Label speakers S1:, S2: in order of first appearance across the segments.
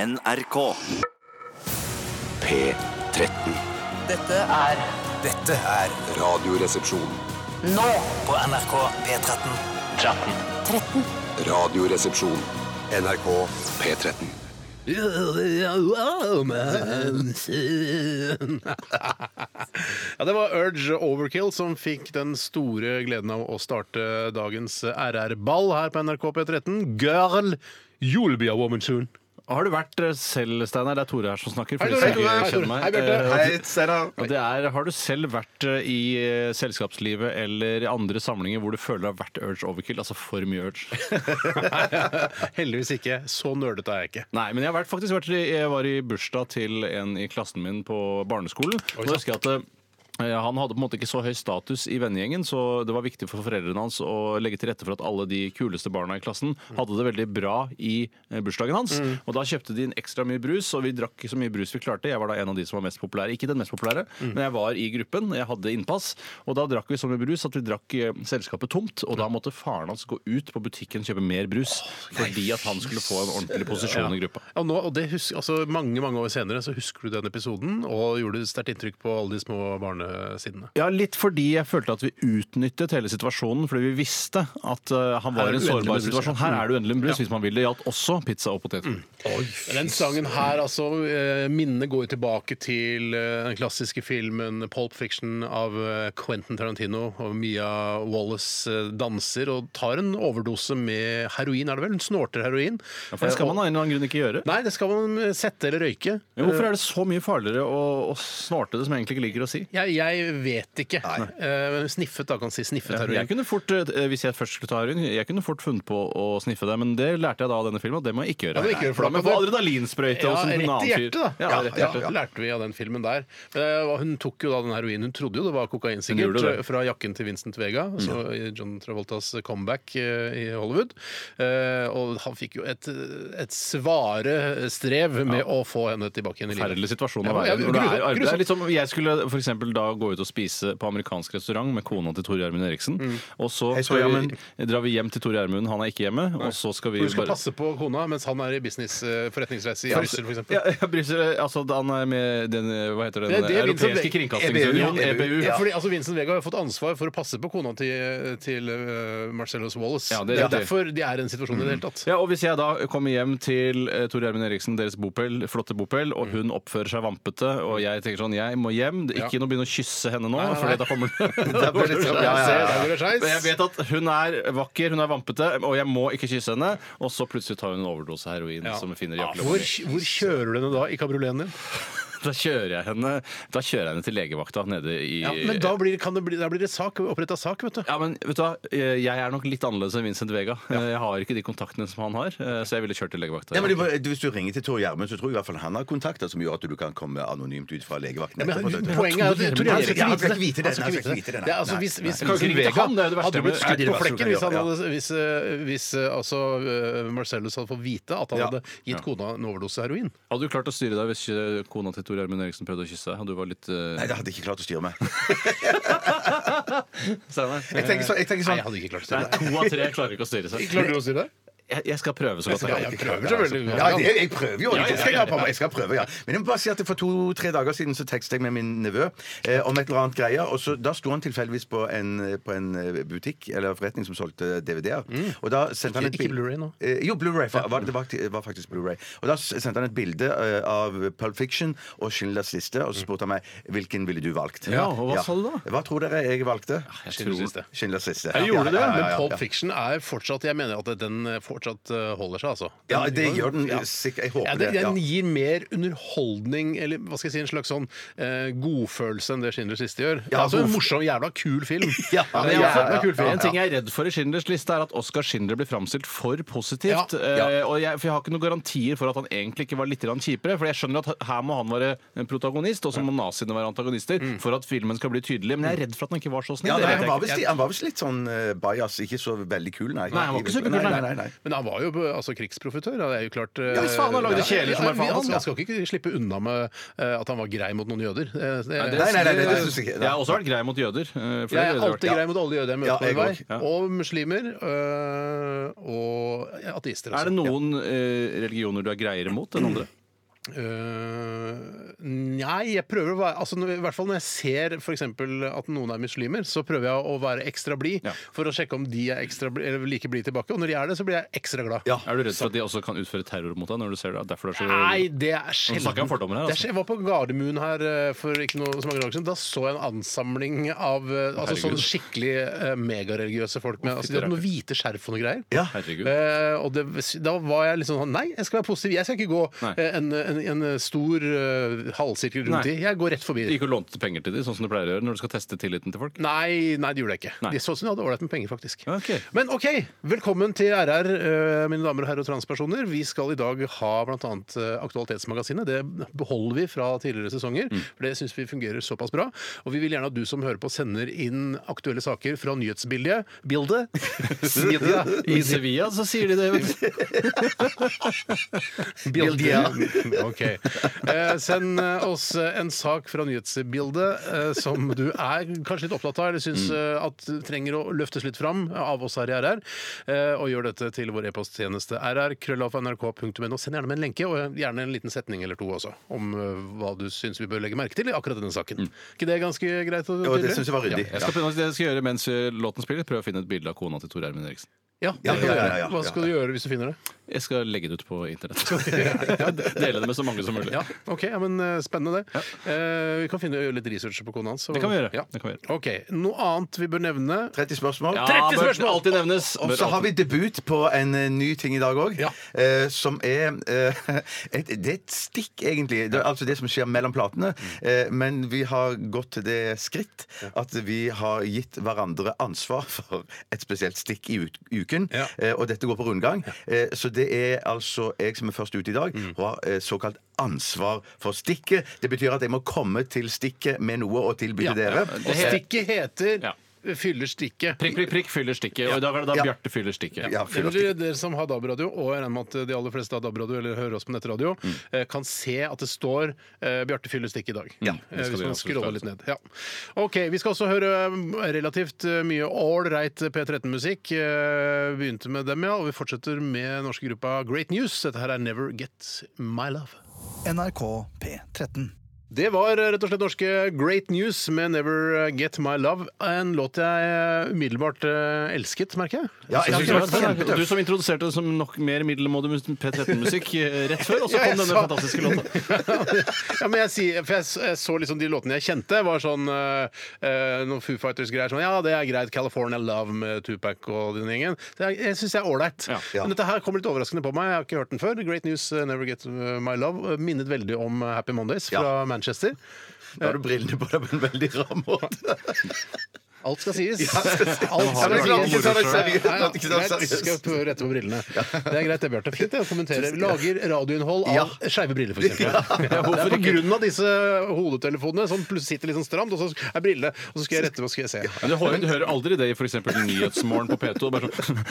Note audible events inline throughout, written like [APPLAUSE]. S1: NRK.
S2: P13.
S3: Dette er
S4: Dette er
S2: Radioresepsjon.
S3: nå på NRK P13.
S2: Radioresepsjon. NRK P13.
S5: Ja, Det var Urge Overkill som fikk den store gleden av å starte dagens RR-ball her på NRK P13. Girl, you'll be a woman soon.
S6: Har du vært eh, selv, Steinar? Det er Tore her som snakker.
S5: Hei,
S6: for de
S5: Tore.
S6: som ikke
S5: Hei, Tore.
S6: kjenner meg.
S5: Hei, Bjarte.
S6: Eh, og-
S7: Hei, Steinar.
S6: og det er, har du selv vært eh, i eh, selskapslivet eller i andre samlinger hvor du føler det har vært urge overkill? Altså for mye urge.
S5: Heldigvis ikke. Så nerdete er jeg ikke.
S6: Nei, men jeg har vært, faktisk vært i, jeg var i bursdag til en i klassen min på barneskolen. Og da husker jeg at eh, han hadde på en måte ikke så høy status i vennegjengen, så det var viktig for foreldrene hans å legge til rette for at alle de kuleste barna i klassen hadde det veldig bra i eh, bursdagen hans. Og da kjøpte de inn ekstra mye brus, og vi drakk ikke så mye brus vi klarte. Jeg var da en av de som var mest populære. Ikke den mest populære, men jeg var i gruppen, jeg hadde innpass. Og da drakk vi så mye brus at vi drakk eh, selskapet tomt, og da måtte faren hans gå ut på butikken og kjøpe mer brus fordi at han skulle få en ordentlig posisjon i gruppa.
S5: Og nå, og det husker, altså Mange mange år senere så husker du den episoden, og gjorde sterkt inntrykk på alle de små barnesidene.
S6: Ja, litt fordi jeg følte at vi utnyttet hele situasjonen, fordi vi visste at eh, han
S5: Her er
S6: var i en
S5: det uendelig
S6: sårbar
S5: med brus, ja.
S6: situasjon.
S5: Mm.
S6: Her er det uendelig med brus, hvis man vil. Det gjaldt også pizza og poteter.
S5: Den sangen her, altså eh, Minnet går jo tilbake til eh, den klassiske filmen Pulp Fiction av eh, Quentin Tarantino. Og Mia Wallace eh, danser og tar en overdose med heroin, er det vel? Hun snorter heroin. Eh,
S6: Ja, for det skal man av en eller annen grunn ikke gjøre.
S5: Nei, det skal man eh, sette eller røyke.
S6: Men hvorfor er det så mye farligere å, å snorte det som jeg egentlig ikke liker å si?
S5: Eh, Jeg, jeg vet ikke. Eh, men sniffet, da, kan si. Sniffet
S6: Jeg
S5: heroin.
S6: kunne fort, eh, hvis jeg først skulle ta heroin, jeg kunne fort funnet på å sniffe det, men det lærte jeg da av denne filmen, at det må jeg ikke gjøre.
S5: Ja, det må jeg ikke gjøre, for da
S6: da må jeg
S5: kan
S6: få
S5: du-
S6: adrenalinsprøyte
S5: Ja,
S6: og sånn
S5: rett
S6: en
S5: i
S6: annen
S5: hjertet, da.
S6: fyr. Ja, rett i
S5: Ja,
S6: hjertet.
S5: lærte vi av den filmen der. Eh, og Hun tok jo da den heroinen. Hun trodde jo det var kokain,
S6: Hun
S5: sikkert.
S6: gjorde det. Mm.
S5: Fra jakken til Vincent Vega, altså i John Travoltas comeback eh, i Hollywood. Eh, og han fikk jo et, et svare strev med å få henne tilbake igjen i livet.
S6: Forferdelig situasjon
S5: Ja,
S6: å være
S5: ja,
S6: i. når du er i
S5: grusomt,
S6: arbeid. Det
S5: grusomt.
S6: er litt som- Jeg skulle for eksempel da gå ut og spise på amerikansk restaurant med kona til Tore Gjermund Eriksen.
S5: Mm.
S6: Og så
S7: Hei,
S6: skal
S7: Tore
S6: vi, drar vi hjem til Tore Gjermund, han er ikke hjemme. Og så skal vi
S5: Hun skal
S6: bare
S5: passe på kona mens han er i business eh, forretningsreise i Brussel, for eksempel
S6: ja, ja, Brussel, altså da han er med den eh, hva heter den,
S5: Det er det Vincent
S6: europeiske
S5: Ve-
S6: kringkastingsunionen, E
S7: EBU.
S6: EBU.
S5: Ja, fordi altså Vincent Vega har fått ansvar for å passe på kona til, til eh, Marcellus Wallace.
S6: Ja,
S5: det,
S6: det
S5: er
S6: er
S5: jo derfor de er i den situasjonen i det hele tatt.
S6: Ja, og Hvis jeg da kommer hjem til eh, Tore Gjermund Eriksen, deres bopel, flotte bopel, og hun oppfører seg vampete, og jeg tenker sånn Jeg må hjem. Det er Ikke noe begynne å kysse henne nå, for da kommer
S7: er bare litt sånn, ja,
S5: Ja, se,
S7: ja,
S5: der går det skeis.
S6: Men jeg vet at hun er vakker, hun er vampete, og jeg må ikke kysse henne. Og så plutselig tar hun en overdose heroin som hun finner i
S5: Ah, Hvor,
S6: jakkelommen.
S5: hvor kjører du henne da i kabrioleten din?
S6: [LAUGHS] Da kjører jeg henne Da kjører jeg henne til legevakta nede i
S5: Ja, men da blir, kan det bli, da blir det sak, oppretta sak, vet du.
S6: Ja, men vet du hva, Eh, jeg er nok litt annerledes enn Vincent Vega. Eh, Jeg har ikke de kontaktene som han har, eh, så jeg ville kjørt til legevakta.
S7: Ja, men
S6: Ja,
S7: du- Hvis du ringer til Tor Gjermund, så tror jeg i hvert fall han har kontakter som gjør at du kan komme anonymt ut fra legevakten.
S5: Men
S7: etterpå.
S5: poenget er at
S6: Tore
S5: Tore Gjermund
S7: Gjermund-
S5: skal
S7: Han skal ikke vite det,
S5: Han skal
S7: nei,
S5: ikke
S7: han skal ikke
S5: vite det.
S7: vite det,
S5: Det
S7: nei,
S5: er altså,
S7: nei,
S5: hvis, hvis,
S6: Jeg kan ikke
S5: Vincent
S6: ringe til han, det er jo det verste
S5: hadde blitt
S6: med-
S5: skutt
S7: Nei, det er det
S5: på
S7: verste
S5: flekken
S7: med-
S5: hvis, han
S7: ja, ja.
S5: hadde, hvis, eh, hvis eh, altså, eh, Marcellus hadde fått vite at han
S7: Ja.
S5: hadde gitt kona en overdose heroin.
S6: Hadde du klart å styre deg hvis eh, kona til Tor Gjermund Eriksen prøvde å kysse deg? Og du var litt [LAUGHS] eh,
S7: Nei, det hadde jeg ikke klart å styre meg.
S6: Steinar?
S7: Jeg tenker sånn, jeg tenker
S5: Nei,
S7: sånn
S5: jeg hadde ikke klart å styre
S6: Nei,
S5: det.
S6: to av tre klarer ikke å styre seg.
S5: Klarer du å styre det?
S6: Jeg, jeg skal prøve så godt jeg
S5: Ja,
S6: kan.
S5: jeg prøver selvfølgelig.
S7: Ja, det, jeg prøver jo. Det skal jeg, ha på meg. jeg skal prøve, ja. Men jeg må bare si at for to-tre dager siden så tekstet jeg med min nevø eh, om et eller annet greie. Og så, da sto han tilfeldigvis på en, eh, på en butikk eller forretning som solgte DVD-er. Og da sendte han et
S5: Ikke-
S7: bil-
S5: ikke Blu-ray nå?
S7: Eh, jo, Blu-ray. fa- Var, det var, det var faktisk Blu-ray. Og da s- sendte han et bilde eh, av Pulp Fiction og Schindlers liste, og så spurte han meg hvilken ville du valgt.
S6: Ja, og hva sa du da?
S7: Hva tror dere jeg valgte?
S6: Jeg tror-
S5: det.
S7: Schindlers liste.
S6: Jeg gjorde det,
S7: ja,
S5: Men
S7: ja,
S5: Pulp
S7: ja.
S5: Fiction er fortsatt Jeg mener at den fortsatt eh, holder seg, altså.
S7: Ja, det gjør den
S5: Ja.
S7: sikkert. Jeg håper
S5: Ja,
S7: det.
S5: det,
S7: ja.
S5: den gir mer underholdning, eller hva skal jeg si, en slags sånn eh, godfølelse enn det Schindlers liste gjør. Det er
S7: Ja,
S5: altså en
S7: godf-
S5: morsom, jævla kul film.
S7: [LAUGHS] Ja, ja, ja,
S5: men jeg-
S7: ja.
S5: en kul film.
S6: En ting jeg er redd for i Schindlers liste, er at Oskar Schindler blir framstilt for positivt.
S7: Ja, ja.
S6: eh, Og jeg, for jeg har ikke noen garantier for at han egentlig ikke var litt grann kjipere. For jeg skjønner at her må han være en protagonist, og så må naziene være antagonister for at filmen skal bli tydelig. Men jeg er redd for at han ikke var så
S7: Mm. Ja, nei,
S6: snill. det vet
S7: han,
S6: jeg
S7: var
S6: ikke.
S7: visst, han var visst litt sånn eh, bias, ikke så veldig kul, nei.
S6: Nei, han var ikke superkul,
S7: Nei, nei,
S6: nei.
S7: nei, nei.
S5: Men han var jo altså, krigsprofitør. ja, Det er jo klart eh,
S6: Ja, hvis faen, han lagde kjeler som
S5: ja,
S6: er faen,
S5: Han
S6: altså.
S5: han skal ikke slippe unna med eh, at han var grei mot noen jøder. Eh, det-
S6: Nei,
S7: Nei, nei, nei, det synes jeg ikke.
S6: Jeg har også vært grei mot jøder.
S5: jeg er
S6: eh, flere jøder har vært-
S5: alltid grei mot alle jøder
S7: Ja,
S5: jeg møter på
S7: jeg
S5: min vei.
S7: også,
S6: ja.
S5: Og muslimer. eh, og altså. ateister
S6: Er
S5: også.
S6: det noen eh, religioner du er greiere mot enn andre?
S5: Øh, nei, jeg prøver å være altså, når- I hvert fall når jeg ser for eksempel at noen er muslimer, så prøver jeg å være ekstra blid
S6: Ja.
S5: for å sjekke om de er ekstra bli, eller like blide tilbake. Og når de er det, så blir jeg ekstra glad.
S7: Ja.
S6: Er du redd for at de også kan utføre terror mot deg når du ser det? Derfor det er så...
S5: Nei, det er
S6: Nå snakker jeg om
S5: sjelden.
S6: fordommer
S5: Det
S6: her,
S5: er
S6: altså.
S5: sj- Jeg var på Gardermoen her eh, for ikke noe, så mange dager siden. Da så jeg en ansamling av eh, altså,
S6: Herregud.
S5: sånn skikkelig eh, megareligiøse folk. Med, altså, de hadde noen hvite skjerf og noe greier.
S7: Ja.
S6: Herregud.
S5: Eh, og det, da var jeg litt sånn Nei, jeg skal være positiv. Jeg skal ikke gå
S6: Nei.
S5: eh, en, en, en stor eh, halvsirkel
S6: Nei.
S5: rundt i. Jeg går rett forbi.
S6: Du gikk og lånte penger til dem, sånn som du pleier å gjøre når du skal teste tilliten til folk?
S5: Nei, nei, det gjorde jeg ikke.
S6: Nei.
S5: De så ut som de hadde ålreit med penger, faktisk.
S6: Ja, ok.
S5: Men OK, velkommen til RR, eh, mine damer og herrer og transpersoner. Vi skal i dag ha bl.a. Aktualitetsmagasinet. Det beholder vi fra tidligere sesonger,
S6: Mm.
S5: for det syns vi fungerer såpass bra. Og vi vil gjerne at du som hører på, sender inn aktuelle saker fra nyhetsbildet Bildet? [LAUGHS] Sida.
S6: I Sevilla så sier de det, vet du.
S5: Bildia. OK. Eh, send eh, oss eh, en sak fra nyhetsbildet eh, som du er kanskje litt opptatt av, eller syns
S7: Mm.
S5: eh, at trenger å løftes litt fram eh, av oss her i RR. Eh, og gjør dette til vår e-posttjeneste rr.krøllalfa.nrk.no. Send gjerne med en lenke, og eh, gjerne en liten setning eller to også, om eh, hva du syns vi bør legge merke til i akkurat denne saken. ikke det ganske greit og
S7: Og Mm. det
S5: tydelig?
S7: syns jeg var ryddig.
S6: [LAUGHS] Jeg skal, prøve- det jeg skal gjøre mens eh, låten spiller, prøve å finne et bilde av kona til Tor Ermin Eriksen.
S5: Ja, det
S7: Ja,
S5: kan du
S7: ja, ja,
S5: gjøre.
S7: ja,
S5: Hva
S7: ja.
S5: skal du gjøre hvis du finner det?
S6: Jeg skal legge det ut på internett. [LAUGHS] Dele det med så mange som
S5: [LAUGHS]
S6: mulig.
S5: Ja, ok, ja, men eh, Spennende, det. Eh, vi kan finne, gjøre litt research på kona hans. og-
S6: Det kan vi gjøre.
S5: Ja.
S6: Det kan vi gjøre.
S5: Ok, Noe annet vi bør nevne
S7: 30 spørsmål.
S6: Ja,
S5: 30
S6: bør
S5: spørsmål!
S6: alltid nevnes.
S7: Og
S6: Bør
S7: så har vi
S6: alltid-
S7: debut på en eh, ny ting i dag òg,
S5: Ja.
S7: eh, som er eh, [LAUGHS] et, Det er et stikk, egentlig. Det, er altså det som skjer mellom platene.
S5: Mm.
S7: Eh, men vi har gått til det skritt at vi har gitt hverandre ansvar for et spesielt stikk i ut- uken.
S5: Ja.
S7: Eh, og dette går på rundgang. Eh, så det er altså jeg som er først ute i dag,
S5: Mm.
S7: og har eh, såkalt ansvar for stikket. Det betyr at jeg må komme til stikket med noe å tilby
S5: Ja,
S7: til dere.
S5: Og stikket heter
S6: Ja.
S5: Fyller stikket.
S6: Prikk, prikk, prikk, fyller stikket. Og i dag er det da
S7: Ja.
S6: Bjarte fyller stikket.
S7: Ja, fyll opp
S5: Eller dere som har DAB-radio, og jeg regner med at de aller fleste har DAB-radio eller hører oss på nettradio,
S6: Mm.
S5: eh, kan se at det står eh, 'Bjarte fyller stikket i dag'.
S6: Ja, det skal
S5: eh, hvis
S6: vi
S5: man
S6: absolutt
S5: scroller
S6: klare.
S5: litt ned. Ja. Ok, Vi skal også høre eh, relativt eh, mye ålreit P13-musikk. Eh, Begynte med dem, ja, og vi fortsetter med norske gruppa Great News. Dette her er 'Never Get My Love'.
S3: NRK P13.
S5: Det var eh, rett og slett norske Great News med Never eh, Get My Love. En låt jeg umiddelbart eh, elsket, merker jeg.
S7: Ja, jeg synes det
S6: Jeg synes
S7: var
S6: det var
S7: kjempetøft.
S6: Du som introduserte det som nok mer middelmådig P13-musikk eh, rett før, og så
S5: Ja, jeg
S6: kom denne
S5: sa-
S6: fantastiske
S5: [LAUGHS]
S6: låta.
S5: ja, men jeg, sier, for jeg, s- jeg så liksom de låtene jeg kjente, var sånn eh, eh, noen Foo Fighters-greier. Sånn, ja, det er greit. California Love med Tupac og den gjengen. Det er, jeg syns det er ålreit.
S6: Ja.
S5: Men dette her kom litt overraskende på meg. Jeg har ikke hørt den før. Great News eh, Never Get My Love eh, minnet veldig om eh, Happy Mondays fra Manchester.
S7: Da har du brillene på deg på en veldig rar måte.
S5: Alt skal
S7: [LAUGHS]
S5: sies.
S7: Alt skal sies. Ikke ta deg seriøst.
S5: Nei, ja,
S7: Ikke ta deg
S5: greit.
S7: seriøst.
S5: Skal prøve å rette på brillene. Det er greit, det, Bjarte. Fint det å kommentere. Lager radioinnhold
S7: Ja.
S5: av skeive
S7: [LAUGHS]
S5: briller, f.eks. Det er på grunn av disse hodetelefonene som plutselig sitter litt sånn stramt, og så er brillene Og så skal jeg rette på, og så skal jeg se.
S6: Men du hører, du hører aldri det i f.eks. Nyhetsmorgen på P2. Bare sånn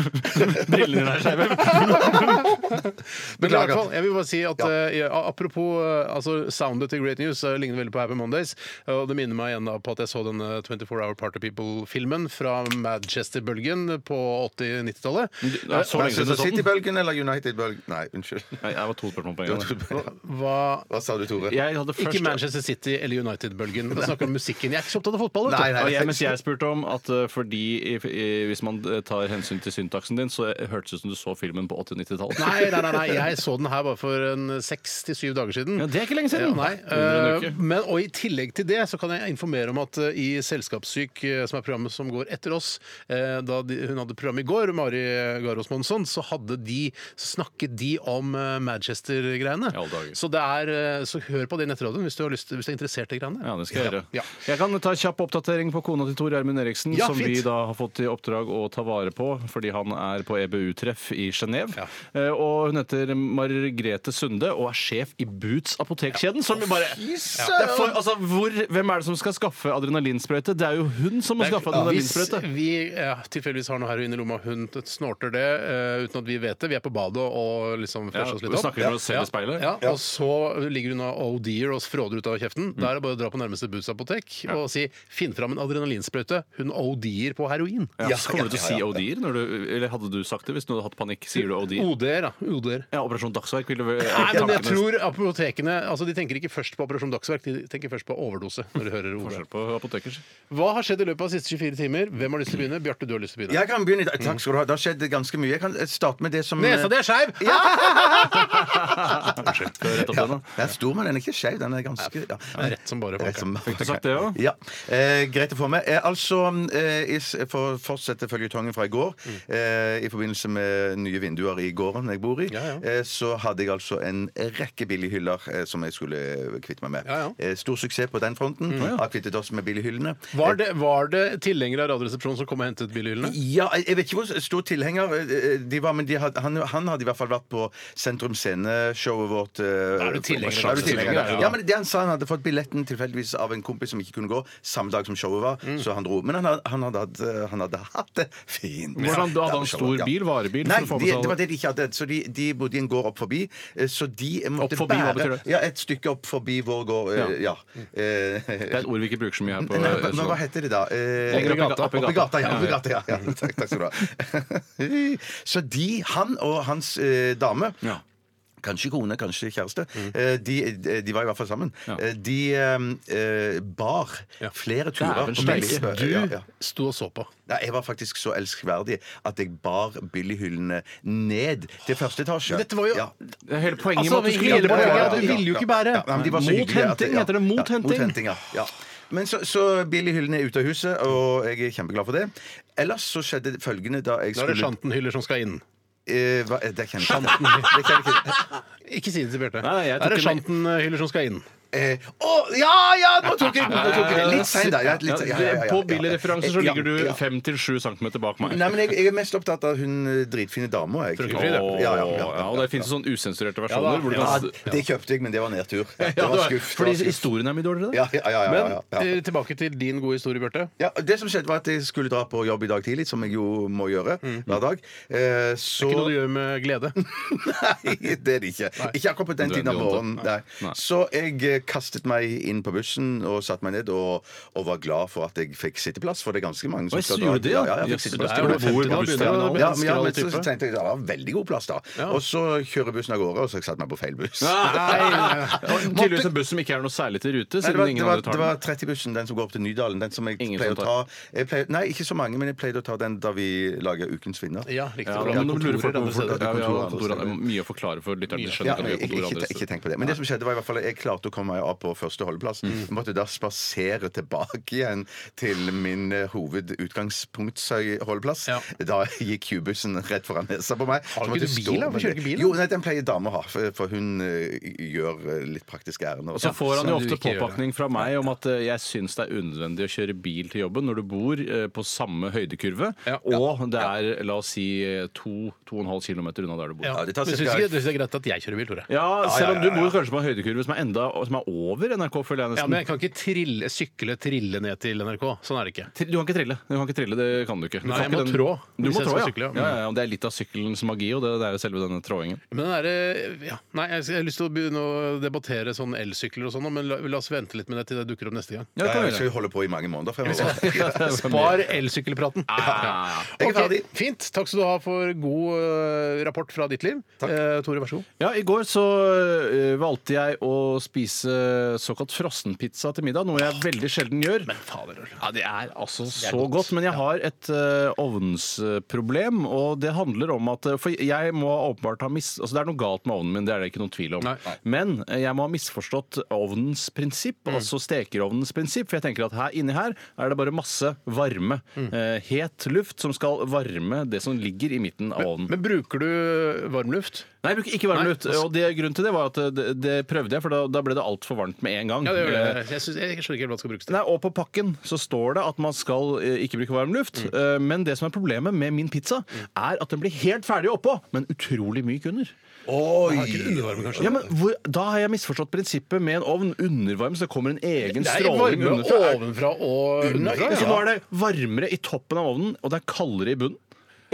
S6: [LAUGHS] Brillene dine er skeive.
S5: Men i
S7: Beklager.
S5: hvert fall, jeg vil bare si at
S7: Ja.
S5: eh, jeg- apropos eh, altså, soundet til Great News, eh, ligner veldig på Happy Mondays. eh, Og det minner meg igjen da på at jeg så denne 24 Hour Party People-filmen fra Manchester-bølgen på 80-90-tallet.
S6: Det er så
S7: altså,
S6: lenge siden du sånn? så den.
S7: City-bølgen eller United-bølgen? Nei, unnskyld.
S6: Nei, det var to spørsmål på en gang.
S5: Hva
S7: Hva sa du, Tore?
S6: Jeg hadde først
S5: Ikke Manchester City eller United-bølgen. Da snakker vi om musikken. Jeg er ikke så opptatt av fotball. vet du.
S7: Nei, nei.
S6: Og jeg, mens jeg spurte om at eh, fordi i, i, hvis man eh, tar hensyn til syntaksen din, så hørtes det ut som du så filmen på 80- og 90-tallet.
S5: Nei, nei, nei, nei, jeg så den her bare for en seks til syv dager siden.
S6: Ja, det er ikke lenge
S5: Ja,
S6: siden.
S5: nei.
S6: Under en uke.
S5: Eh, men, og I tillegg til det så kan jeg informere om at eh, i Selskapssyk, eh, som er programmet som går etter oss, eh, da de, hun hadde program i går, Mari Garås Monsson, så hadde de, så snakket de om eh, Manchester-greiene.
S6: I alle dager.
S5: Så, det er, eh, så hør på det i nettradioen hvis du, har lyst, hvis du er interessert i greiene.
S6: Ja, det skal jeg gjøre.
S5: Ja.
S6: Jeg kan ta kjapp oppdatering på kona til Tor Gjermund Eriksen,
S5: Ja,
S6: som
S5: fint.
S6: vi da har fått i oppdrag å ta vare på fordi han er på EBU-treff i Genéve.
S5: Ja.
S6: Eh, Og hun heter Margrete Sunde og er sjef i Boots apotekkjeden, som vi bare
S7: Fy
S6: Det er for, altså, hvor, Hvem er det som skal skaffe adrenalinsprøyte? Det er jo jo hun som må skaffe den
S5: Hvis
S6: vinsprøyte.
S5: vi eh, tilfeldigvis har noe heroin i lomma, hun snorter det eh, uten at vi vet det. Vi er på badet og liksom
S6: Ja,
S5: fresher oss litt
S6: vi
S5: opp.
S6: snakker om oss selv i speilet.
S5: Ja, og så ligger hun og oh dear og fråder ut av kjeften.
S6: Mm.
S5: Da er det bare å dra på nærmeste Boots-apotek og si 'finn fram en adrenalinsprøyte'. Hun oh dear på heroin.
S6: Ja, så kommer du til å si
S7: ja, ja.
S6: OD-er? når du- Eller hadde du sagt det hvis du hadde hatt panikk? Sier du OD-er?
S5: OD-er, da. OD-er.
S6: Ja, Operasjon Dagsverk ville vel
S5: Nei, men jeg tror apotekene altså de tenker ikke først på Operasjon Dagsverk, de tenker først på overdose. når de hører ordet.
S6: Forskjell på apotekers.
S5: Hva har skjedd i løpet av de siste 24 timer? Hvem har lyst til å begynne? Bjarte, du har lyst til å begynne.
S7: Jeg kan begynne. Takk skal du ha. Det har skjedd ganske mye. Jeg kan starte med det som
S5: Nesa di er skeiv!
S6: Rett opp
S7: Ja,
S6: den, da.
S7: den er stor, men den er ikke skeiv. Den er ganske ja.
S5: Rett som bare
S7: Rett
S5: folk.
S7: som-
S6: Fikk du sagt det òg?
S7: Ja. Eh, greit å få med. Eh, altså, eh, is- for å fortsette føljetongen fra i går, eh, i forbindelse med nye vinduer i gården jeg bor i,
S5: Ja, ja.
S7: Eh, så hadde jeg altså en rekke billighyller eh, som jeg skulle kvitte meg med.
S5: Ja, ja.
S7: Eh, stor suksess på den fronten. Har kvittet oss med billighyllene.
S5: Var det, var det tilhengere av Radioresepsjonen som kom og hentet bilhyllene?
S7: Ja, jeg jeg vet ikke hvor stor tilhenger eh, de var, men de hadde, han, han hadde i hvert fall vært på Sentrum Scene-showet vårt. eh, Da
S5: er du tilhenger, da.
S6: altså.
S7: Er du tilhenger
S5: Ja, ja.
S7: ja, men det Han sa han hadde fått billetten tilfeldigvis av en kompis som ikke kunne gå, samme dag som showet var,
S6: Mm.
S7: så han dro. Men han, had- han, hadde, hatt, eh, han hadde hatt det fint.
S6: Hvordan, da hadde
S7: Ja,
S6: han
S7: showet,
S6: stor
S7: ja.
S6: bil, varebil?
S7: Nei,
S6: for å få
S7: de,
S6: med seg
S7: det var
S6: alle?
S7: det de ikke hadde. Så de, de bodde i en gård opp forbi. eh, Så de måtte
S6: forbi, hva betyr
S7: bære
S6: det?
S7: ja, et stykke opp forbi vår gård. eh, Ja. Eh,
S6: Det er et ord vi ikke bruker så mye her. på
S7: Nei, hva-
S6: Østlandet.
S7: hva heter det da? Eh,
S6: Lenger opp i gata.
S7: Oppi gata, ja. Oppi gata, ja. ja. Takk, takk skal du ha. [LAUGHS] Så de, han og hans eh, dame
S6: Ja.
S7: Kanskje kone, kanskje kjæreste. eh, De, de var i hvert fall sammen. Eh, De eh, bar flere turer.
S6: Dæven
S7: på
S6: steike.
S7: Billy-
S5: Du
S7: Ja, ja.
S5: sto og så på.
S7: Nei, jeg var faktisk så elskverdig at jeg bar Billy-hyllene ned til første etasje.
S5: Men dette var jo-
S7: ja.
S6: Hele poenget
S5: Altså,
S6: med at du
S5: vi-
S6: skulle
S5: hele poenget
S7: Ja,
S5: er
S7: ja,
S5: at du
S7: ja,
S5: ville jo
S7: ja,
S5: ikke bære.
S7: ja, men de var så
S6: Mot
S7: hyggelige at-
S6: henting
S7: ja,
S6: heter det, mot
S7: ja,
S6: henting.
S7: Mot henting, ja. ja. Men så, så Billy-hyllen er ute av huset, og jeg er kjempeglad for det. Ellers så skjedde det følgende da jeg
S5: Nå er
S7: skulle
S5: det sjantenhyller som skal inn.
S7: Eh, hva- eh, Det kjenner jeg ikke. Det kjenner jeg ikke.
S5: Ikke si det til Bjarte.
S6: Nei, jeg
S5: Er det
S6: tok ikke
S5: sjantenhyller som skal inn?
S7: [LAUGHS] Eh, Å, ja, ja! Nå tok jeg den! nå tok jeg den. Litt sein, da. Ja, litt, sen- ja, ja, ja, ja,
S6: På
S7: ja.
S6: billigreferanser så
S7: Ja,
S6: ligger du
S7: ja.
S6: 5-7 cm bak meg.
S7: Nei, men jeg, jeg er mest opptatt av hun eh, dritfine dama. jeg.
S5: Frøken Frida.
S7: Ja, ja, ja, ja,
S6: Åh, ja, og det fins sånne usensurerte
S5: Ja
S6: versjoner.
S5: da.
S6: hvor du
S7: Ja,
S6: kan...
S7: det kjøpte jeg, men det var nedtur. Det
S6: [LAUGHS] Ja,
S7: var
S6: det-
S7: skuff. det var
S6: Fordi
S7: skuff.
S6: historien er mye dårligere, da.
S7: Ja, ja, ja, ja, ja, ja.
S5: Eh, Tilbake til din gode historie, Bjarte.
S7: Ja, Det som skjedde, var at jeg skulle dra på jobb i dag tidlig, som jeg jo må gjøre
S6: Mhm.
S7: hver dag. Eh, så
S5: Ikke noe du gjør med glede.
S7: [LAUGHS] Nei, det er det ikke. Ikke akkurat på den
S6: Du er
S7: tiden av
S6: ikke
S7: morgenen.
S6: vant til-
S7: Nei.
S6: Nei.
S7: Så jeg eh, kastet meg inn på bussen og satte meg ned, og, og var glad for at jeg fikk sitteplass, for det er ganske mange som
S6: Oi, så gjorde du det,
S7: ja?
S6: ja?
S7: Ja, jeg fikk
S6: Jøss, du
S7: sitteplass.
S6: er
S7: til
S6: jo
S7: og med
S6: på
S7: 50
S6: bord på
S7: da.
S6: bussen,
S7: Ja,
S6: ja, nå.
S7: ja, men, ja, men
S5: Skrall
S7: så
S5: type.
S7: tenkte jeg at det var veldig god plass, da. Og så kjører bussen av gårde, og så satte jeg meg på feil buss.
S6: Og Tydeligvis en buss som ikke er noe særlig til
S7: Nei,
S6: rute,
S7: det,
S6: siden
S7: var, det,
S6: ingen
S7: var, det
S6: andre tar
S7: var
S6: den.
S7: 30-bussen, den som går opp til Nydalen. Den som jeg
S6: Ingen
S7: pleier å
S6: som
S7: ta jeg pleier, Nei, ikke så mange, men jeg pleide å ta den da vi lager Ukens vinner.
S5: Ja, riktig.
S6: Ja,
S5: for
S6: men
S5: det
S6: nå
S5: er
S6: lurer folk
S5: kontorer andre
S6: hvorfor-
S5: steder.
S6: ja,
S7: Kontorer
S6: vi har
S7: andre
S6: kontorer. Det
S7: steder.
S6: er mye å forklare for lytterne. De skjønner
S7: Ja,
S6: ikke at vi
S7: nei,
S6: har
S7: ikke,
S6: kontorer
S7: ikke,
S6: andre
S7: ikke
S6: steder.
S7: tenk på det. Men det som skjedde, var i hvert fall at jeg klarte å komme meg av på første holdeplass.
S6: Mm.
S7: Jeg måtte da spasere tilbake igjen til min eh, hovedutgangspunktholdeplass.
S5: Ja.
S7: Da gikk Q-bussen rett foran nesa på meg.
S5: Har
S7: Så
S5: du
S7: måtte
S5: ikke
S7: jeg
S5: bil,
S7: stå
S5: da? Hvorfor
S7: med det.
S5: kjører du ikke bil, da?
S7: Jo, nei, den pleier dame å ha, for for hun eh, gjør eh, litt praktiske ærender. og
S6: Så
S7: sånt.
S6: får han
S5: som
S6: jo
S5: du
S6: ofte
S5: ikke gjør, ja.
S6: påpakning fra meg om at eh, jeg syns det er unødvendig å kjøre bil til jobben når du bor eh, på samme høydekurve,
S5: Ja.
S6: og det er, la oss si, eh, 2-2,5 km unna der du bor.
S5: Ja.
S7: Ja,
S5: Men
S7: det tar
S5: syns
S7: cirka-
S5: ikke- du syns det er greit at jeg kjører bil, Tore?
S6: Ja, selv om du bor kanskje på en høydekurve som er enda Som er over NRK, føler jeg
S5: Ja,
S6: nesten.
S5: men jeg kan ikke trille, sykle trille ned til NRK. Sånn er det ikke.
S6: Tri- Du kan ikke trille. Du kan ikke trille, Det kan du ikke. Du
S5: Nei,
S6: kan
S5: jeg må
S6: ikke den-
S5: trå
S6: Du
S5: hvis
S6: må
S5: jeg
S6: trå,
S5: skal
S6: ja.
S5: sykle, ja.
S6: ja. ja, ja, og Det er litt av sykkelens magi, og det, det er jo selve denne tråingen.
S5: Men den derre ja. Nei, jeg jeg har lyst til å begynne å debattere sånn elsykler og sånn, men la, la oss vente litt med det til det dukker opp neste gang.
S6: Ja, det kan
S7: Ja,
S6: vi
S7: jeg skal
S6: gjøre.
S7: jo holde på i mange måneder fremover.
S5: Spar elsykkelpraten.
S6: Ah.
S7: Jeg er
S5: Ok,
S7: ferdig.
S5: Fint. Takk skal du ha for god eh, rapport fra ditt liv. Eh, Tore, vær så god.
S6: Ja, I går så ø, valgte jeg å spise såkalt frossenpizza til middag, noe jeg veldig sjelden gjør. Ja, Det er altså så godt. men jeg har et ø, ovnsproblem, og det handler om at ø, For jeg må åpenbart ha mis... Altså, det er noe galt med ovnen min, det er det ikke noen tvil om.
S5: Nei. Nei.
S6: Men ø, jeg må ha misforstått ovnens prinsipp,
S5: Mm.
S6: altså stekerovnens prinsipp, for jeg tenker at her inni her er det bare masse varme.
S5: Mm.
S6: eh, het luft som skal varme det som ligger i midten av ovnen.
S5: Men bruker du varmluft?
S6: Nei, jeg bruker ikke varmlutt.
S5: Nei. altså-
S6: Og det, grunnen til det var at eh, det, det prøvde jeg, for da, da ble det altfor varmt med en gang.
S5: Ja, det gjør
S6: Eh,
S5: det. Jeg, synes, jeg skjønner ikke helt hva det skal brukes til.
S6: Nei, og på pakken så står det at man skal eh, ikke bruke varm luft.
S5: Mm.
S6: eh, men det som er problemet med min pizza, er at den blir helt ferdig oppå, men utrolig myk under.
S7: Oi!
S5: Ikke undervarme, kanskje?
S6: Ja, men hvor, Da har jeg misforstått prinsippet med en ovn. Undervarm, så kommer en egen
S5: det er
S6: stråling
S5: varme
S6: underfra. Er-
S5: ovenfra og underfra.
S6: Så
S5: Ja.
S6: nå er det varmere i toppen av ovnen, og det er kaldere i bunnen.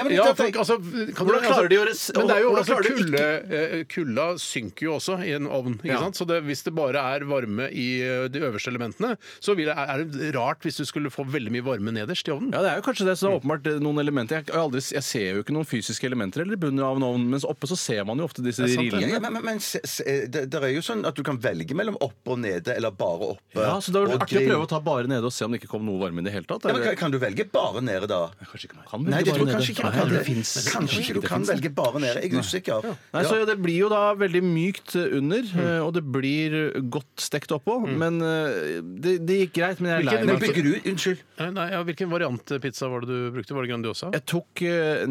S5: Ja, for, altså, kan du,
S6: Hvordan klarer de å res-
S5: altså, men det er jo,
S6: hvordan
S5: altså,
S6: klarer de
S5: kulde, eh, Kulda synker jo også i en ovn. Ikke
S6: Ja.
S5: sant? Så det, hvis det bare er varme i eh, de øverste elementene, så vil det, er det rart hvis du skulle få veldig mye varme nederst i ovnen.
S6: Ja, det er jo kanskje det, så det er åpenbart eh, noen elementer. Jeg, har aldri, jeg ser jo ikke noen fysiske elementer eller i bunnen av en ovn, mens oppe så ser man jo ofte disse
S5: sant, det.
S6: rillene.
S7: Men, men, men se, se, det, det er jo sånn at du kan velge mellom oppe og nede, eller bare oppe.
S6: Ja, så det er
S7: og
S6: artig å
S7: grill.
S6: prøve å ta bare nede og se om det ikke kom noe varme i det hele tatt.
S7: ja, men,
S6: eller?
S7: kan- Kan du velge bare nede, da?
S6: Kanskje ikke man kan
S7: Nei, det
S6: velge bare
S7: tror jeg
S6: nede.
S7: kanskje ikke man
S6: Nei,
S7: kan.
S6: det
S7: Det
S6: finnes-
S7: Kanskje ikke du kan velge bare nede. Jeg er usikker.
S6: Nei,
S7: Ja. Mm.
S6: så Det blir jo da veldig mykt under, eh, og det blir godt stekt oppå. Men eh, det, det gikk greit, men jeg er lei
S5: Hvilken-
S7: Men
S6: meg. altså.
S7: bygger du Unnskyld.
S5: Eh, Nei, ja, hvilken variant pizza var det du brukte? Var det Grandiosa?
S6: Jeg tok eh,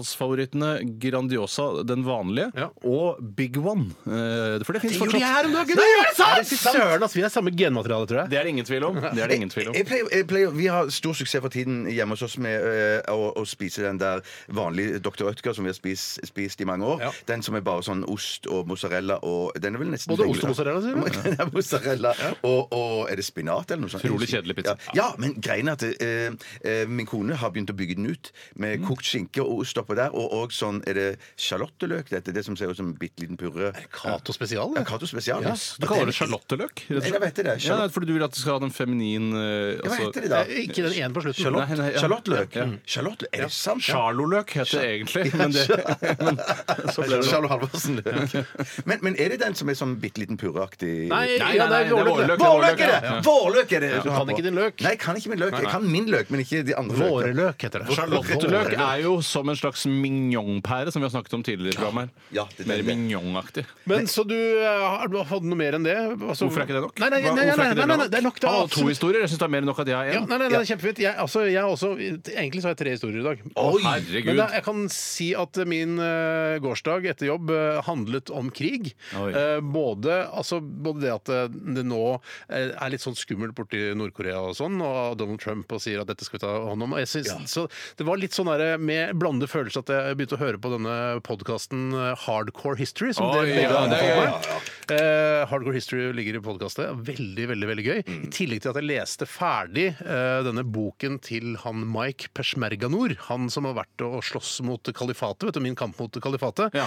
S6: 90-tallsfavorittene Grandiosa, den vanlige,
S5: Ja.
S6: og Big One. Eh, For det fins fortsatt.
S5: Nei, er det sant?! Søren, altså, vi er samme genmateriale, tror jeg.
S6: Det er det ingen tvil om. Det er det
S7: [LAUGHS]
S6: ingen tvil om.
S7: Jeg pleier, jeg pleier, vi har stor suksess for tiden hjemme hos oss med øh, å, å spise den der vanlige Dr. Rødtger som vi har spist, spist i mange år.
S5: Ja.
S7: Den som er bare sånn ost og mozzarella og den er vel nesten
S5: Både ost og mozzarella, sier du?
S7: [LAUGHS] Den er mozzarella og, og er det spinat eller noe sånt?
S6: Utrolig kjedelig pizza.
S7: Ja, ja men greien er at øh, øh, min kone har begynt å bygge den ut med
S6: Mm.
S7: kokt skinke og ost oppå der, og, og sånn er det sjalotteløk, dette, det som ser ut som en bitte liten purre.
S5: Cato Spesial. det.
S7: Ja, Cato spesial.
S5: Ja,
S6: Du kaller det sjalotteløk? rett og slett.
S7: Jeg vet det,
S6: Ja,
S7: sjalott-
S6: nei, fordi du vil at det skal ha den feminin eh,
S7: Hva
S6: altså-
S7: heter det Mm. da?
S5: Eh, Ikke den ene på slutten.
S6: Charlotte.
S5: Nei,
S6: Nei, ja.
S7: Sjalottløk?
S6: Ja.
S7: Sjalottløk, Er det sant?
S6: Charloløk heter det egentlig. Men det, men, så ble det
S7: Charlo Halvorsen. Men, men er det den som er sånn bitte liten purreaktig
S5: Nei,
S6: Nei,
S5: ja,
S6: nei,
S5: det er
S6: nei, det er
S5: vårløk.
S6: vårløk.
S7: Vårløk er det!
S6: Ja, ja.
S7: Vårløk er det!
S5: Du
S7: har
S5: kan
S7: på.
S5: ikke din løk.
S7: Nei, jeg kan ikke min løk. Jeg kan min løk, men ikke de andre løkene.
S5: Vårløk heter det.
S6: Charlotteløk er jo som en slags mignonpære, som vi har snakket om tidligere i programmet. her.
S7: Ja, det er
S6: Mer
S7: det.
S6: mignonaktig.
S5: Men så du eh, har du fått noe mer enn det? Altså-
S6: Hvorfor er ikke det nok?
S5: Nei, nei, nei,
S6: Hva-
S5: nei,
S6: hvorfor
S5: nei,
S6: er ikke
S5: nei, nei, nei, det er nok. Det
S6: Han
S5: er
S6: hadde to
S5: absolutt-
S6: historier. Jeg syns det er mer enn nok at jeg har
S5: Ja,
S6: én.
S5: nei, nei, nei, det er kjempefint. Jeg, altså, jeg har også, egentlig så har jeg tre historier i dag.
S7: Oi!
S6: Herregud.
S5: Men da, jeg kan si at min eh, gårsdag etter jobb eh, handlet om krig.
S6: Oi.
S5: Eh, både, altså, både det at eh, det nå eh, er litt sånn skummelt borti Nord-Korea og sånn, og Donald Trump og sier at dette skal vi ta hånd om. Og Jeg synes, så det var litt sånn der, med blandede følelser at jeg begynte å høre på denne podkasten Hardcore History. som
S6: Oi,
S5: dere begge
S6: ja, det er
S5: anbefaler.
S6: gøy.
S5: Eh, Hardcore History ligger i podkastet. Veldig, veldig veldig gøy.
S6: Mm.
S5: I tillegg til at jeg leste ferdig eh, denne boken til han Mike Peshmerganur, han som har vært og slåss mot kalifatet, vet du, min kamp mot kalifatet,
S6: Ja.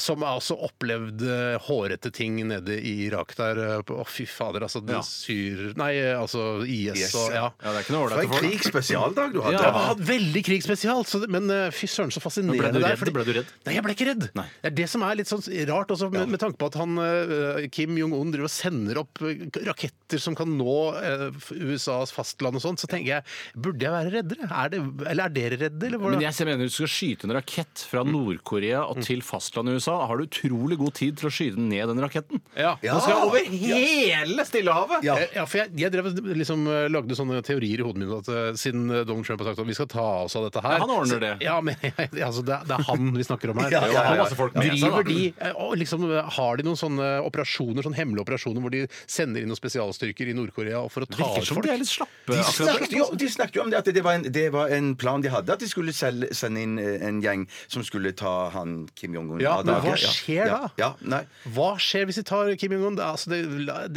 S5: som har også opplevd eh, hårete ting nede i Irak der. eh, på- Å, fy fader, altså det
S6: Ja.
S5: syr... Nei, eh, altså IS,
S7: IS,
S5: og
S7: ja.
S5: ja.
S6: Ja, det er ikke noe
S7: Det var
S6: ålreit
S7: en
S6: for folk.
S7: krigsspesialdag du hadde.
S5: Det var veldig krigsspesial, så det, men eh, fy søren så fascinerende
S6: Men ble du
S5: det er,
S6: redd?
S5: fordi-
S6: Ble du redd?
S5: Nei, jeg ble ikke redd.
S6: Nei.
S5: Det er det som er litt sånn rart, også, med, med tanke på at han, eh, Kim Jong-un driver og sender opp eh, raketter som kan nå eh, USAs fastland og sånt, så tenker jeg, burde jeg være reddere? Er det, eller er dere redde? Eller hvordan?
S6: Men jeg mener du skal skyte en rakett fra
S5: Mm.
S6: Nord-Korea og til fastlandet i USA. Har du utrolig god tid til å skyte ned den raketten?
S5: Ja.
S6: Den skal over hele Stillehavet!
S7: Ja.
S5: Eh, Ja, for jeg, jeg drev, og liksom, eh, lagde sånne teorier i hodet mitt at eh, siden eh, Donald Trump har sagt at vi skal ta oss av dette her
S6: Ja, han ordner
S5: så-
S6: det.
S5: Ja, men [LAUGHS] altså, det, er- det er han vi snakker om her.
S7: [LAUGHS] Ja, ja, ja, ja.
S5: Han har masse folk med seg, da.
S6: Driver
S5: de, eh, og liksom, eh, har de noen sånne operasjoner, sånne hemmelige operasjoner hvor de sender inn noen spesialstyrker i Nord-Korea for å ta
S6: Virker
S5: ut
S6: som
S5: folk?
S6: de er litt slappe.
S7: De
S6: akkurat.
S7: snakket, jo, de snakket jo om det at det var, en, det var en plan de hadde, at de skulle selge, sende inn eh, en gjeng som skulle ta han Kim Jong-un.
S5: Ja,
S7: av
S5: men
S7: dage.
S5: hva skjer
S7: ja,
S5: da?
S7: Ja, nei.
S5: Hva skjer hvis de tar Kim Jong-un? Det, er- altså, det,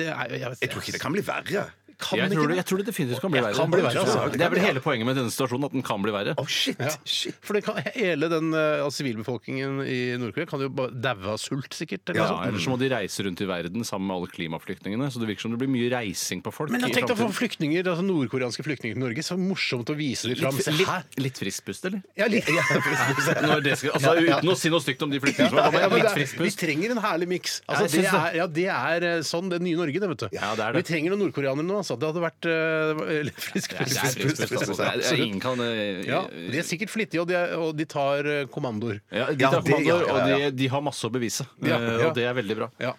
S5: det er jo jeg, vet-
S7: Jeg tror ikke det kan bli verre.
S5: Kan
S6: Jeg
S5: man
S6: tror,
S5: ikke
S6: det, jeg tror det definitivt kan bli
S5: Ja,
S6: verre.
S5: kan bli verre, altså.
S6: Det er vel hele poenget med denne situasjonen, at den kan bli verre.
S7: Å, shit, shit.
S5: For det kan, hele den eh, altså, sivilbefolkningen i Nord-Korea kan jo bare daue av sult, sikkert. Eller
S6: Ja,
S5: noe sånt.
S6: Ellers så må de reise rundt i verden sammen med alle klimaflyktningene. Så det virker som det blir mye reising på folk.
S5: Men
S6: i
S5: jeg tenkte å få
S6: fremtiden.
S5: flyktninger, altså nordkoreanske flyktninger til Norge. Så morsomt å vise dem fram.
S6: litt,
S5: Se her!
S6: litt, litt friskpust, eller?
S5: Ja,
S6: [LAUGHS]
S5: litt.
S6: Når det skal, altså, uten å si noe stygt om de flyktningene som har
S5: Ja,
S6: kommet.
S5: men det
S6: Litt
S5: er, vi
S6: friskpust.
S5: trenger en herlig miks.
S6: Ja,
S5: Altså,
S6: jeg
S5: det,
S6: syns det.
S5: er- ja, det er eh, sånn det nye Norge, det, vet du.
S6: Ja, det er det.
S5: Vi trenger noen nordkoreanere nå, altså. Det hadde vært eh, eller [LAUGHS] frisk
S6: Det er
S5: frisk- frisk-
S6: friskpust, altså. Det er- det er Ingen kan eh,
S5: Ja, De er sikkert flittige, og de, er, og de tar eh, kommandoer.
S6: ja, de
S7: Ja,
S6: tar
S7: det- ja,
S6: kommandoer,
S7: ja,
S6: og
S7: ja.
S6: de, de har masse å bevise.
S5: Ja,
S6: Eh,
S5: ja.
S6: Og det er veldig bra.
S5: Ja.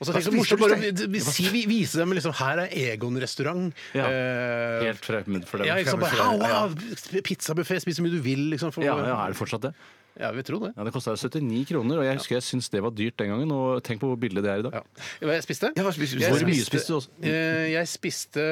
S5: Og så tenk så
S7: spiser
S5: morsomt
S7: du
S5: bare
S7: stein?
S5: vi- vi- si, vi- vise dem liksom Her er Egon-restaurant.
S6: Ja.
S5: Eh,
S6: Helt fremmed for dem.
S5: ja, ikke sant? Bare,
S7: fremmed for dem,
S5: «Au, au, Pizzabuffé, spis så mye du vil, liksom. For,
S6: Ja, ja, er det fortsatt det?
S5: Ja, vi tror det.
S6: Ja, Det kosta 79 kroner, og jeg husker jeg syntes det var dyrt den gangen. Og tenk på hvor billig det er i dag.
S5: Ja. Hva jeg spiste?
S7: Ja, hva spiste du?
S5: Jeg
S7: Hvor
S6: mye spiste du også?
S5: Eh, Jeg spiste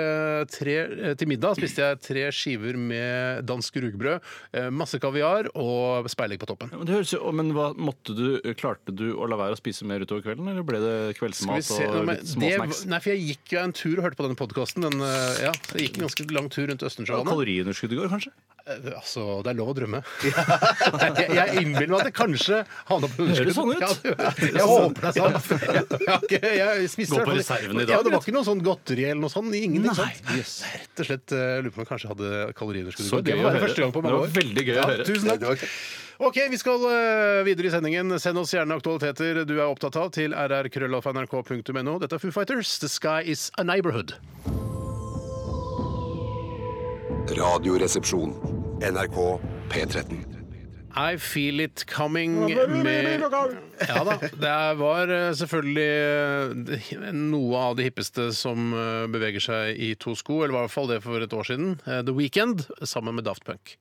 S5: tre, eh, til middag spiste jeg tre skiver med dansk rugbrød, eh, masse kaviar og speilegg på toppen.
S6: Ja, Men, det høres jo, å, men hva, måtte du, Klarte du å la være å spise mer utover kvelden, eller ble det
S5: Skal vi
S6: kveldsmat
S5: se Nei,
S6: og
S5: men
S6: litt
S5: det,
S6: småsnacks?
S5: Nei, for jeg gikk jo en tur og hørte på denne podkasten. Den, eh, ja, jeg gikk en ganske lang tur rundt Østensjøvannet.
S6: Kaloriunderskudd i går, kanskje?
S5: Eh, Altså, det er lov å drømme. [LAUGHS] Jeg, jeg innbiller meg at jeg kanskje havna på underskudd.
S6: Høres sånn ut.
S5: Ja, det- jeg håper det er sant.
S6: sånn.
S5: [LAUGHS] Jeg, har ikke- jeg spiste
S6: Gå på
S5: i hvert fall-
S6: reserven i dag,
S5: Ja, det var ikke noe sånn godteri eller noe sånt. Ingenting sånt.
S6: Yes.
S5: Rett og slett eh, lurer på om jeg kanskje hadde kaloriunderskudd. i
S6: Så
S5: går. Det
S6: gøy
S5: var
S6: å
S5: bare
S6: høre.
S5: første gang på
S6: Det
S5: mange
S6: var
S5: år.
S6: veldig gøy å
S5: Ja,
S6: høre.
S5: Tusen takk. Ok, vi skal eh, videre i sendingen. Send oss gjerne aktualiteter du er opptatt av til rrkrøllalfa.nrk.no. Dette er Foo Fighters. The sky is a neighborhood.
S2: Radioresepsjon. NRK P13.
S5: I feel it coming med Ja da. Det var eh, selvfølgelig eh, noe av det hippeste som eh, beveger seg i to sko, eller i hvert fall det for et år siden. Eh, The Weekend sammen med Daft Punk.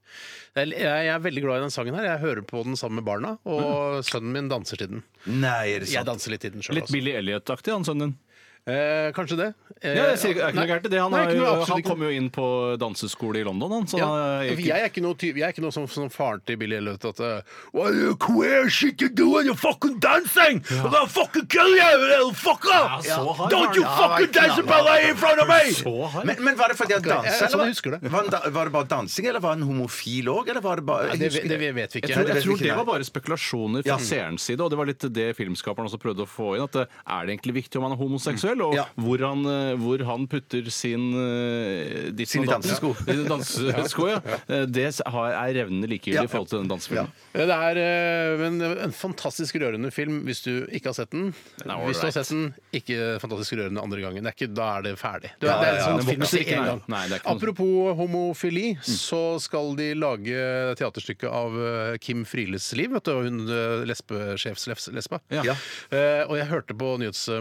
S5: Jeg jeg er veldig glad i den sangen her. Jeg hører på den sammen med barna, og sønnen min danser til den.
S7: Nei, er det
S5: Jeg
S7: sant?
S5: danser litt i den sjøl.
S6: Mm. Litt Billy Elliot-aktig, han sønnen din.
S5: Eh, kanskje det. Eh,
S6: Ja, jeg sier, er ikke noe
S5: nei.
S6: gærent i det. Han,
S5: Nei,
S6: har
S5: ikke noe,
S6: jo-
S5: absolutt
S6: han
S5: ikke.
S6: kom jo inn på danseskole i London, han. sånn, Så
S5: ja.
S6: han er
S5: for
S6: ikke-
S5: Jeg er ikke noe, typ, jeg er ikke noe som, som faren til Billy Elliot at eh, What are you queer shit you doing? You're fucking dancing! I'm gonna fucking kill you, you little fucker!
S6: Ja, så hard
S5: Don't you
S6: var
S7: han.
S5: fucking
S7: Ja, han
S5: dance
S7: var
S5: about in front of me!
S6: så hard.
S7: Men, men var det fordi han
S5: Akkurat.
S7: danset?
S5: Jeg- jeg
S7: eller
S5: husker det.
S7: Var, han da, var det bare dansing, eller var han homofil òg? Eller var det bare
S5: Nei,
S7: jeg
S5: det,
S7: husker
S5: det vet vi ikke.
S6: Jeg tror,
S7: det
S6: jeg
S7: vet vi
S6: tror
S7: ikke,
S6: det
S7: nei.
S6: var bare spekulasjoner fra seerens side, og det var litt det filmskaperen også prøvde å få inn. At eh, er det egentlig viktig om han er homoseksuell, og
S7: Ja.
S6: hvor, han, eh, hvor han putter sin eh, ditt
S7: Sine
S6: og datt-
S7: dansesko.
S6: [LAUGHS] Sine dansesko, ja. Eh, Det s- har- er revnende
S7: Ja.
S6: likegyldig i forhold til den dansefilmen.
S5: Det er eh, men en fantastisk rørende film hvis du ikke har sett den.
S6: Den er
S5: hvis du har
S6: ålreit.
S5: sett den, ikke fantastisk rørende andre gangen. Det er ikke, da er det ferdig. Du,
S7: Ja,
S5: det
S7: ja,
S5: er
S7: ja,
S5: en
S7: den
S5: sånn film
S6: vokser
S5: som
S6: ikke,
S5: en
S6: nei.
S5: gang.
S6: Nei, det er ikke noe- Mm.
S5: Apropos homofili, så skal de lage teaterstykket av eh, Kim Frieles liv. Vet du, hun eh, lesbe- sjefslesba.
S6: Ja.
S7: Ja.
S5: Eh, og jeg hørte på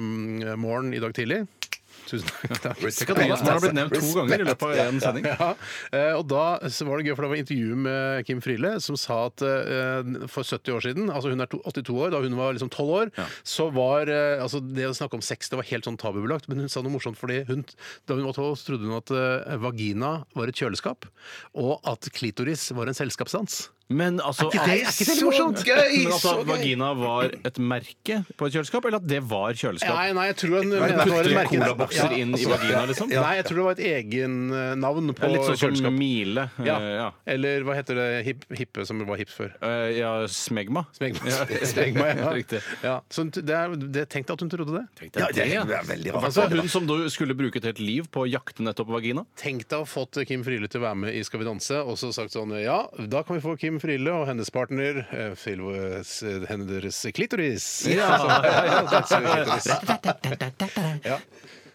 S5: Nyhetsmorgen i dag tidlig. Tusen takk.
S6: Tenk at Thomas Mann har blitt nevnt to ganger i løpet av en sending.
S5: [LAUGHS] Ja, eh, og da så var det gøy, for det var intervju med Kim Friele, som sa at eh, for 70 år siden, altså hun er to- 82 år, da hun var liksom 12 år, så var eh, altså det å snakke om sex det var helt sånn tabubelagt, men hun sa noe morsomt fordi hun, da hun var 12 så trodde hun at eh, vagina var et kjøleskap, og at klitoris var en selskapsdans.
S6: Men altså,
S5: Er ikke det- er ikke det litt morsomt?
S6: Men
S7: Gøy,
S6: altså,
S7: så
S6: at
S7: gøy.
S6: vagina var et merke på et kjøleskap, eller at det var kjøleskap?
S5: Nei, nei, jeg tror hun
S6: Putter
S5: mente det var et merke-
S6: colabokser
S5: Ja,
S6: inn i
S5: altså,
S6: vagina, liksom?
S5: Nei, jeg tror det var et egen eh, navn
S6: Det
S5: på
S6: er Litt sånn
S5: kjøleskap.
S6: som Mile. eh,
S5: Ja.
S6: ja.
S5: Eller hva heter det hip, hippe som var hipt før?
S6: Eh, ja, smegma.
S5: Smegma. [LAUGHS]
S6: Ja.
S5: Smegma, ja.
S6: Riktig.
S5: Ja. Så det er, det tenkte at hun trodde det.
S7: Ja, det er veldig rart.
S6: Altså, hun som du skulle bruke et helt liv på å jakte nettopp vagina?
S5: Tenk deg å ha fått eh, Kim Friele til å være med i Skal vi danse, og så sagt sånn Ja, da kan vi få Kim Friele og hennes partner eh, til eh, s- henne deres klitoris.
S6: [LAUGHS] Ja.
S5: Så- ja, ja, så- så- klitoris. Ja. [LAUGHS]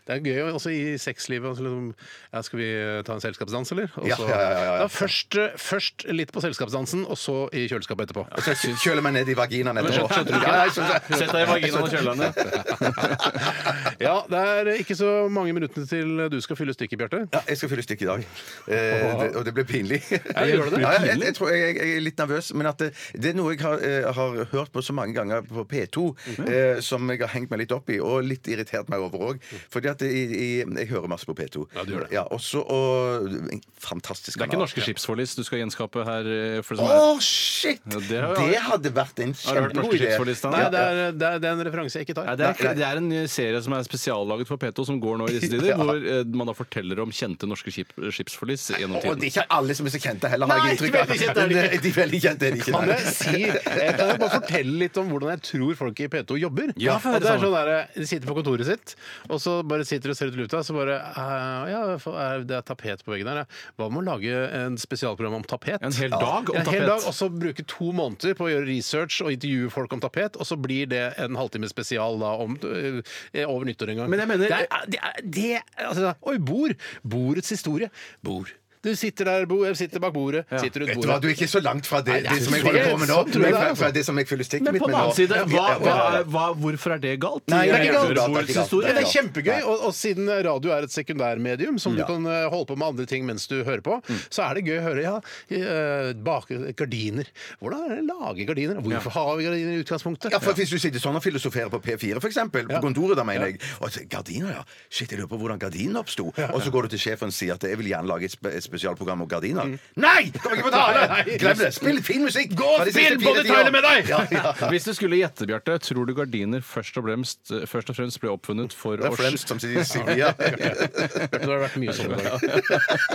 S5: Det er gøy også i sexlivet. Altså liksom, ja, skal vi eh, ta en selskapsdans, eller? Og
S7: Ja,
S5: så-
S7: ja, ja, ja, ja.
S5: Da først, eh, først litt på selskapsdansen, og så i kjøleskapet etterpå. [LAUGHS]
S7: Så jeg kjøler meg ned i vaginaen etterpå. Ja, nei, så- så-
S6: Sett deg i vaginaen og kjøl deg ned.
S7: [LAUGHS]
S5: Ja, det er ikke så mange minuttene til du skal fylle stykket, Bjarte.
S7: Ja, jeg skal fylle stykket i dag.
S5: [LAUGHS]
S7: Eh, det, og det blir pinlig.
S5: gjør det det?
S7: Ja, jeg, jeg, jeg tror jeg, jeg er litt nervøs, men at det, det er noe jeg har, eh, har hørt på så mange ganger på P2,
S5: Mhm.
S7: eh, som jeg har hengt meg litt opp i, og litt irritert meg over òg. Fordi at i, i, jeg hører masse på P2.
S5: Mhm. Ja, du gjør det.
S7: Ja, også, og en Fantastisk
S6: Det
S7: kanal.
S6: er ikke norske skipsforlis du skal gjenskape her. eh, For det som
S7: Å,
S6: er.
S7: shit!
S6: Ja, det
S7: det,
S6: har jeg-
S7: hadde vært en
S6: Har du hørt
S7: kjempegod
S6: norske
S7: idé.
S6: skipsforlis, da?
S5: Nei, det er, det er, det er en referanse jeg ikke tar.
S6: Nei, det, er, det er en eh, serie som er spesiallaget for P2, som går nå i disse tider.
S7: Ja.
S6: Hvor eh, man da forteller om kjente norske skip, skipsforlis gjennom
S7: Og det er
S6: tiden.
S7: ikke alle som er så kjente heller, har
S5: Nei,
S7: jeg inntrykk av.
S5: veldig kjente er de ikke.
S7: Nei, De er veldig kjente er de ikke.
S5: Kan
S7: nei.
S5: jeg si Jeg kan jo bare fortelle litt om hvordan jeg tror folk i P2 jobber.
S6: Ja, få
S5: At
S6: høre
S5: det er
S6: sammen.
S5: sånn der, De sitter på kontoret sitt, og så bare sitter og ser ut i luta, så bare eh, Ja, for- eh, det er tapet på veggen her, ja. Hva med å lage en spesialprogram om tapet?
S6: En hel dag om
S5: En hel dag,
S6: tapet.
S5: og så bruke to måneder på å gjøre research og intervjue folk om tapet, og så blir det en halvtime spesial da om, eh, over nyttår en gang.
S6: Men jeg mener-
S5: Det er, det er, det er altså, Oi, bord! Bordets historie. Bord. Du sitter der, bo, jeg sitter bak bordet. Sitter rundt
S7: Vet du hva,
S5: bordet.
S7: du er ikke så langt fra det, det som jeg
S5: synes
S7: holder
S5: det.
S7: på med nå.
S5: Sånn tror jeg det
S7: fra,
S5: er.
S7: fra det som jeg fyller stikket
S6: Men
S7: mitt
S6: på
S7: med
S6: den
S7: nå.
S6: annen side,
S7: Ja,
S6: hva,
S7: ja,
S6: hva,
S7: ja, ja.
S6: hva, hvorfor er det galt?
S7: Nei,
S5: det er ikke
S6: Jeg
S5: galt.
S6: hører
S7: Det er ikke
S6: vår
S7: galt.
S5: Men
S6: historie.
S5: det er kjempegøy, og, og siden radio er et sekundærmedium som du kan eh, holde på med andre ting mens du hører på,
S6: Mm.
S5: så er det gøy å høre ja, eh, bak, gardiner. Hvordan er det å lage gardiner? Hvorfor har vi gardiner i utgangspunktet?
S7: Ja, for Hvis du sitter sånn og filosoferer på P4, for eksempel, på kontoret, da mener jeg og så, Gardiner, ja. Shit, jeg lurer på hvordan gardinene oppsto. Og så går du til sjefen og sier at jeg vil gjerne lage et, spe et spesialprogram om gardiner. Nei! Kom ikke på
S5: Mm. Nei,
S7: tale!
S5: nei.
S7: Glem det! Spill fin musikk! Gå
S5: og spill Bonnie Tyler med deg!
S7: Ja, ja.
S6: Hvis du skulle gjette, Bjarte, tror du gardiner først og fremst, først og fremst ble oppfunnet for
S7: Det er
S6: å
S7: Flemst som sier sier- ja.
S5: Det har vært mye sånn i dag.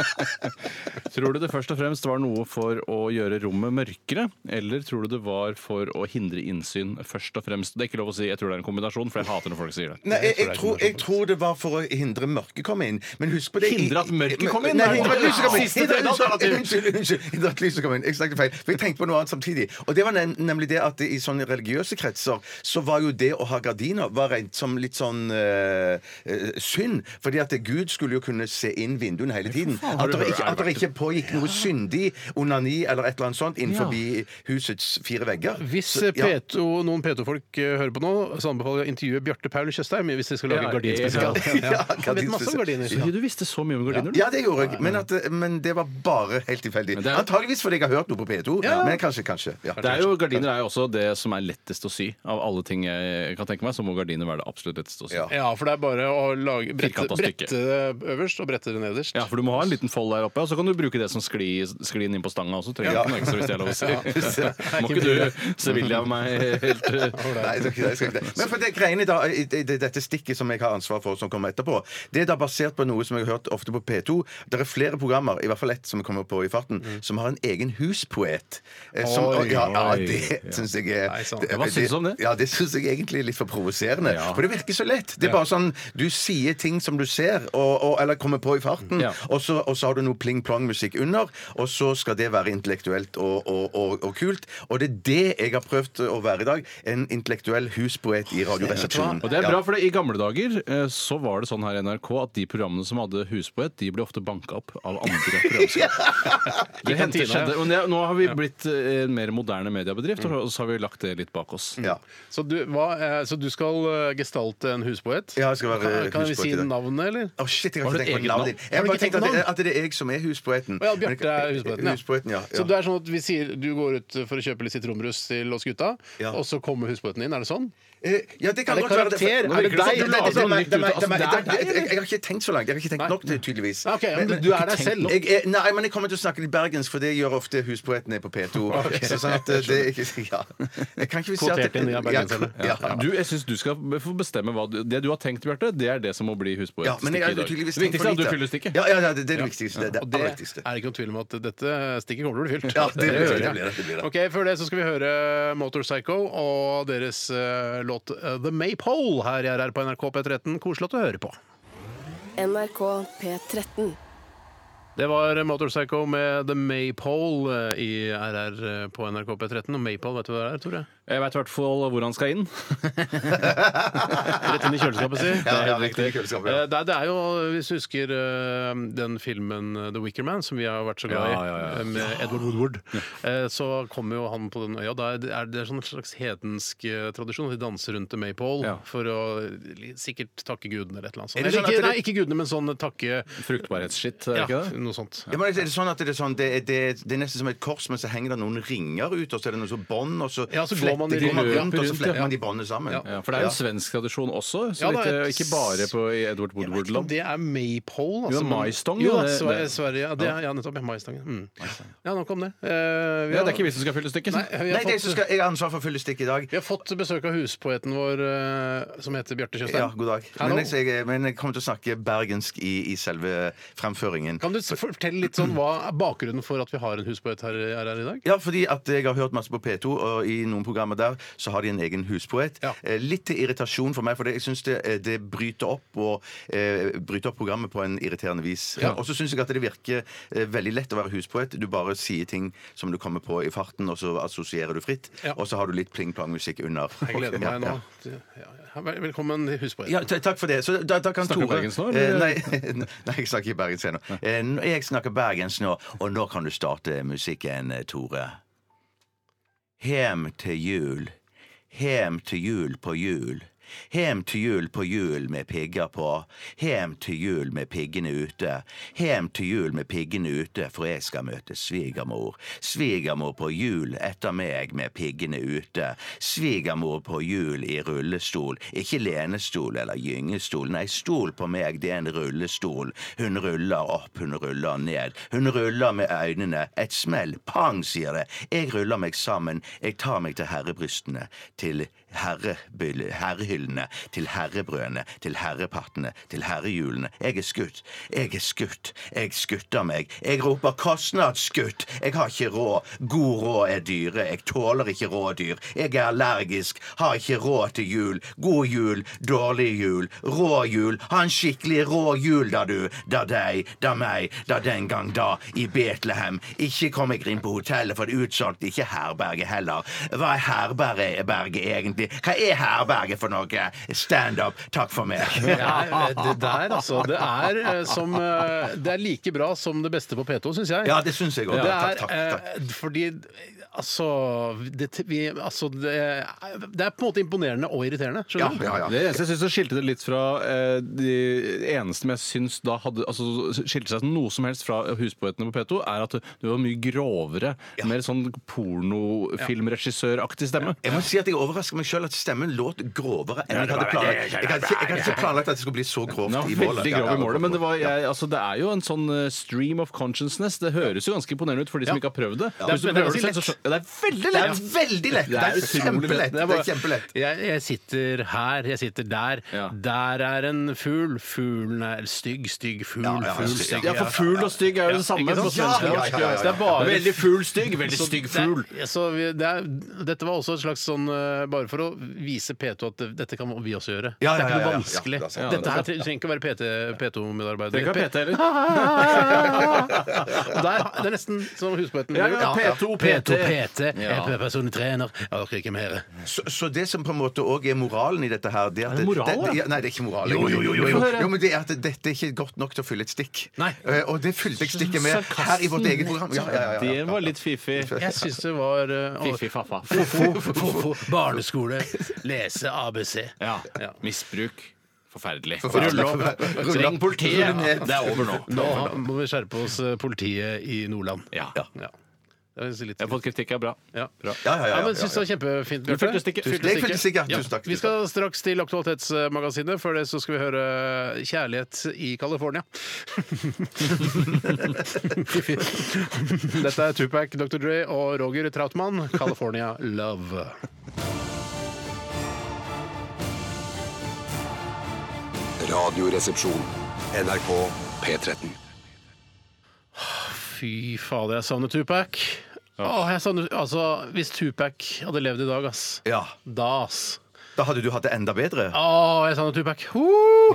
S6: [LAUGHS] Tror du det først og fremst var noe for å gjøre rommet mørkere, eller tror du det var for å hindre innsyn først og fremst? Det er ikke lov å si, jeg tror det er en kombinasjon, for jeg hater når folk sier det.
S7: Nei, jeg, jeg, tror, jeg tror det var for å hindre mørket kom inn. Men husk på det i-
S6: Hindre at mørket kom inn?
S7: Nei, hindre at lyset kom inn.
S6: Siste
S7: Hindre at lyset-
S6: alternativ.
S7: Unnskyld, unnskyld. Hindre at lyset kom inn. Jeg snakket feil. For jeg tenkte på noe annet samtidig. Og det var nem nemlig det at i sånne religiøse kretser så var jo det å ha gardiner var rent som litt sånn eh, eh, synd. Fordi at Gud skulle jo kunne se inn vinduene hele tiden.
S6: har
S7: At
S6: du
S7: det
S6: hørt-
S7: ikke, at det ikke pågikk noe syndig onani eller et eller annet sånt innenfor husets fire vegger.
S5: Hvis
S6: eh,
S7: Så- ja.
S5: P2, noen P2-folk eh, hører på nå, så anbefaler jeg å intervjue Bjarte Paul Tjøstheim hvis dere skal lage
S6: Ja,
S5: gardinspesial. [LAUGHS]
S6: ja,
S7: ja.
S5: Han vet masse om gardiner.
S6: Så du visste så mye om gardiner, du?
S7: Ja, det gjorde jeg, men, at, men det var bare helt tilfeldig.
S6: det er-
S7: Antageligvis fordi jeg har hørt noe på P2, men kanskje, kanskje. Ja.
S6: Det er jo, gardiner er jo også det som er lettest å sy. Av alle ting jeg kan tenke meg, så må gardiner være det absolutt letteste å sy.
S7: Ja.
S5: Ja, for det er bare å lage, brette,
S6: Firkantet stykke.
S5: brette det øverst og brette det nederst.
S6: Ja, for du må ha en liten fold der oppe, og så kan du bruke det som skli, sklien inn på stanga også. Trenger ikke noe ekstra, hvis det er lov å
S7: [LAUGHS]
S6: si. Må ikke du Sevilla meg helt eh,
S7: Nei, det, det skal ikke det. Men for det greiene da, i- i- i dette stikket som jeg har ansvar for, som kommer etterpå, det er da basert på noe som jeg har hørt ofte på P2. Det er flere programmer, i hvert fall ett som jeg kommer på i farten, som har en egen huspoet. Eh, Som,
S5: Oi,
S7: ja, ja,
S6: Mm. oi.
S7: det syns jeg er
S5: Nei, sant.
S6: Hva synes du om det?
S7: Ja, det syns jeg egentlig er litt for provoserende.
S6: Ja.
S7: For det virker så lett. Det er bare sånn du sier ting som du ser, og, og, eller kommer på i farten,
S6: Ja.
S7: og, så, og så har du noe pling-plong-musikk under, og så skal det være intellektuelt og, og, og, og kult. Og det er det jeg har prøvd å være i dag. En intellektuell huspoet i Radioresepsjonen.
S6: Og det er bra, for det, i gamle dager eh, så var det sånn her i NRK at de programmene som hadde huspoet, de ble ofte banka opp av
S7: [LAUGHS]
S6: andre programskap. Det hendte
S5: kantina, ja. Mm.
S6: skjedde. Og det, nå har vi blitt eh, en mer moderne mediebedrift, og så har vi lagt det litt bak oss.
S7: Ja.
S5: Så du, hva, eh, så du skal eh, gestalte en huspoet?
S7: Ja, jeg skal være
S5: kan, kan vi
S7: huspoet i
S5: si
S7: dag.
S5: navnet, eller?
S7: Å, shit, jeg har
S6: Har
S7: ikke
S6: du
S7: tenkt
S6: et
S7: på
S6: eget
S7: navnet
S6: navn?
S7: ditt. Jeg har
S5: Har du
S7: bare
S5: ikke
S7: tenkt at
S5: tenkt
S7: det,
S5: navn?
S7: at det er jeg som er huspoeten.
S5: Å ja, Bjarte er huspoeten. Ja.
S7: Huspoeten, ja. ja.
S5: Så det er sånn at vi sier du går ut for å kjøpe litt sitronbrus til oss gutta,
S7: Ja.
S5: og så kommer huspoeten inn. Er det sånn?
S7: Eh, Ja, det kan
S5: Er det
S7: godt være
S5: karakter? Er det
S7: Nå virker
S5: deg?
S7: som du
S5: Du
S7: later
S5: later
S7: noe
S5: noe
S7: nytt ut.
S5: nytt ut.
S7: Altså,
S5: Det er deg,
S7: Jeg jeg har ikke tenkt så langt. Jeg har ikke tenkt nok til, tydeligvis.
S5: Ok, ja, men du er deg selv.
S7: Jeg, er- nei, men jeg kommer til å snakke litt bergensk, for det gjør ofte huspoetene på
S5: [LAUGHS]
S7: P2. Så sånn at eh, det er ikke [LAUGHS] Ja. Jeg kan ikke si at
S5: Kvotert inn, ja, bergenserne.
S7: Ja, ja.
S6: Du, jeg synes du skal be- få bestemme hva du, Det du har tenkt, Bjarte, det er det som må bli huspoet.
S7: Ja, men jeg har
S6: i dag.
S7: tydeligvis
S6: Det viktigste er at du fyller stikket.
S7: Ja, ja, ja, det det er det viktigste. Det er det
S5: Og det
S7: aller
S5: er
S7: viktigste.
S5: ikke noen tvil om at dette stikket kommer til å bli fylt.
S7: Ja, det blir det, det blir det, det blir det.
S5: Ok, Før det så skal vi høre Motorpsycho og deres eh, låt eh, The Maypole her i RR på NRK P13. Koselig at du hører på.
S1: NRK P13.
S5: Det var Motorpsycho med The Maypole eh, i RR på NRK P13. Og Maypole, vet du hva det er, Tore?
S6: Jeg veit i hvert fall hvor han skal inn.
S5: Rett inn i kjøleskapet, si.
S7: Ja, ja, riktig, i kjøleskapet, ja.
S5: Eh, Det, er- det er jo, hvis du husker eh, den filmen eh, The Wicker Man, som vi har vært så glad i,
S6: Ja, ja, ja.
S5: eh, med Edward Woodward, eh, så kommer jo han på den øya. Da er det er det sånn en slags hedensk eh, tradisjon. De danser rundt The Maypole
S6: Ja.
S5: for å li- sikkert takke gudene eller et eller annet sånt.
S7: Er det
S5: Eller
S7: sånn at
S5: ikke,
S7: dere-
S5: nei, ikke gudene, men sånn takke
S6: Fruktbarhetsskitt, er det
S5: ja,
S6: ikke det?
S5: noe sånt.
S7: Ja, men er det sånn at det er, sånn, det, er, det, er, det er nesten som et kors, men så henger det noen ringer ut, og så er det noen sånn bånd, og så,
S5: Ja, så går
S7: fletter
S5: man i
S7: de
S5: rundt,
S7: rundt, og
S6: ja.
S7: så fletter man de båndene sammen.
S6: Ja, for det er jo en svensk tradisjon også, så
S5: Ja, det er
S6: vidt jeg-
S5: et-
S6: ikke bare på i Edward
S5: Men
S6: Woodward-land.
S5: det er maypole. altså,
S6: Jo, maistong,
S5: Jo,
S6: ja,
S5: da,
S6: det-
S5: Sver-
S6: det-
S5: Sverige. Ja, det er, ja nettopp. ja, Maistong. ja. Mm. Ja, nok om det. Eh, vi
S6: Ja,
S5: har-
S6: det er ikke vi som skal fylle stykket.
S5: Nei,
S6: så.
S5: vi
S7: Nei,
S5: har
S7: det er jeg som
S5: fått,
S7: skal, jeg har ansvar for å fylle stikk i dag.
S5: vi har fått besøk av huspoeten vår, eh, som heter Bjarte Tjøstheim.
S7: Ja, god dag.
S5: Hallo.
S7: Men jeg, jeg, men jeg kommer til å snakke bergensk i, i selve fremføringen.
S5: Kan du s- fortelle litt sånn hva er bakgrunnen for at vi har en huspoet her, her, her i dag?
S7: Ja, fordi at jeg har hørt masse på P2, og i noen program programmet der, så har de en egen huspoet.
S5: Ja.
S7: Eh, Litt til irritasjon for meg, for det, jeg syns det, eh, det bryter opp og eh, bryter opp programmet på en irriterende vis.
S5: Ja.
S7: Og så syns jeg at det virker eh, veldig lett å være huspoet. Du bare sier ting som du kommer på i farten, og så assosierer du fritt.
S5: Ja.
S7: Og så har du litt pling-plang-musikk under.
S5: Jeg gleder
S7: Ja,
S5: meg nå.
S7: ja.
S5: Ja, ja. Vel- Velkommen til Husborg. [LAUGHS]
S7: Ja, ta- takk for det. Så da, da kan
S6: Snakker du
S7: Tore-
S6: bergensk nå,
S7: Eh,
S6: eller?
S7: nei, nei, [LAUGHS] jeg snakker ikke bergensk ennå. Eh, n- Jeg snakker bergensk nå, og nå kan du starte musikken, eh, Tore. Hem til jul, hem til jul på jul. Hem til jul på jul med pigger på, hem til jul med piggene ute. Hem til jul med piggene ute, for jeg skal møte svigermor. Svigermor på jul etter meg med piggene ute. Svigermor på jul i rullestol, ikke lenestol eller gyngestol, nei, stol på meg, det er en rullestol. Hun ruller opp, hun ruller ned. Hun ruller med øynene. Et smell, pang, sier det. Jeg ruller meg sammen, jeg tar meg til herrebrystene, til herrebyll- herrehyllene, til herrebrødene, til herrepattene, til herrehjulene. Jeg er skutt, jeg er skutt, jeg skutter meg. Jeg roper kostnadsskutt, jeg har ikke råd. God råd er dyre, jeg tåler ikke rådyr. Jeg er allergisk, har ikke råd til jul. God jul, dårlig jul, rå jul. Ha en skikkelig rå jul, da du, da deg, da meg, da den gang da, i Betlehem. Ikke kom jeg inn på hotellet, for det er utsolgt ikke herberget heller. Hva er herberget berget egentlig? Hva er herberget for noe? Stand up, takk for meg.
S5: Det er, det der, altså. Det er, eh, som, eh, det er like bra som det beste på P2, syns jeg.
S7: Ja, det syns jeg òg.
S5: det er
S7: Takk, takk, takk.
S5: eh, fordi Altså, det, vi, altså det, er- det er på en måte imponerende og irriterende. Skjønner du?
S7: Ja, ja.
S6: Det eneste jeg synes det skilte det litt fra eh, de eneste jeg syns da hadde altså, skilte seg noe som helst fra Huspoetene på P2, er at det var mye grovere, mer sånn pornofilmregissøraktig stemme.
S7: Jeg må si at jeg overrasker meg sjøl at stemmen låt grovere enn jeg hadde planlagt. Jeg hadde ikke, jeg hadde ikke planlagt at det skulle bli så grovt
S6: Den var
S7: i målet.
S6: veldig grov i målet, men det, var,
S7: Ja.
S6: jeg, altså, det er jo en sånn eh, stream of consciousness. Det høres jo ganske imponerende ut for de som
S5: Ja.
S6: ikke har prøvd det.
S5: Ja.
S6: Hvis du
S5: Men det er
S6: prøver det
S5: ganske
S6: selv, så skjø- Ja, det er
S7: Det
S6: veldig lett!
S7: er veldig lett! Det er
S6: utrolig lett.
S7: kjempelett!
S5: Det er
S7: Det
S5: bare-
S7: er kjempelett.
S5: Jeg, jeg sitter her, jeg sitter der.
S6: Ja.
S5: Der er en fugl. Fuglen er stygg, stygg fugl.
S7: Ja, ja,
S5: fugl,
S7: stygg,
S5: stygg.
S6: Ja, for fugl og stygg er jo det samme.
S5: ikke sant?
S6: på svensk
S7: Ja,
S6: og
S7: ja,
S6: norsk.
S7: ja, ja, ja.
S6: Så Det er bare
S5: Veldig
S6: fugl, stygg, veldig
S5: Så det er- så vi, det er, dette var også et slags sånn eh, Bare for å vise P2 at det- dette kan vi også gjøre.
S7: Ja,
S5: det
S7: ja,
S5: er ikke
S7: ja, ja.
S5: noe
S7: Ja,
S5: vanskelig.
S7: det er sant.
S5: dette her tre- trenger ikke å være PT P2-medarbeider.
S6: Trenger ikke være PT heller.
S5: Og [LAUGHS] der, det er nesten som huspoeten.
S6: Ja, ja, P2,
S5: P2,
S6: PT.
S5: PT. Jeg
S6: Ja.
S5: er personlig trener. Jeg orker ikke mer.
S7: Så, så det som på en måte òg er moralen i dette her det at
S6: Er det moral,
S7: det,
S6: da?
S7: ja, Nei, det er ikke moral.
S5: Jo, jo, jo, jo, jo.
S7: jo men det er at dette er ikke godt nok til å fylle et stikk.
S5: Nei.
S7: Eh, Og det fylte jeg stikket med her i vårt eget program. Ja, ja, ja, ja,
S6: Det var litt fiffig.
S5: Jeg syns det var eh, å-
S6: faffa.
S5: [LAUGHS] Fo, fo, fo. Barneskole. Lese ABC.
S6: Ja.
S5: Ja.
S6: Misbruk. Forferdelig.
S7: Forferdelig.
S6: Rulle opp.
S7: Rulle
S6: Ring
S7: opp.
S6: politiet.
S7: Rulle ned.
S6: Det er over nå.
S5: Nå må vi skjerpe oss, eh, politiet i Nordland.
S6: Ja.
S5: Ja. Det er litt
S6: Jeg har fått kritikk. er bra.
S5: Ja.
S7: Ja, ja, ja, ja,
S5: men
S7: ja,
S5: synes det var kjempefint,
S6: Du fylte stikket.
S5: Fylte
S7: Jeg fylte stikket, ja. Tusen takk,
S5: Vi skal straks til Aktualitetsmagasinet. Før det så skal vi høre Kjærlighet i California. [LAUGHS] Dette er Tupac, Dr. Dre og Roger Trautmann, California Love.
S2: Radioresepsjon. NRK P13.
S5: Fy fader, jeg savner Tupac. Åh, jeg savner, altså, hvis Tupac hadde levd i dag, ass.
S7: ja.
S5: Da, ass.
S7: Da hadde du hatt det enda bedre.
S5: Åh, jeg savner Tupac. Ho!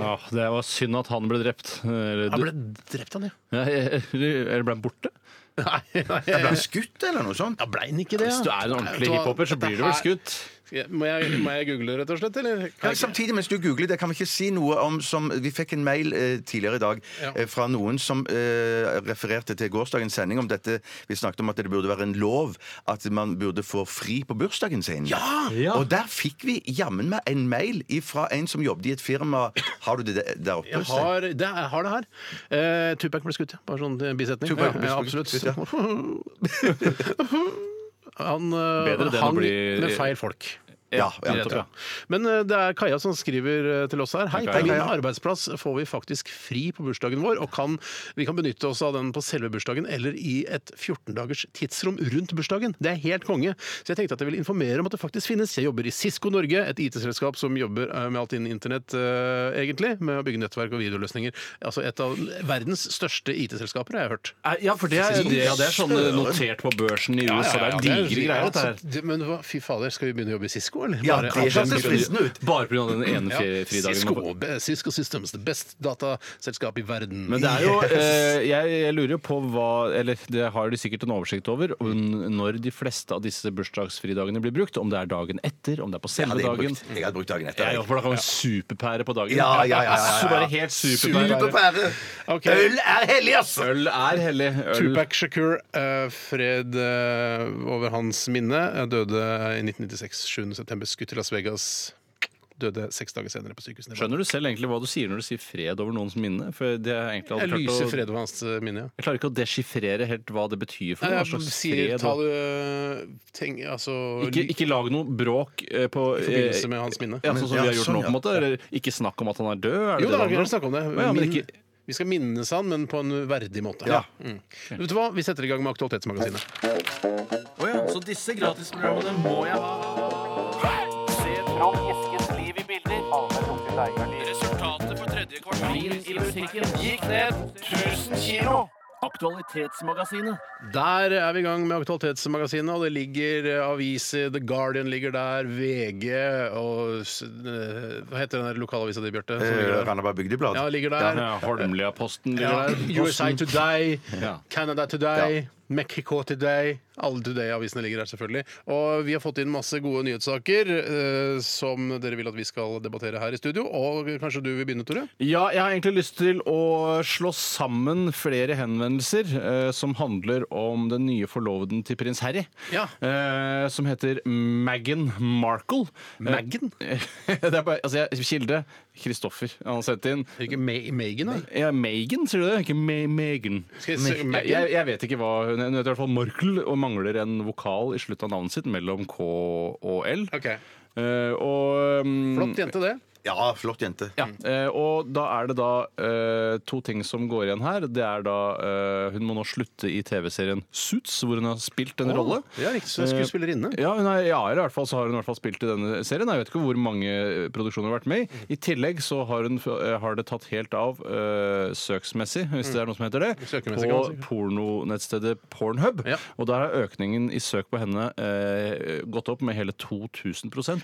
S6: Ja, det var synd at han ble drept. Eller,
S5: Han ble drept, han, ja. [LAUGHS]
S6: Ja, eller ble han borte?
S5: Nei, nei.
S7: Jeg ble skutt eller noe sånt.
S5: Ja, ble han ikke det?
S6: Hvis du er en ordentlig
S5: Vet du hva,
S6: hiphoper, så blir du vel
S5: dette her-
S6: skutt.
S5: Ja, Må jeg, må jeg google, rett og slett? Eller?
S7: Ja,
S5: Kan jeg-
S7: samtidig mens du googler det, kan vi ikke si noe om som Vi fikk en mail eh, tidligere i dag
S5: Ja.
S7: eh, fra noen som eh, refererte til gårsdagens sending om dette. Vi snakket om at det burde være en lov at man burde få fri på bursdagen sin.
S6: Ja.
S7: Og der fikk vi jammen meg en mail fra en som jobbet i et firma. Har du det der- der oppe?
S5: Jeg
S7: Stein?
S5: har det, er- jeg har det her. Eh, Tupac ble skutt, ja. Bare sånn eh, bisetning.
S7: Tupac ble
S5: ja, ja,
S7: skutt,
S5: absolutt. [LAUGHS]
S7: skutt,
S5: Han eh,
S6: [LAUGHS] Bedre det enn å
S5: hang
S6: bli-
S5: med feil folk.
S7: Ja, ja,
S5: rett og
S7: ja.
S5: slett. Men eh, det er Kaja som skriver eh, til oss her. Hei,
S6: Hei,
S5: på min
S7: Kaja.
S5: arbeidsplass får vi faktisk fri på bursdagen vår, og kan, vi kan benytte oss av den på selve bursdagen eller i et 14-dagers tidsrom rundt bursdagen. Det er helt konge. Så jeg tenkte at jeg ville informere om at det faktisk finnes. Jeg jobber i Cisco Norge, et IT-selskap som jobber eh, med alt innen internett, eh, egentlig, med å bygge nettverk og videoløsninger. Altså et av verdens største IT-selskaper, har jeg hørt.
S6: Ja, for det er, det, ja, det er sånn eh, notert på børsen i USA. Det er digre greier, dette her.
S5: altså, Det- Men hva- fy fader, skal vi begynne å jobbe i Cisco, eller?
S7: Ja, det
S5: Bare av den
S7: hørtes
S5: grunn.
S7: fristende ut.
S6: Bare pga. den ene fri-
S5: Ja,
S6: fridagen. man får.
S5: Cisco, be- Cisco Systems, det beste dataselskapet i verden.
S6: Men det er jo eh, jeg, jeg lurer jo på hva Eller det har de sikkert en oversikt over. om Når de fleste av disse bursdagsfridagene blir brukt. Om det er dagen etter, om det er på
S7: Jeg
S6: selve
S7: hadde
S6: dagen.
S7: brukt, jeg hadde brukt dagen etter.
S6: Ja, ja, for da kan man superpære på dagen.
S7: Ja, ja, ja, ja, ja.
S6: Så bare helt superpære.
S7: Superpære!
S5: Ok.
S7: Øl er hellig, altså! ass!
S6: Øl er hellig. Øl.
S5: Tupac Shakur, eh, fred eh, over hans minne, eh, døde i 1996. 7.9. skutt i Las Vegas. Døde seks dager senere på sykehuset. i Nevada.
S6: Skjønner du selv egentlig hva du sier når du sier fred over noens minne? For det er egentlig
S5: Jeg
S6: aldri
S5: lyser
S6: klart å
S5: fred over hans eh, minne, ja.
S6: jeg klarer ikke å deschiffrere helt hva det betyr
S5: Nei,
S6: for noe. Hva
S5: jeg
S6: slags
S5: sier,
S6: fred
S5: ta
S6: og-
S5: det eh, tenk, Altså
S6: ikke, ikke lag noe bråk eh, på
S5: i forbindelse med hans minne.
S6: Ja, sånn som
S7: Ja,
S6: vi har gjort
S7: sånn,
S6: nå, på en
S7: ja.
S6: måte. Eller ikke snakk om at han er død. Er det
S5: Jo da, vi
S6: det handler
S5: kan snakke om det.
S6: Ja, ja, men
S5: Min-
S6: ikke,
S5: Vi skal minnes han, men på en verdig måte.
S6: Ja.
S5: Mm. Vet du hva? Vi setter i gang med Aktualitetsmagasinet.
S6: Så disse gratisprogrammene må jeg ha. Resultatet på tredje kvartal i musikken gikk ned 1000 kilo. Aktualitetsmagasinet.
S5: Der er vi i gang med Aktualitetsmagasinet, og det ligger eh, aviser. The Guardian ligger der, VG og s- eh, Hva heter den der lokalavisa di, Bjarte? som ligger der?
S7: Eh, Randaberg Bygdeblad.
S5: Ja, ligger der.
S6: Eh, Ja, Holmlia-posten
S5: Ja,
S6: ligger der.
S5: USA Today,
S6: Ja.
S5: Canada Today, Mexico Today. Alle Today-avisene ligger der, selvfølgelig. Og vi har fått inn masse gode nyhetssaker eh, som dere vil at vi skal debattere her i studio. Og kanskje du vil begynne, Tore?
S6: Ja, jeg har egentlig lyst til å slå sammen flere henvendelser eh, som handler om den nye forloveden til prins Harry.
S5: Ja.
S6: Eh, som heter Meghan Markle.
S5: Meghan?
S6: Eh, [LAUGHS] det er bare, altså, jeg, kilde Kristoffer. Han har sendt inn.
S5: Er det ikke Ma- Megan, da?
S6: Ja, Megan, sier du det? Ikke Me Megan.
S5: Skal jeg se-
S6: Jeg, jeg, jeg vet ikke hva hun Hun heter i hvert fall Markle og mangler en vokal i slutten av navnet sitt mellom K og L.
S5: Ok.
S6: Eh, og um,
S5: Flott jente, det.
S7: Ja, flott jente.
S6: Ja, eh, og da er det da eh, to ting som går igjen her. Det er da eh, Hun må nå slutte i TV-serien Suits, hvor hun har spilt en rolle. Eh,
S5: Ja, riktig. Så skuespillerinne.
S6: Ja, hun er, ja, eller i hvert fall så har hun i hvert fall spilt i denne serien. Jeg vet ikke hvor mange eh, produksjoner hun har vært med i. I tillegg så har, hun, eh, har det tatt helt av eh, søksmessig, hvis det er noe som heter det,
S5: Søkemessig,
S6: på
S5: Mm. kan man si.
S6: pornonettstedet Pornhub.
S5: Ja.
S6: Og der har økningen i søk på henne eh, gått opp med hele 2000
S5: [LAUGHS]
S6: Så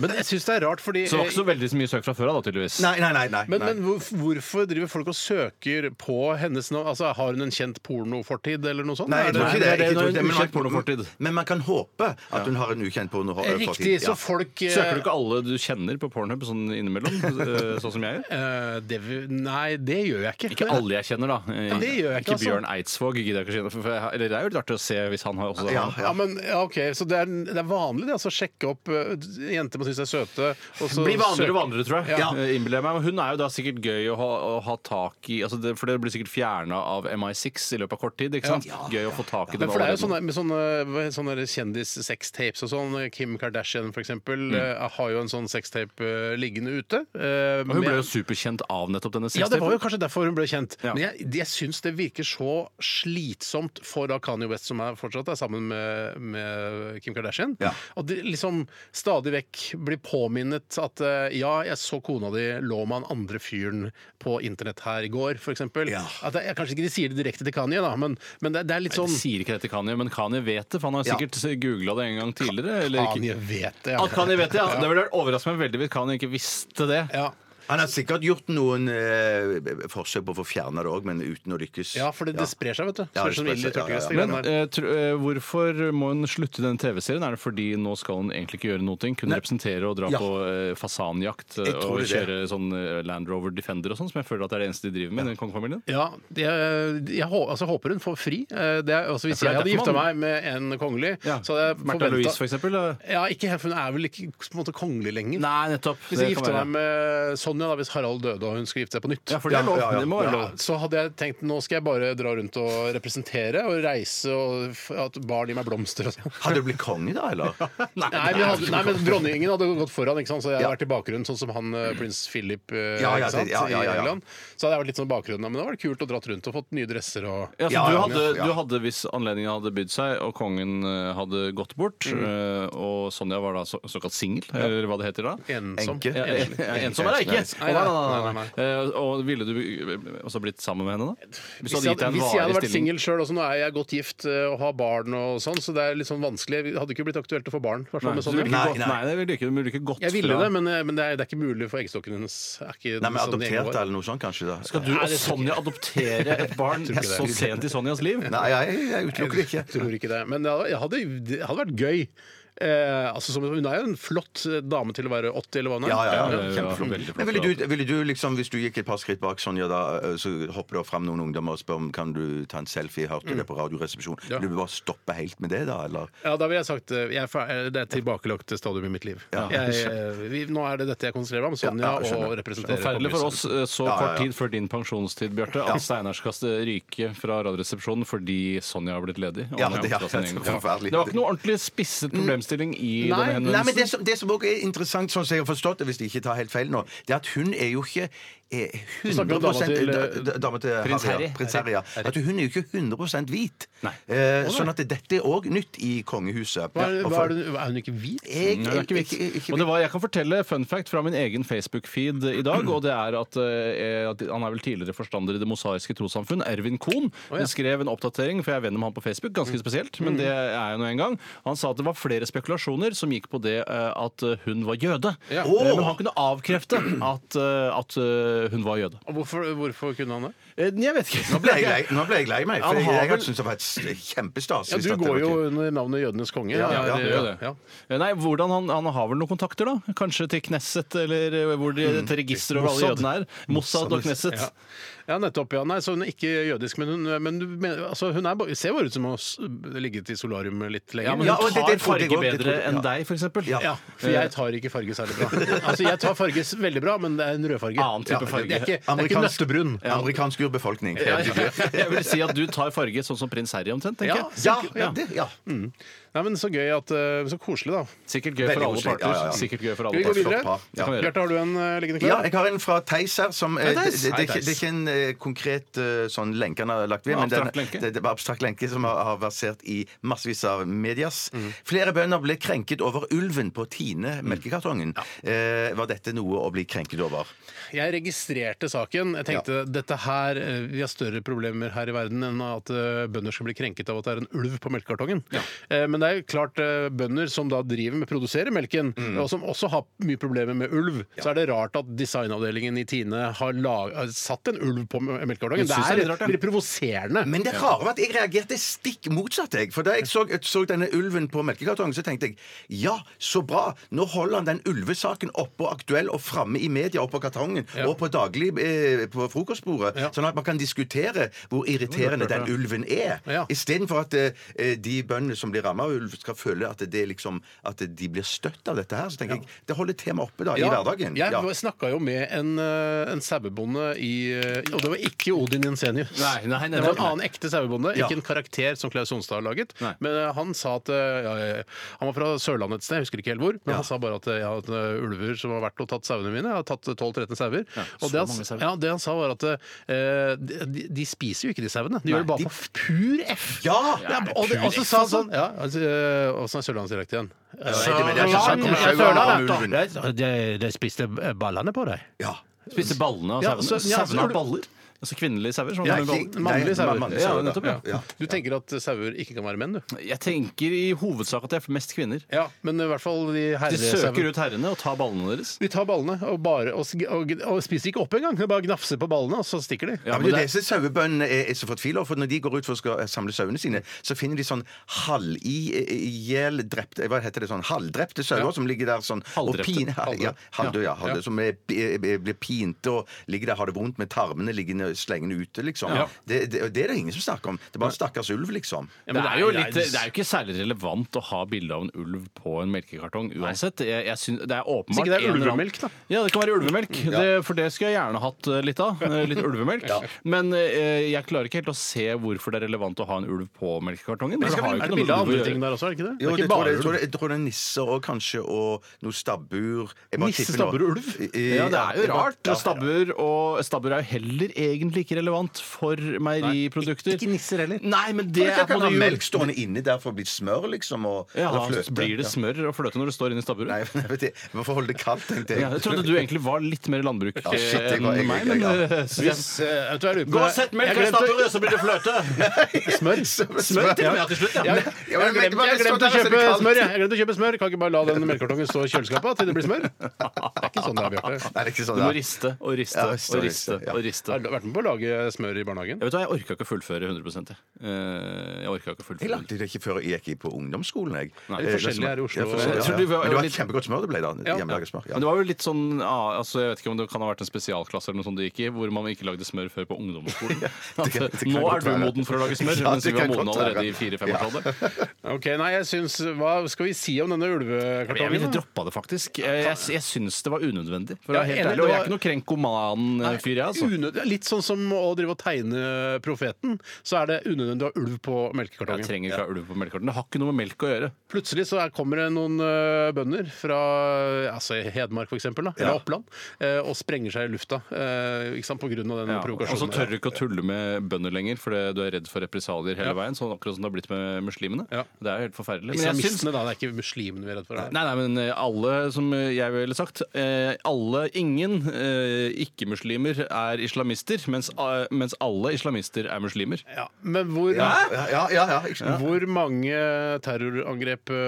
S5: Men jeg syns det er rart, fordi
S6: det var ikke så veldig mye søk fra før av, da, tydeligvis.
S7: Nei, nei, nei. nei.
S5: men,
S7: nei.
S5: men hvor- hvorfor driver folk og søker på hennes navn? Altså, Har hun en kjent pornofortid eller noe sånt?
S7: Nei,
S5: Er
S7: jeg
S5: det-
S7: tror ikke det.
S6: det er
S7: Jeg tror
S6: en
S7: ikke det, men man-
S6: ukjent pornofortid.
S7: Men man kan håpe at hun har en ukjent pornofortid.
S5: Eh, Riktig.
S7: Ja.
S5: Så folk eh,
S6: Søker du ikke alle du kjenner på Pornhub sånn innimellom? eh, sånn som jeg gjør?
S5: eh, det, vil- Nei, det gjør jeg ikke.
S6: Ikke alle jeg kjenner, da. Eh,
S5: Ja, det gjør jeg ikke,
S6: ikke
S5: altså.
S6: Bjørn Eidsvåg. gidder jeg ikke kjenne, for- for jeg- Eller det er jo litt artig å se hvis han har også
S7: Ja,
S5: Ja, men ja, ok, Så det er, det er vanlig det, altså, å sjekke opp eh, jenter man syns er søte og så
S6: Blir vanligere og
S5: søker-
S6: vanligere, tror jeg.
S5: Ja.
S6: Eh, Innbiller jeg meg. Men Hun er jo da sikkert gøy å ha, å ha tak i, altså det, for det blir sikkert fjerna av MI6 i løpet av kort tid. ikke sant? Gøy å få tak i den
S5: Men for det er jo
S6: allerede.
S5: sånne, med sånne, hva- sånne der kjendis-sextapes og sånn. Kim Kardashian for eksempel
S6: Mm.
S5: eh, har jo en sånn sextape eh, liggende ute. eh,
S6: Og Hun ble
S5: med-
S6: jo superkjent av nettopp denne
S5: ja, det var jo
S6: sextapen.
S5: kanskje derfor hun ble kjent.
S6: Ja.
S5: Men jeg, jeg syns det virker så slitsomt for da Kanye West, som er fortsatt er sammen med, med Kim Kardashian,
S7: Ja.
S5: at de liksom stadig vekk blir påminnet at eh, ja, jeg så kona di lå med han andre fyren på internett her i går, f.eks.
S7: Ja.
S5: At det, jeg, kanskje ikke de sier det direkte til Kanye, da, men, men det, det er litt
S6: Sånn.
S5: sånn
S6: Sier ikke det til Kanye, men Kanye vet det, for han har
S7: Ja.
S6: sikkert googla det en gang tidligere. Eller ikke.
S5: Kanye vet det.
S6: At Kanye vet det, ja. Det ville overraska meg veldig hvis Kanye ikke visste det.
S5: Ja.
S7: Han har sikkert gjort noen eh, forsøk på å få fjerna det òg, men uten å lykkes.
S5: Ja, for det, det sprer seg, vet du.
S7: Ja, det
S5: Sprer som
S7: sprer
S5: ild i
S7: seg, ja, ja,
S5: tørkekrest,
S7: ja.
S5: det
S6: Men
S5: greiene der.
S6: eh, tro, eh, hvorfor må hun slutte i denne TV-serien? Er det fordi nå skal hun egentlig ikke gjøre noe? Kunne representere og dra
S7: Ja.
S6: på eh, fasanjakt eh,
S7: Jeg tror
S6: og
S7: det er
S6: kjøre sånn eh, Land Rover Defender og sånn, som jeg føler at det er det eneste de driver med i den kongefamilien?
S5: Ja, jeg, jeg, hå- altså, håper hun får fri. Eh, Det er, altså, hvis
S6: Ja,
S5: jeg
S6: for det er
S5: hadde
S6: derfor
S5: gifta
S6: man-
S5: meg med en kongelig, så hadde jeg
S6: Märtha
S5: forventet-
S6: Louise, for eksempel? eh?
S5: Ja, ikke helt, for hun er vel ikke på en måte kongelig lenger.
S6: Nei, nettopp.
S5: Hvis
S6: Det
S5: jeg
S6: kan
S5: gifta
S6: være.
S5: meg med sånn Ronja, da, hvis Harald døde og hun skulle gifte seg på nytt.
S6: Ja, for det er lov.
S7: Ja, ja, ja.
S6: Det må være
S5: Ja,
S6: lov.
S5: så hadde jeg tenkt nå skal jeg bare dra rundt og representere og reise og f- at barn gir meg blomster og
S6: [LAUGHS]
S5: sånn.
S7: Hadde du blitt konge da, eller?
S5: [LAUGHS] Nei, men, hadde, nei, men dronningen hadde gått foran, ikke sant? så jeg hadde
S7: Ja.
S5: vært i bakgrunnen, sånn som han eh, prins Philip eh,
S7: Ja, ja,
S5: ikke sant?
S7: det- ja, ja, ja,
S5: i
S7: ja.
S5: England. Så hadde jeg vært litt sånn i bakgrunnen, men da var det kult å dratt rundt og fått nye dresser og
S6: Ja, så
S7: Ja,
S6: du,
S7: ja,
S6: hadde,
S7: ja.
S6: du hadde, hvis anledningen hadde bydd seg, og kongen eh, hadde gått bort, eh, og Sonja var da så, såkalt singel, eller hva det heter da
S5: ensom.
S7: Enke.
S6: Ja, en- Ensom er jeg ikke! Å,
S5: Nei,
S6: nei,
S5: nei,
S6: nei,
S5: nei,
S6: nei,
S5: nei.
S6: nei. Eh, Og ville du eh, også blitt sammen med henne, da? Hvis du
S5: Hvis
S6: hadde
S5: jeg,
S6: gitt
S5: hadde,
S6: deg en
S5: hvis jeg hadde vært
S6: varig
S5: singel
S6: stilling?
S5: sjøl, og så nå er jeg godt gift eh, og har barn og sånn, så det er litt sånn vanskelig. Det hadde ikke blitt aktuelt å få barn. i hvert fall
S6: Nei,
S5: med
S6: så du
S5: sånn-
S6: ville ikke
S7: Nei,
S6: gått-
S7: nei.
S6: nei, det ville ikke, du ville ikke gått
S5: Jeg ville
S6: fra-
S5: det, men, eh, men det, er, det er ikke mulig for eggstokken hennes. Er ikke
S7: Nei, men
S5: sånn i egne år.
S7: adoptert eller noe sånt, kanskje? da
S6: Skal du
S5: Nei,
S6: og
S5: det tror jeg
S6: Sonja adoptere et barn
S5: Jeg tror ikke
S6: så
S5: det.
S6: sent i Sonjas liv?
S7: Nei, jeg, jeg utelukker det
S5: Jeg
S7: ikke.
S5: tror ikke det. Men det hadde, jeg hadde, det hadde vært gøy. Eh, altså, som, hun er jo en flott eh, dame til å være 80, eller hva hun er.
S7: Ja, ja, ja,
S6: det var
S7: kjempeflott.
S6: veldig flott,
S7: Men ville du, ville du liksom, Hvis du gikk et par skritt bak Sonja, da, eh, så hopper det fram noen ungdommer og spør om kan du ta en selfie. Hørte du det på Radioresepsjonen?
S5: Mm. Ja.
S7: Vil du bare stoppe helt med det, da? Eller?
S5: Ja, da ville jeg sagt eh, jeg er fer- eh, det er et tilbakelagt stadium i mitt liv.
S7: Ja,
S5: Jeg, eh, vi, nå er det dette jeg konsentrerer meg om. Sonja
S7: Ja, ja, skjønner.
S5: og representerer
S6: Forferdelig for oss
S5: kongehuset.
S6: eh, så
S7: Ja, ja,
S6: kort
S7: ja.
S6: tid før din pensjonstid, Bjarte, at Steinar skal ryke fra Radioresepsjonen fordi Sonja har blitt ledig. og
S7: Ja,
S6: han har
S7: det er
S6: fått seg en egen
S7: helt
S6: kone.
S7: forferdelig.
S6: det var ikke noe ordentlig spisset problemstilling i
S5: Nei,
S6: denne
S7: Nei, men
S6: henvendelsen.
S7: det som, det som også er interessant, sånn som jeg har forstått det, hvis de ikke tar helt feil nå, det er at hun er jo ikke er 100
S5: snakker om dama til,
S7: da- da- dama til
S6: eh, Prins
S7: Harry, ja.
S6: Harry.
S7: Prins Harry, ja. At hun er jo ikke 100 hvit.
S6: Nei.
S7: Eh, sånn at dette er òg nytt i kongehuset.
S5: Hva er,
S7: Og
S5: hva
S7: for-
S5: er, hun, er hun ikke hvit?
S7: Jeg,
S6: Nei, det er ikke vits.
S7: ikke- ikke-
S6: Og det var, jeg kan fortelle fun fact fra min egen Facebook-feed i dag. og det er at, eh, at Han er vel tidligere forstander i Det mosaiske trossamfunn, Ervin Kohn. skrev en oppdatering, for jeg er venn med han på Facebook, ganske spesielt. men det er jeg nå en gang. Han sa at det var flere spekulasjoner som gikk på det eh, at hun var jøde.
S5: Ja.
S6: Eh, Men han kunne avkrefte at, eh, at eh, hun var jøde.
S5: Og hvorfor, hvorfor kunne han det?
S6: Eh, Jeg vet ikke.
S7: Nå ble jeg lei, nå ble jeg lei meg, for
S6: Han
S7: jeg,
S6: har
S7: jeg
S6: vel-
S7: hadde syntes det var et s- kjempestas.
S5: Ja,
S7: hvis
S5: Du
S7: dette
S5: går
S7: var
S5: jo
S7: til-
S5: under navnet jødenes konge.
S7: Ja, ja,
S5: det-
S6: det [LAUGHS] gjør det.
S5: ja.
S6: Eh, Nei, hvordan han, han har vel noen kontakter, da? Kanskje til Knesset, eller eh, hvor de, et register over alle
S5: Mossad.
S6: jødene er? Mossad og Knesset.
S5: Ja. ja, nettopp. ja. Nei, så hun er ikke jødisk, men hun, men, du mener- altså, hun er, bare- ser bare ut som å ha ligget i solarium litt lenger.
S6: Ja, men hun
S7: Ja, og det-
S6: tar
S7: det trodde
S6: farge
S7: jeg også, det
S6: bedre
S7: trodde jeg,
S6: enn
S7: ja.
S6: deg, for eksempel.
S7: Ja.
S5: Ja, for jeg tar ikke farge særlig bra. Altså, Jeg tar farge s- veldig bra, men det er en rødfarge.
S6: Annen type
S5: Ja,
S6: farge.
S5: Det er ikke, det er ikke
S7: Amerikansk-
S5: nøttebrun.
S7: Amerikansk urbefolkning.
S6: Ja, ja. [LAUGHS] Jeg vil si at du tar farge sånn som prins Harry omtrent, tenker
S5: Ja.
S6: jeg.
S7: Ja, ja, det, ja.
S5: Nei, men Så gøy at eh, Så koselig, da.
S6: Sikkert gøy
S7: Veldig
S6: for alle
S7: koselig.
S6: parter.
S7: Ja, ja, ja.
S6: Sikkert gøy for
S5: Skal vi
S6: alle
S5: gå
S6: parter.
S5: videre?
S7: Flott par.
S6: Ja.
S5: Bjarte, har du en eh, liggende
S7: Ja,
S5: klar?
S7: jeg har en fra Theis her. Som, eh,
S5: Theis.
S7: det, det, er
S5: Hei,
S7: ikke-
S5: Theis.
S7: det er ikke en eh, konkret eh, sånn lenke han har lagt ved,
S6: Ja,
S7: men den,
S6: abstrakt lenke.
S7: det, det var abstrakt lenke som har, har versert i massevis av medias. Flere bønder ble krenket over ulven på Tine melkekartongen. Eh, var dette noe å bli krenket over?
S5: Jeg registrerte saken. Jeg tenkte dette her, eh, vi har større problemer her i verden enn at eh, bønder skal bli krenket av at det er en ulv på melkekartongen. Eh, Men det er jo klart eh, bønder som da driver med å produsere melken,
S6: Mm.
S5: og som også har mye problemer med ulv, så er det rart at designavdelingen i Tine har, lag, har satt en ulv på me- melkekartongen.
S6: Jeg
S5: Det
S6: synes
S5: er,
S6: det er litt rart, ja.
S5: blir provoserende.
S7: Men det rare var at jeg reagerte stikk motsatt. jeg. For Da jeg så, så denne ulven på melkekartongen, så tenkte jeg ja, så bra. Nå holder han den ulvesaken oppe og aktuell og framme i media og på kartongen og på daglig eh, på frokostbordet,
S5: Ja.
S7: sånn at man kan diskutere hvor irriterende den ulven er.
S5: Ja.
S7: Istedenfor at eh, eh, de bøndene som blir ramma av ulv, skal føle at, det er liksom, at de blir støtt av dette her. Så tenker jeg det holder temaet oppe da, i hverdagen.
S5: Jeg
S7: Ja.
S5: ja. snakka jo med en, eh, en sauebonde i eh, Og det var ikke Odin Jensenius.
S6: Nei, nei, nei,
S5: det var
S6: nei.
S5: en annen ekte sauebonde,
S7: Ja.
S5: ikke en karakter som Klaus Sonstad har laget.
S6: Nei.
S5: Men eh, han sa at eh, ja, ja, Han var fra Sørlandet et sted, jeg husker ikke helt hvor. Men han sa bare at eh, jeg har hatt eh, ulver som har vært og tatt sauene mine. Jeg har tatt eh, 12-13 sauer.
S6: så
S5: og det han,
S6: mange sauer.
S5: ja, det han sa, var at eh, de, de- de spiser jo ikke de sauene. De gjør det bare for pur F.
S7: Ja!
S5: Ja, og, det, og så sa han sånn ja, altså, eh, Åssen er sørlandsdialekt igjen?
S7: det- men det er ikke sant, kommer
S5: Sørlandet,
S7: sauer av
S5: Sørlandet,
S7: ulven.
S5: da. De, de spiste ballene på deg.
S7: ja.
S6: Spise ballene av
S5: Ja,
S6: sauene.
S5: så- ja, så-
S6: Sauene har baller. Altså kvinnelige sauer. som
S7: Ja,
S6: har
S7: ikke-
S6: baller.
S5: Mannlige
S7: Nei,
S5: sauer.
S7: mannlige
S6: Ja,
S7: sauer, da.
S6: nettopp, ja.
S7: Ja.
S5: Du tenker at sauer ikke kan være menn, du?
S6: Jeg tenker i hovedsak at det er mest kvinner.
S5: Ja, men i hvert fall de
S6: De søker
S5: herresauene.
S6: ut herrene og tar ballene deres.
S5: De tar ballene og, bare, og, sg- og, og spiser ikke opp engang. De Bare gnafser på ballene, og så stikker de.
S7: Ja,
S6: Ja,
S7: men det,
S6: men det-
S7: er disse sauebøndene er, er så fortvila, for når de går ut for å skal eh, samle sauene sine, så finner de sånn halvihjeldrepte Hva heter det? sånn Halvdrepte sauer
S5: Ja.
S7: som ligger der sånn og
S6: Halvdrepte.
S7: pin, ja, halvdøde, ja, halvdøde,
S5: Ja.
S7: eh, Som er, b- b- blir pinte og ligger der, har det vondt med tarmene liggende slenge den ute, liksom.
S6: Ja.
S7: Det, det, det er det ingen som snakker om. Det er bare en stakkars ulv, liksom.
S5: Ja,
S6: det,
S5: men
S6: er jo
S5: nei,
S6: litt, det er jo ikke særlig relevant å ha bilde av en ulv på en melkekartong uansett. Jeg, jeg syns- det er åpenbart
S5: Hvis ikke det er
S6: en eller annen-
S5: ulvemelk, da.
S6: Ja, det kan være ulvemelk. Det, for det skulle jeg gjerne hatt eh, litt av. Eh, Litt ulvemelk. Men eh, jeg klarer ikke helt å se hvorfor det er relevant å ha en ulv på melkekartongen.
S7: Men
S6: Det
S7: skal
S6: har
S7: vi-
S5: Er det
S6: jo ikke noe
S5: bilde
S6: med
S5: av
S6: ulv å
S5: andre
S6: gjøre.
S5: ting der også? er det ikke
S7: Jo,
S5: det? det er
S7: det tror jeg,
S5: ikke
S7: jeg, tror,
S5: bare ulv.
S7: jeg tror det er nisser og kanskje og noe stabbur. Jeg bare
S5: Nisse,
S7: tipper nå.
S5: stabbur og ulv?
S7: I- i-
S6: Ja, det er jo
S7: jeg bare-
S6: rart. Stabbur og stabbur er jo heller egentlig ikke relevant for meieriprodukter.
S7: Ikke nisser heller.
S6: Nei, men det
S7: Folk
S6: er på
S7: kan
S6: en
S7: ha
S6: måte
S7: melk stående inni der for å bli smør, liksom. Og, og
S6: Ja, altså,
S7: fløte.
S6: blir det
S7: Ja.
S6: smør og fløte når det står inni stabburet?
S7: Nei, [LAUGHS] jeg vet ikke. Hvorfor holde det kaldt, tenkte
S6: Ja, jeg
S7: jeg.
S6: trodde du egentlig var litt mer landbruk
S7: Ja, shit, jeg
S6: enn
S7: var- jeg-
S6: meg,
S7: jeg-
S6: men
S7: jeg- [LAUGHS]
S6: eh,
S5: Hvis,
S6: synes jeg-
S5: eh, vet du hva jeg lurer på?
S6: Gå og sett melk
S5: Jeg
S6: i
S5: glemte-
S6: stabburet, så blir det fløte!
S5: [LAUGHS] Smør.
S7: [LAUGHS]
S6: Smør til og med til slutt, ja.
S5: Jeg har
S7: men-
S5: glemt, jeg har glemt å kjøpe smør. Jeg Jeg har glemt å kjøpe smør. Kan ikke bare la den melkekartongen stå i kjøleskapet til det blir smør? Det er ikke sånn det er, Bjarte.
S7: Nei, det er ikke sånn
S6: Du
S7: det
S6: må
S7: er.
S6: riste og riste
S7: Ja,
S6: og
S7: riste og
S6: riste
S7: riste, ja.
S6: og riste.
S5: Har du vært med på å lage smør i barnehagen?
S6: Jeg vet hva, jeg orka ikke å fullføre 100 jeg. Eh, Jeg orka ikke å
S7: Jeg
S6: fullføre.
S7: lagde det ikke før jeg gikk på ungdomsskolen. Jeg.
S6: Nei,
S7: Eh,
S5: forskjellig
S7: liksom-
S5: her i Oslo.
S7: Ja, forskjellig,
S6: Jeg
S7: ja.
S6: tror du var-
S7: Men det var
S6: litt-
S7: et kjempegodt smør det ble da.
S5: Ja.
S7: Hjemmelaget smør. Ja.
S6: Men det var jo litt sånn ah, altså, Jeg vet ikke om det kan ha vært en spesialklasse eller noe sånt du gikk i, hvor man ikke lagde smør før på
S7: [LAUGHS]
S6: ungdomsskolen.
S7: det kan- det
S6: At,
S7: kan
S6: Nå
S7: godt
S6: er du
S7: være.
S6: moden for å lage smør,
S7: Ja,
S6: mens
S7: det
S6: vi var
S7: kan godt
S6: modne allerede
S7: være.
S6: i 4-5-årsalderen.
S5: Ok, nei, jeg syns Hva skal vi si om denne
S6: Jeg
S5: ulvekartongen?
S6: ville
S5: da?
S6: droppa det, faktisk. Jeg, jeg, jeg syns det var unødvendig. For å
S5: Ja,
S6: være helt
S5: enig,
S6: ærlig, og jeg
S5: det
S6: er ikke
S5: var-
S6: noe krenkoman-fyr, jeg, altså.
S5: Unød- det er Litt sånn som å drive og tegne profeten. Så er det unødvendig å ha ulv på
S6: Jeg
S5: melkekartongen.
S6: trenger ikke ha ulv på melkekarten. Det har ikke noe med melk å gjøre.
S5: Plutselig så er, kommer det noen ø, bønder fra ø, altså Hedmark for eksempel, da, eller Oppland ø, og sprenger seg i lufta ø, ikke sant, på grunn av den
S6: Og så
S5: provokasjonen.
S6: tør du ikke å tulle med bønder lenger fordi du er redd for represalier hele
S5: Ja.
S6: veien. Sånn akkurat som det har blitt med muslimene.
S5: Ja.
S6: Det er jo helt forferdelig. Men jeg syns-
S5: Islamistene, da. Det er ikke muslimene vi er redd for. her.
S6: Nei, nei, men eh, alle, som eh, jeg ville sagt eh, Alle, ingen eh, ikke-muslimer er islamister, mens, eh, mens alle islamister er muslimer.
S5: Ja, men hvor,
S7: Ja, ja, ja, ja, ikke sant?
S5: hvor mange terrorangrep ø,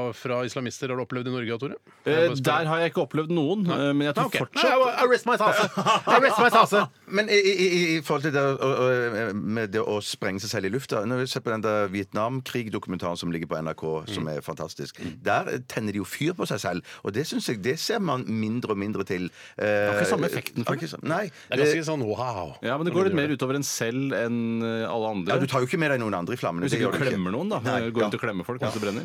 S5: av- fra islamister har du opplevd i Norge, Tore?
S6: Eh, der har jeg ikke opplevd noen, eh, men jeg tror fortsatt
S5: Arrest my tase! Arrest my tase!
S7: Men i, i, i- i forhold til det, å- å- med det å sprenge seg selv i lufta Når vi ser på den der Vietnamkrig-dokumentaren som ligger på NRK, som
S6: Mm.
S7: er fantastisk, der tenner de jo fyr på seg selv. Og det syns jeg det ser man mindre og mindre til. Eh, Det
S6: har ikke samme effekten for meg.
S7: Nei.
S5: Det er ganske sånn wow.
S6: Ja, men det går litt mer utover en selv enn eh, alle andre.
S7: Ja, du tar jo ikke med deg noen andre i flammene.
S6: Hvis
S7: det
S6: ikke
S7: gjør
S6: du
S7: du ikke.
S6: klemmer noen, da.
S7: Nei,
S6: Går
S7: ja.
S6: rundt og klemmer folk mens det brenner.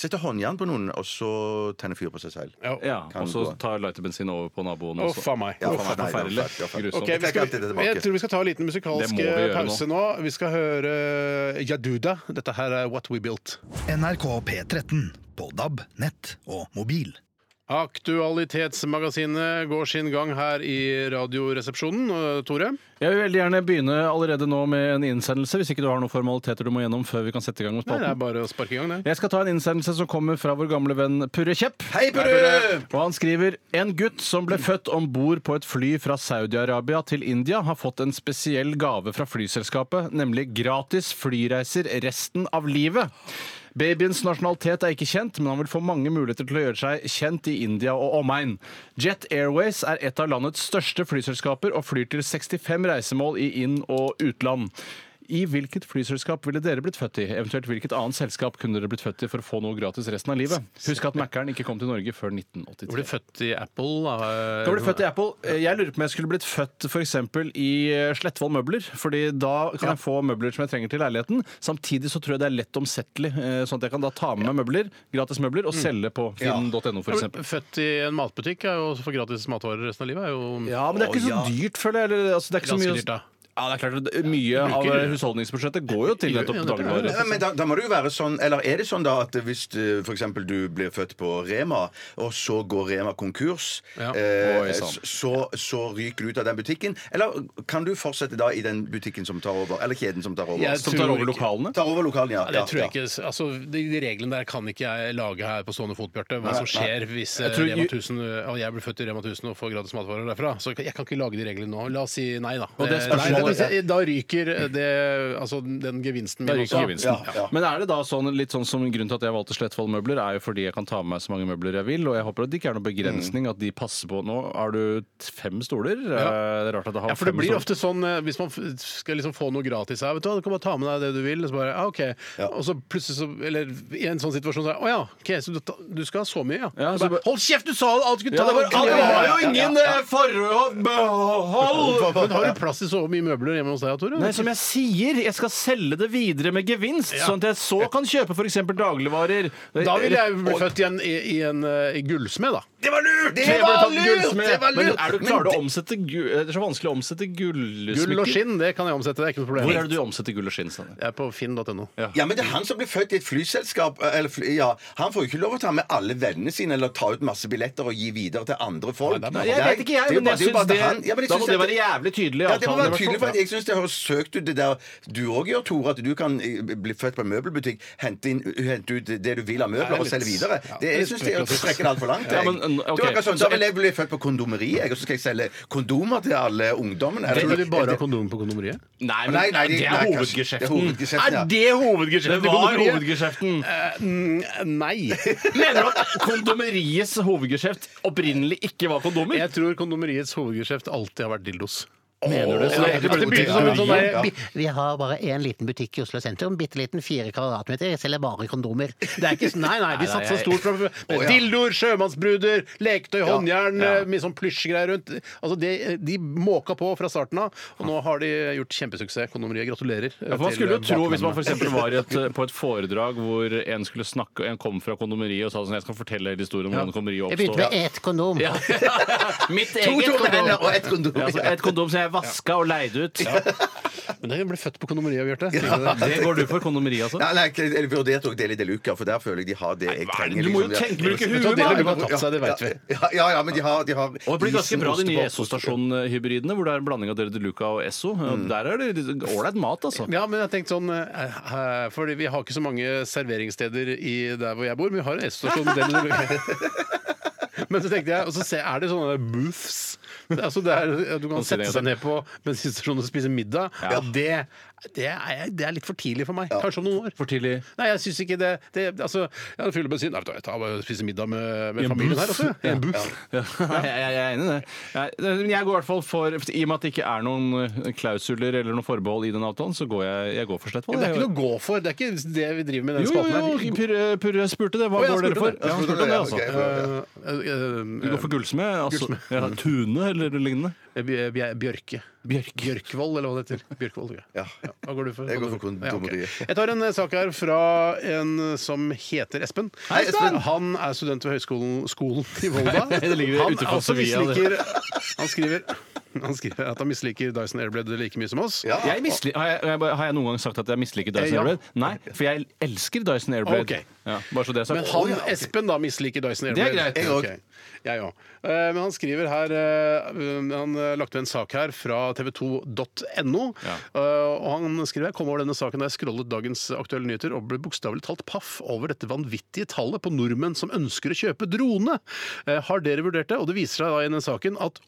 S7: Setter håndjern på noen, og så tenner fyr på seg selv.
S5: Ja.
S6: Ja,
S7: Kan
S6: Og så
S7: gå.
S6: tar lighterbensin over på naboen
S5: Å,
S6: også.
S5: faen meg.
S7: Ja,
S6: Å,
S7: faen meg, nei, det
S6: forferdelig.
S7: var fælt, det var fælt.
S5: Ok, vi
S6: Grusomt.
S7: Jeg skal
S5: skal,
S7: alltid tilbake.
S5: jeg tror vi skal ta en liten
S6: Det
S5: musikalsk eh,
S6: må vi gjøre
S5: pause nå. Vi skal høre Jaduda. Dette her er What We Built.
S3: NRK P13. På DAB, nett og mobil.
S5: Aktualitetsmagasinet går sin gang her i Radioresepsjonen. Og Tore?
S6: Jeg vil veldig gjerne begynne allerede nå med en innsendelse, hvis ikke du har noen formaliteter du må gjennom før vi kan sette i gang med
S5: Nei, det er
S6: spalten.
S5: bare å sparke i gang, det.
S6: Jeg skal ta en innsendelse som kommer fra vår gamle venn Purre Kjepp.
S7: Hei, Purre!
S6: Og han skriver en gutt som ble født om bord på et fly fra Saudi-Arabia til India, har fått en spesiell gave fra flyselskapet, nemlig gratis flyreiser resten av livet. Babyens nasjonalitet er ikke kjent, men han vil få mange muligheter til å gjøre seg kjent i India og omegn. Jet Airways er et av landets største flyselskaper og flyr til 65 reisemål i inn- og utland. I hvilket flyselskap ville dere blitt født i? Eventuelt hvilket annet selskap kunne dere blitt født i for å få noe gratis resten av livet? Husk at Mækkern ikke kom til Norge før 1983.
S5: Du ble født i Apple. Da.
S6: Da ble du født i Apple. Eh, Jeg lurer på om jeg skulle blitt født for eksempel i eh, Slettvoll møbler. fordi da kan jeg få møbler som jeg trenger til leiligheten. Samtidig så tror jeg det er lett omsettelig, eh, sånn at jeg kan da ta med meg møbler, gratis møbler og selge på finn.no
S5: Da ble
S6: f.eks.
S5: du Født i en matbutikk er jo å få gratis matvarer resten av livet. Er jo
S6: Ja, men det er ikke så dyrt, føler jeg. Eller, altså, det er ikke så
S5: Ganske
S6: mye
S5: dyrt, da.
S6: Ja, det er klart at Mye av
S5: Bruker-
S6: husholdningsbudsjettet går jo til nettopp
S5: Ja, det er det.
S6: dagligvarer.
S7: Ja, Men da, da må det jo være sånn, eller er det sånn da at hvis eh, for eksempel du blir født på Rema, og så går Rema konkurs,
S5: Ja.
S7: eh,
S6: Oi, sant.
S7: s- så, så ryker du ut av den butikken? Eller kan du fortsette da i den butikken som tar over, eller kjeden som tar over?
S5: Jeg
S6: Som tar
S5: tror
S6: over
S5: ikke-
S6: lokalene.
S7: Tar over lokalen, ja.
S5: Ja, det
S7: ja,
S5: tror jeg
S7: ja.
S5: ikke, altså, de, de reglene der kan ikke jeg lage her på stående fot, Bjarte. Hva som skjer hvis eh,
S6: Jeg tror-
S5: Rema 1000, og jeg blir født i Rema 1000 og får gratis matvarer derfra. Så jeg kan ikke lage de reglene nå. La oss si nei, da.
S6: Og det
S5: Eh,
S6: spørsmålet-
S5: nei, da, da ryker det, altså, den gevinsten
S6: Da
S5: min
S6: ryker
S5: også.
S6: gevinsten.
S7: Ja, ja.
S6: Men er det da sånn, litt sånn som grunnen til at jeg valgte Slettvoll møbler, er jo fordi jeg kan ta med meg så mange møbler jeg vil, og jeg håper at det ikke er noen begrensning
S5: Mm.
S6: at de passer på Nå har du t- fem stoler. Eh, Det er rart at jeg har
S5: Ja, for det
S6: fem
S5: blir
S6: stoler.
S5: ofte sånn eh, hvis man f- skal liksom få noe gratis her. Vet du hva, du kan bare ta med deg det du vil, og så bare ja, OK. Og så plutselig så Eller i en sånn situasjon så er det å ja, OK, så du, ta- du skal ha så mye, ja.
S6: Ja,
S5: Så
S6: så
S5: bare,
S6: bare-
S5: Hold kjeft, du sa alt du skulle ta!
S6: Ja, det var,
S5: Ja,
S6: det
S5: ja,
S6: var
S5: ja,
S6: jo
S5: ja.
S6: ingen eh, forhold!
S5: [LAUGHS] Men har du plass til så mye møbler hjemme hos deg, Tore?
S6: Nei, som jeg sier, jeg skal selge det videre med gevinst,
S5: Ja.
S6: sånn at jeg så kan kjøpe f.eks. dagligvarer.
S5: Da ville jeg bli født i en, i, i en eh, i gullsmed, da.
S7: Det var lurt!
S6: Jeg ble tatt Eh, gullsmed.
S7: Det var
S6: Men
S7: lurt!
S6: er du klar til å omsette gu- eh, Det er så vanskelig å omsette gullsmykker.
S5: Gull og skinn, det kan jeg omsette. Det er ikke noe problem.
S6: Hvor er det du omsetter gull og skinn? Steinar?
S5: Jeg er på finn.no.
S7: Ja, men det er han som ble født i et flyselskap. eh, Eller, fly- ja, han får jo ikke lov å ta med alle vennene sine eller ta ut masse billetter og gi videre til andre folk.
S6: Nei, jeg vet ikke,
S7: Det er
S6: jeg.
S7: jo bare-
S6: Men jeg
S7: det er jo
S6: syns
S7: bare
S6: det,
S7: han- Ja, men jeg
S6: da
S7: syns
S6: må
S7: at
S6: det være jævlig tydelig. i
S7: Ja, det må
S6: avtalen, i
S7: være
S6: hvert
S7: tydelig,
S6: fall.
S7: for at jeg syns det høres søkt ut, det der du òg gjør, Tore, at du kan eh, bli født på en møbelbutikk, hente, inn, hente ut det du vil av
S5: Det er
S7: møbler og
S5: litt-
S7: selge videre.
S5: ja,
S7: Det, jeg
S5: litt
S7: syns det er å
S5: spekulativt.
S7: strekke det altfor langt.
S6: Ja,
S7: jeg.
S6: men,
S7: Det var
S6: ok,
S7: akkurat sånn,
S6: så
S7: da vil jeg bli født på kondomeriet, jeg, og så skal jeg selge kondomer til alle ungdommene.
S5: Tror du
S7: Eller-
S5: de bare har kondomer på kondomeriet?
S6: Nei, men
S7: Nei, nei,
S6: det,
S7: de-
S6: er
S7: nei, kanskje- det er
S6: hovedgeskjeften.
S7: hovedgeskjeften, ja.
S6: det hovedgeskjeften? Det
S5: i
S6: var
S5: kondomeriet?
S7: [LAUGHS]
S6: hovedgeskjeften.
S5: Nei.
S6: Mener du at kondomeriets hovedgeskjeft opprinnelig ikke var
S5: [LAUGHS]
S6: kondomer?
S5: Jeg tror kondomeriets hovedgeskjeft alltid har vært dildos.
S6: Mener du
S5: Ja,
S6: det? Så det er egentlig
S5: at det
S6: bare
S5: begynte som en
S6: kondomeriet.
S5: sånn der,
S7: Ja.
S5: bi-
S4: Vi har bare én liten butikk i Oslo sentrum. Bitte liten, fire kvadratmeter. Jeg selger bare kondomer.
S5: det er ikke, nei, nei, de
S6: Nei, nei,
S5: satsa
S6: jeg-
S5: stort fra med dildoer, sjømannsbruder, leketøy, håndjern,
S6: Ja.
S5: mye sånn plysjgreier rundt. Altså, de, de måka på fra starten av, og nå har de gjort kjempesuksess. Kondomeriet gratulerer. eh,
S6: Ja, for Man skulle jo tro, hvis
S5: får
S6: man for eksempel var i et, på et foredrag hvor en skulle snakke, og en kom fra kondomeriet og sa sånn Jeg skal fortelle hele historien om hvordan kondomeriet
S4: Jeg begynte
S6: oppstod.
S4: med ett kondom.
S6: Ja. [LAUGHS] Mitt
S7: To
S6: eget
S7: tomme hender
S6: kondom.
S7: og ett kondom.
S6: Ja, altså, et kondom som jeg vaska og leide ut.
S5: Men jeg ble født på kondomeriet, Bjarte.
S6: Det går du for kondomeriet, altså?
S7: Nei, nei, jeg vurderte òg Deli de Luca, for der føler jeg de har det jeg
S6: hva er det?
S7: trenger.
S6: Du må jo
S7: liksom.
S6: tenke- bruke
S7: Ja,
S6: huet,
S7: ja,
S6: da.
S7: ja,
S5: De har tatt seg, det vet vi.
S7: Ja, ja, ja, men de har, de har
S6: Og det blir ganske
S7: isen,
S6: bra, de nye
S7: ostepop.
S6: Esso-stasjonhybridene, hvor det er en blanding av Dere de Luca og Esso. Og Der er det litt ålreit mat, altså.
S5: Mm. Ja, men jeg tenkte sånn eh, eh, Fordi vi har ikke så mange serveringssteder i der hvor jeg bor, men vi har en S-stasjon. med den du- [LAUGHS] Men så tenkte jeg, og så ser, er det sånne booths. Det er, altså det er, du kan
S6: Kan si Sånn
S5: sette
S6: det en
S5: seg
S6: gang
S5: ned på bensinstasjonen og spise middag.
S6: Ja.
S5: Det, det, er, det er litt for tidlig for meg. Kanskje om noen år.
S6: For tidlig.
S5: Nei, jeg syns ikke det, det Altså, jeg fyller bensin. Nei, vet du hva, jeg tar bare og spiser middag med,
S6: I
S5: med
S6: en
S5: familien
S6: booth.
S5: her også. I en booth.
S6: altså. Ja, [LAUGHS] jeg, jeg er enig i det. Jeg, men jeg går i hvert fall for I og med at det ikke er noen eh, klausuler eller noen forbehold i den avtalen, så går jeg, jeg går for slett på
S5: Jo,
S6: det.
S5: det er ikke noe å gå for. Det er ikke det vi driver med i
S6: jo,
S5: den
S6: jo,
S5: spalten
S6: jo,
S5: her.
S6: Purre Purre spurte det. Hva
S5: Å, jeg
S6: går dere
S5: spurte
S6: for?
S5: det.
S6: Ja, han spurte det, altså.
S7: ok.
S5: Eh, eh,
S6: Du går for gullsmed? Altså,
S5: Gullsmed.
S6: ja, tune eller lignende?
S5: Eh, Bj- Bj- Bjørke. Bjørkvold, eller hva det heter. Bjørkvold, tror jeg.
S7: Ja.
S5: Hva går du for?
S7: Jeg går for
S5: Ja,
S7: kondomeriet.
S5: ok. Jeg tar en eh, sak her fra en eh, som heter Espen.
S7: Hei, Espen!
S5: Han er student ved høgskolen skolen i Volda.
S7: [LAUGHS]
S6: Det ligger
S5: han,
S6: utenfor
S5: altså
S6: Sevilla, det.
S5: misliker, han, skriver, han skriver at han misliker Dyson Airblade like mye som oss.
S7: Ja.
S6: Jeg misli- har, jeg, har jeg- har jeg noen gang sagt at jeg misliker
S5: Eh,
S6: Dyson
S5: ja.
S6: Airblade? Nei, for jeg elsker Dyson Airblade.
S5: Ok.
S6: Ja, bare så det er sagt.
S5: Men
S7: Å,
S5: han,
S7: ja, ok.
S5: Espen da misliker Dyson
S6: Det er
S5: Airblade.
S6: greit.
S7: Jeg òg.
S5: Ok. Jeg òg. Eh, Men han skriver her eh, Han eh, lagt ved en sak her fra tv2.no.
S6: Ja.
S5: Eh, Og han skriver jeg kom over denne saken da jeg scrollet dagens aktuelle nyheter og ble bokstavelig talt paff over dette vanvittige tallet på nordmenn som ønsker å kjøpe drone. Eh, Har dere vurdert det? Og det viser seg da i denne saken at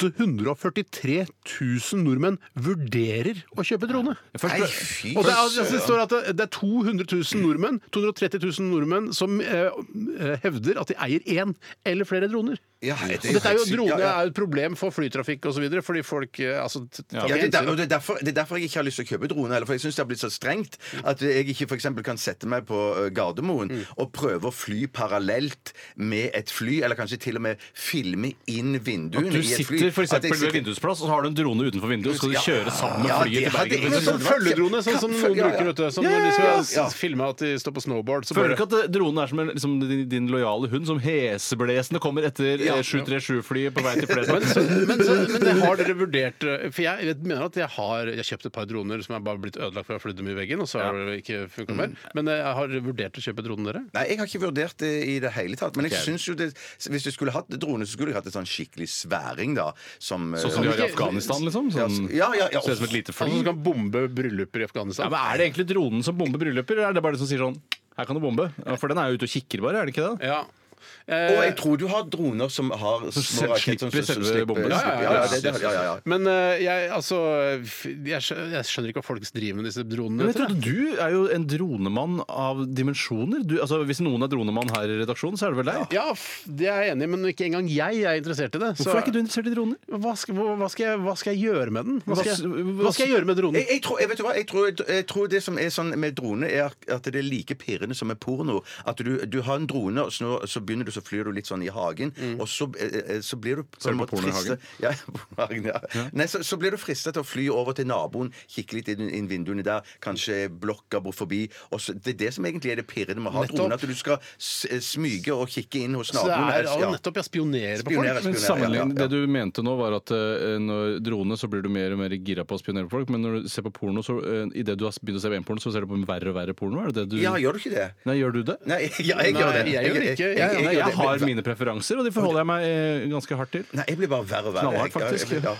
S5: 843 000 nordmenn vurderer å kjøpe drone.
S7: Nei, fy
S5: Og det, er, altså, det står at det- det er 200 000 nordmenn, 230 000 nordmenn som eh, eh, hevder at de eier én eller flere droner.
S7: Ja, det
S5: Og dette er jo
S7: helt sykt.
S5: droner
S7: Ja, ja.
S5: er jo et problem for flytrafikk osv., fordi folk eh, altså, t- tar
S7: Ja,
S5: ikke
S7: det, er der, og
S5: hensyn.
S7: det, er derfor, det er derfor jeg ikke har lyst til å kjøpe drone. Eller, for jeg syns det har blitt så strengt at jeg ikke for eksempel kan sette meg på eh, Gardermoen og prøve å fly parallelt med et fly, eller kanskje til og med filme inn vinduene
S6: Du
S7: i et fly.
S6: sitter for
S7: At jeg
S6: eksempel ved
S7: sitter-
S6: vindusplass, og så har du en drone utenfor vinduet, og skal du
S7: Ja.
S6: kjøre sammen med
S7: Ja,
S6: flyet
S7: det
S6: til
S7: hadde
S6: Bergen.
S7: jeg-
S5: Men sånn følledrone, sånn som noen
S7: Ja, ja.
S5: bruker, vet du. Som
S6: Ja, ja,
S5: når de
S6: ja.
S5: skal
S7: Ja.
S5: s- filme at de står på snowboard. Så
S6: Føler du
S5: bare,
S6: ikke at dronen er som en, liksom, din, din lojale hund som heseblesende kommer etter eh,
S7: Ja.
S6: 737-flyet på vei [LAUGHS] til
S5: men, så,
S6: Flesland?
S5: men, så, men det har dere vurdert eh, For jeg vet- mener at jeg har Jeg har kjøpt et par droner som er bare blitt ødelagt for å ha flydd dem i veggen, og så har det ikke
S7: Mm.
S5: funka mer. Men eh, har dere vurdert å kjøpe dronen, dere?
S7: Nei, jeg har ikke vurdert det i det hele tatt. Men jeg syns jo det Hvis du skulle hatt drone, så skulle jeg hatt en sånn skikkelig sværing, da. Som, eh,
S6: Sånn som de har i
S5: ikke-
S6: Afghanistan, liksom? Sånn,
S7: Ja, ja, ja.
S6: Ser ut som et lite
S5: Altså,
S6: fly.
S5: som kan bombe brylluper i
S6: Ja,
S5: Afghanistan?
S6: men er det egentlig dronen som bomber brylluper, eller er det bare den som sier sånn her kan du bombe? Ja, for den er jo ute og kikker, bare. er det ikke det?
S5: Ja.
S7: Og
S5: Eh,
S7: jeg tror du har droner som har små
S6: selv
S7: raketter som-
S6: slipper
S7: som
S6: selve
S7: slipper-
S6: bomben. liksom?
S7: Ja, ja, ja, ja, det- det- ja, ja, ja.
S5: men eh, jeg, altså, f- jeg, skjø- jeg skjønner ikke hva folk driver med disse dronene.
S6: Men jeg
S5: vet
S6: trodde Du er jo en dronemann av dimensjoner. Du, altså, hvis noen er dronemann her i redaksjonen, så er det vel deg?
S5: du. Ja, f- det er jeg enig i, men ikke engang jeg er interessert i det. så-
S6: Hvorfor er ikke du interessert i droner?
S5: Hva skal, hva, hva skal, jeg, hva skal jeg gjøre med den? Hva skal jeg,
S6: Hva-
S5: hva skal jeg gjøre med
S7: Jeg,
S5: dronen?
S7: jeg, tror, jeg, vet du hva? Jeg, tror, jeg tror det som er sånn med drone, er at det er like pirrende som med porno. At du, du har en drone, og så, nå- så begynner du, så flyr du litt sånn i hagen, og så, eh, eh, så blir du på
S6: Ser du på porno i
S7: fristet- Ja, [LAUGHS] pornohagen, ja. Nei, så, så blir du fristet til å fly over til naboen, kikke litt inn, inn vinduene der, kanskje blokka bort forbi. Og så, det er det som egentlig er det pirrende med å ha
S5: Nettopp.
S7: droner, at du skal s- eh, smyge og kikke inn hos
S5: Så det
S7: naboen.
S5: er
S7: eller-
S5: ja,
S7: ja.
S5: nettopp jeg spionerer på
S7: Spionerer.
S5: folk.
S6: Men
S7: spionere,
S6: sammenlign,
S7: ja, ja.
S6: Det du mente nå, var at eh, når drone så blir du mer og mer gira på å spionere på folk. Men når du ser på porno, så uh, idet du har begynt å se på en porno, så ser du på en verre og verre porno? Er det det du
S7: ja, gjør du ikke det?
S6: Nei, gjør du det?
S7: Nei, [LAUGHS] ja, jeg gjør det.
S5: Nei, jeg gjør det ikke. Jeg-
S6: Nei, jeg,
S7: gjør det, men-
S6: har mine preferanser, og de forholder jeg meg eh, ganske hardt til.
S7: Nei, jeg blir bare verre og verre.
S6: Knallhardt, faktisk.
S7: Jeg- jeg- ja.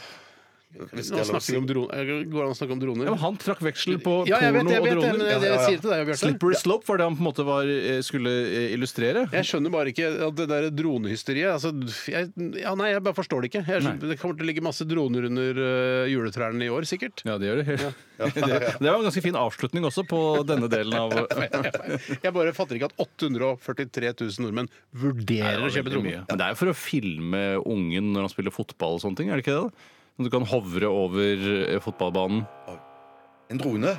S7: Hvis det er lov å
S5: Nå
S7: si.
S5: snakker vi om droner. Går det an å snakke om droner?
S6: Ja, men han trakk veksel på
S5: Ja, jeg vet,
S6: porno
S5: jeg
S6: og
S5: vet det, men eh,
S6: droner.
S5: det
S7: Ja, ja, ja.
S5: jeg sier til deg, Bjarte
S6: Slippery slope var det han på en måte var, eh, skulle eh, illustrere.
S5: Jeg skjønner bare ikke at det der dronehysteriet altså, jeg, ja, Nei, jeg bare forstår det ikke. Jeg, skjønner- det kommer til å ligge masse droner under øh, juletrærne i år, sikkert.
S6: Ja, det gjør [LAUGHS] det. det, det var en ganske fin avslutning også på denne delen av
S5: [LAUGHS] Jeg bare fatter ikke at 843 000 nordmenn vurderer å kjøpe
S6: mye.
S5: droner.
S6: Men det er jo for å filme ungen når han spiller fotball og sånne ting, er det ikke det? da? Når du kan hovre over eh, fotballbanen.
S7: En drone?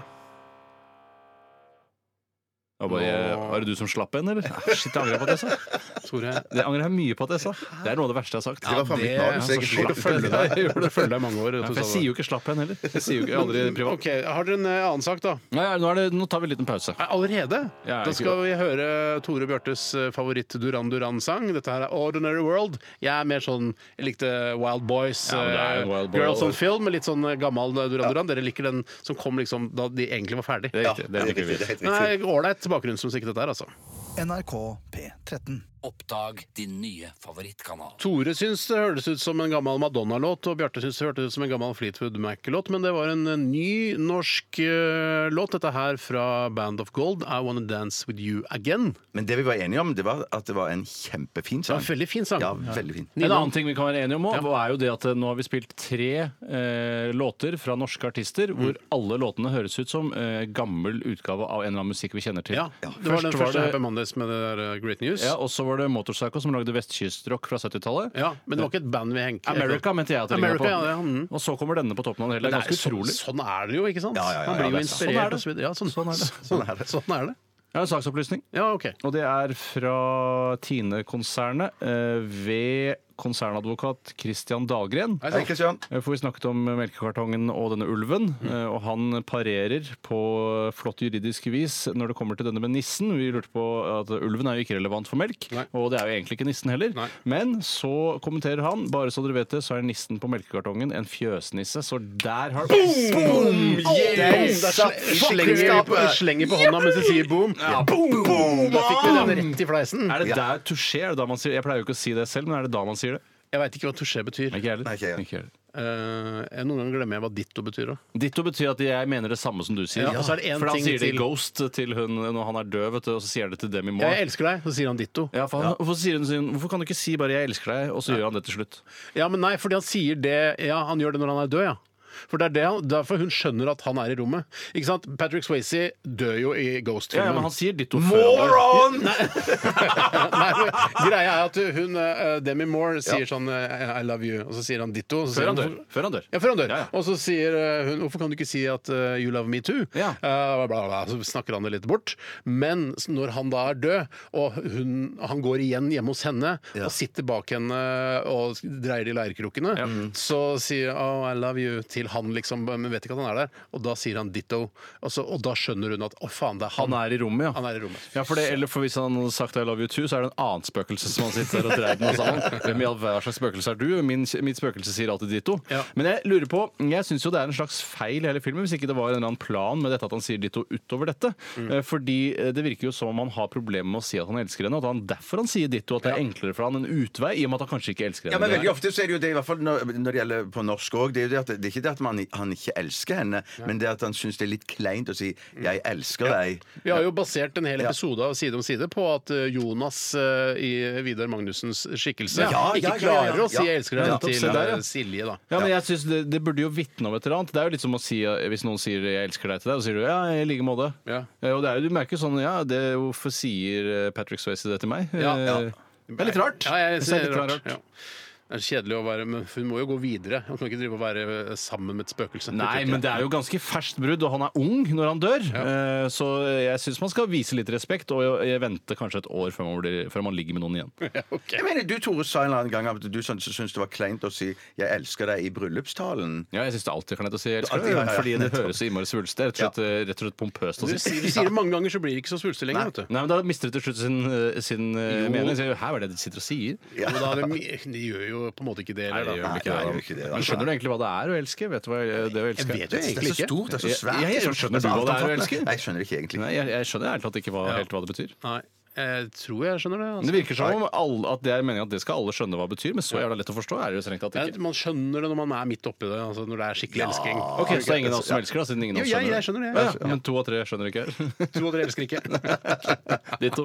S6: Og bare, Var det du som slapp en, [LAUGHS] eller? Ah, Shit, jeg angrer på at jeg sa.
S5: Tore,
S6: Det angrer jeg mye på at jeg sa. Det er noe av det verste jeg har sagt.
S7: Det var fra mitt manus,
S6: så
S7: egentlig.
S6: slapp en. [LAUGHS] Jeg gjorde
S5: jeg
S6: det.
S5: følger deg i mange år.
S6: Ja,
S5: Tore
S6: for jeg
S5: Sagen.
S6: sier jo ikke 'slapp en' heller. Jeg sier jo ikke aldri privat.
S5: Ok, Har dere en eh, annen sak, da?
S6: Nei, nå, er det, nå tar vi en liten pause.
S5: Nei, Allerede?
S6: Ja,
S5: Da skal vi høre Tore Bjørtes eh, favoritt Duran Duran-sang. Dette her er Ordinary World. Jeg er mer sånn Jeg likte Wild Boys,
S6: Ja, men det er jo
S5: eh,
S6: Wild Boy.
S5: Girls on Film, med litt sånn eh, gammel eh, Duran Duran. Dere liker den som kom liksom da de egentlig var ferdig.
S6: Det er
S7: Ja,
S6: riktig. Det er riktig.
S7: det er helt riktig.
S5: Nei, Ålreit bakgrunnsmusikk, dette her, altså.
S3: NRK P13.
S8: Oppdag din nye favorittkanal.
S5: Tore syns det hørtes ut som en gammel Madonna-låt, og Bjarte syns det hørtes ut som en gammel Fleetwood Mac-låt, men det var en eh, ny norsk eh, låt, dette her fra Band of Gold, I Wanna Dance With You Again.
S7: Men det vi var enige om, det var at det var en kjempefin
S5: Det
S7: sang.
S5: var en veldig fin sang.
S7: Ja, veldig fin.
S6: En annen ting vi kan være enige om også, er jo det at eh, nå har vi spilt tre eh, låter fra norske artister
S5: Mm.
S6: hvor alle låtene høres ut som eh, gammel utgave av en eller annen musikk vi kjenner til.
S5: Ja, det var den
S6: Først
S5: første Happy
S6: det,
S5: Mondays med det der eh, Great News.
S6: ja,
S5: Ja,
S6: Og så var det Motorcycle som lagde vestkystrock fra 70-tallet.
S5: Men det var ikke et band vi hengte
S6: America mente jeg at det ligner
S5: America,
S6: på.
S5: ja, ja, mm.
S6: Og så kommer denne på toppen av det hele.
S5: Det
S6: Det
S5: er
S6: er ganske
S5: sånn,
S6: utrolig.
S5: sånn er det jo, ikke sant?
S7: Ja, ja, ja,
S5: Man blir
S7: ja,
S5: jo
S7: det er sant.
S6: Sånn
S5: inspirert
S6: er det.
S5: og så videre. Ja, sånn,
S6: Sånn er
S5: [LAUGHS]
S6: det. Mm.
S5: Sånn er det. Sånn er det.
S6: Jeg har en saksopplysning.
S5: Ja, OK.
S6: Og det er fra Tine-konsernet eh, ved konsernadvokat Christian Dahlgren.
S7: Hei, Kristian.
S6: Eh, For vi snakket om melkekartongen og denne ulven,
S5: Mm.
S6: eh, og han parerer på flott juridisk vis når det kommer til denne med nissen. Vi lurte på at ulven er jo ikke relevant for melk,
S5: Nei.
S6: og det er jo egentlig ikke nissen heller.
S5: Nei.
S6: Men så kommenterer han, bare så dere vet det, så er nissen på melkekartongen en fjøsnisse, så der har Boom!
S5: Slenger på, slenger på hånda mens du sier boom.
S6: Boom! Mm.
S5: Da fikk vi den rett i fleisen.
S6: Er det der touché? Er det da man sier Jeg pleier jo ikke å si det selv, men er det da man sier det?
S5: Jeg veit ikke hva touché betyr.
S6: Ikke heller.
S7: Nei, ikke jeg.
S6: heller.
S5: Eh, jeg noen ganger glemmer jeg hva ditto betyr òg.
S6: Ditto betyr at jeg mener det samme som du sier.
S5: Ja, og så er det en
S6: For han
S5: ting
S6: sier det i
S5: til.
S6: Ghost til hun når han er død, vet du, og så sier han det til dem i
S5: Jeg
S6: morgen.
S5: elsker deg, så sier han ditto.
S6: Ja, for han, hvorfor, sier hun sin, hvorfor kan du ikke si bare 'jeg elsker deg', og så gjør han det til slutt?
S5: Ja, men nei, fordi han sier det Ja, han gjør det når han er død, ja. For det er det, han- Derfor hun skjønner at han er i rommet. Ikke sant? Patrick Swayze dør jo i
S6: Ja, ja, men
S5: Ghost-filmen. [LAUGHS]
S6: han sier ditto før.
S5: Nei, men greia er at hun, eh, Demi Moore sier sånn eh, I love you, og så sier han ditto. og Så sier
S6: Før han dør. Før han dør.
S5: Ja, før han dør.
S6: Ja, ja.
S5: Og så sier eh, hun Hvorfor kan du ikke si at eh, you love me too?
S6: Ja.
S5: Eh, bla, bla, bla, så snakker han det litt bort. Men s- når han da er død, og hun, han går igjen hjemme hos henne og sitter bak henne og dreier i leirkrokene, så sier oh, I love you til han, liksom, men vet ikke at han er der. Og da sier han ditto. Og, så, og da skjønner hun at å, faen, det er han.
S6: Han er i rommet, ja.
S5: Han er i rommet.
S6: Ja, for det, eller for Hvis han hadde sagt 'I love you too', så er det en annen spøkelse som han sitter der og dreier den [LAUGHS] sammen. Hvem i all hver slags spøkelse er du? Min, mitt spøkelse sier alltid ditto.
S5: Ja.
S6: Men jeg lurer på, jeg syns jo det er en slags feil i hele filmen, hvis ikke det var en eller annen plan med dette at han sier ditto utover dette.
S5: Mm.
S6: Eh, Fordi eh, det virker jo som om han har problemer med å si at han elsker henne, og at han derfor han sier ditto, at det er enklere for han en utvei, i og med at han kanskje ikke elsker
S7: Ja,
S6: henne.
S7: men veldig ofte så er det jo det, i hvert fall når, når det gjelder på norsk òg, det er jo det at det er ikke det at man, han ikke elsker henne, men det at han syns det er litt kleint å si 'jeg elsker deg'.
S5: Vi har jo basert en hel episode av Side om side på at eh, Jonas eh, i Vidar Magnussens skikkelse
S7: Ja, ja,
S5: ikke
S7: ja, ja,
S5: klarer
S7: ja.
S5: å si 'jeg elsker deg'
S6: Ja, nettopp,
S5: til
S6: se der, ja.
S5: eh, Silje, da.
S6: Ja, men jeg synes det, det burde jo vitne om et eller annet. Det er jo litt som å si eh, hvis noen sier 'jeg elsker deg' til deg, og så sier du 'ja, i like måte'.
S5: Ja.
S6: Eh, Og det er jo, du merker jo sånn 'ja, det, hvorfor sier eh, Patrick Swayze det til meg?'
S5: Ja, ja.
S6: Eh, Det er litt rart.
S5: Ja, jeg
S6: Jeg
S5: synes
S6: synes
S5: det er
S6: litt
S5: rart. Ja. Det er kjedelig å være Men hun må jo gå videre. Hun kan ikke drive og være eh, sammen med et spøkelse.
S6: Nei, men det er jo ganske ferskt brudd, og han er ung når han dør. Eh, Så jeg syns man skal vise litt respekt, og jeg venter kanskje et år før man, blir, før man ligger med noen igjen.
S5: Ja, ok.
S7: Jeg mener, Du Tore, sa en eller annen gang at du syns syns det var kleint å si 'jeg elsker deg' i bryllupstalen.
S6: Ja, jeg syns det er alltid kleint å si jeg elsker
S7: Alltid, ja, ja,
S6: deg,
S7: ja.
S6: fordi det høres så innmari svulstig rett og slett, eh, rett og slett pompøst å
S5: Du
S6: si.
S5: sier, du sier det mange ganger, så blir det ikke så svulstig lenger. vet du.
S6: Nei, men Da mister det til slutt sin, eh, sin eh,
S5: Jo.
S6: mening. Så jeg, Hæ, hva er det de sitter og sier?
S5: Jo da, de, de gjør jo på en måte ikke det.
S6: Nei,
S5: Eller, da.
S6: det gjør vel
S7: nei,
S6: ikke det,
S7: det
S6: da.
S7: gjør ikke det, da.
S6: Men skjønner du egentlig hva det er å elske? Vet du hva eh, det å elske er?
S5: Jeg
S7: Det
S5: vet jo
S7: er så
S5: egentlig ikke.
S7: stort, det er så svært.
S6: Jeg- jeg
S7: det er så-
S6: skjønner du hva det er å
S7: altomfattende.
S6: elske?
S7: Nei, jeg skjønner ikke egentlig.
S6: Nei, jeg, jeg skjønner ærlig talt ikke hva, helt hva det betyr.
S5: Nei, jeg tror jeg skjønner det.
S6: Men Det
S5: Altså.
S6: virker som om alle, at det er meningen at det skal alle skjønne hva det betyr, men så jævla lett å forstå er det jo strengt tatt
S5: Det
S6: ikke.
S5: er, man skjønner det når man er midt oppi det, altså når det er skikkelig elsking.
S6: Ok, Så det er ingen av oss som elsker, da? Siden ingen av oss
S5: Jo, jeg-
S6: skjønner,
S5: jeg skjønner det,
S6: Ja,
S5: jeg.
S6: ja. Men to av tre skjønner ikke.
S5: [LAUGHS] To og dere elsker
S6: [LAUGHS]
S5: ikke.
S6: De to.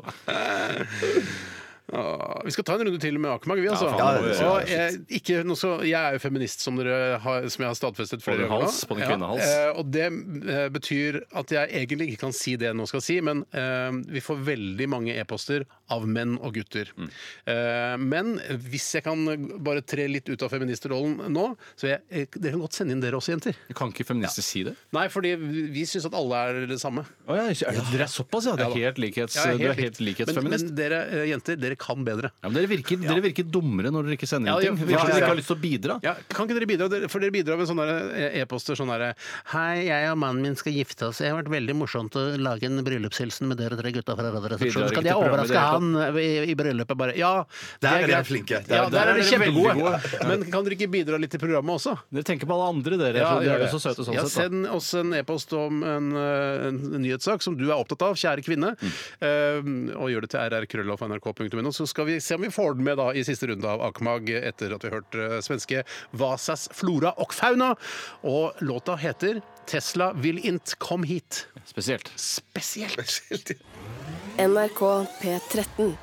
S5: Ah, Vi skal ta en runde til med Akermag, vi, altså.
S6: faen, det må vi gjøre.
S5: og, eh, ikke, nå skal- jeg er jo feminist, som, dere har, som jeg har stadfestet flere
S6: På din
S5: ganger nå.
S6: hals, på din kvinnehals.
S5: eh, og det eh, betyr at jeg egentlig ikke kan si det jeg nå skal si, men eh, vi får veldig mange e-poster av menn og gutter.
S6: Mm.
S5: Eh, men hvis jeg kan bare tre litt ut av feministrollen nå, så jeg, eh, dere kan godt sende inn dere også, jenter.
S6: Kan ikke feminister si det?
S5: Nei, fordi vi vi syns at alle er det samme.
S6: Å ja, er det, dere er såpass, ja? Det er helt likhets,
S5: Jeg
S6: du er helt
S5: likt.
S6: likhetsfeminist.
S5: Men, men dere eh, jenter, dere kan bedre.
S6: ja, men dere virker, dere virker dummere når dere ikke sender
S5: Ja,
S6: inn
S5: ja,
S6: ting.
S5: ja, ja,
S6: Kanskje dere
S5: ja.
S6: ikke har lyst til å bidra?
S5: Ja, kan ikke dere bidra? Dere- For dere bidrar med sånne der, eh, e-poster sånn derre
S4: Hei, jeg og mannen min skal gifte oss. Det har vært veldig morsomt å lage en bryllupshilsen med dere tre gutta fra Radioresepsjonen.
S6: Bidrar
S4: Skal
S6: ikke til programmet i
S4: jeg
S6: det
S4: overraske
S6: hele
S4: han
S5: eh,
S4: i, i bryllupet bare?
S5: Ja, det
S7: Der er
S5: er
S7: dere
S5: greit.
S7: flinke. Der-
S5: Ja, der er
S6: der er
S5: dere
S6: dere veldig
S5: kjempegode.
S6: gode.
S5: Men kan dere ikke bidra litt til programmet også?
S6: Dere tenker på alle andre, dere.
S5: Ja,
S6: for dere er
S5: gjør
S6: jo så søte sånn
S5: ja,
S6: sett.
S5: Send oss en e-post om en, eh, en nyhetssak som du er opptatt av, kjære kvinne.
S6: Mm.
S5: Eh, og gjør det til rrkrøllalfa.nrk.no, så skal vi se om vi får den med da, i siste runde av Akmag, etter at vi har hørt eh, svenske Vasas flora og fauna. Og låta heter 'Tesla vil int kom hit'.
S6: da. Spesielt.
S5: Spesielt!
S1: NRK P13.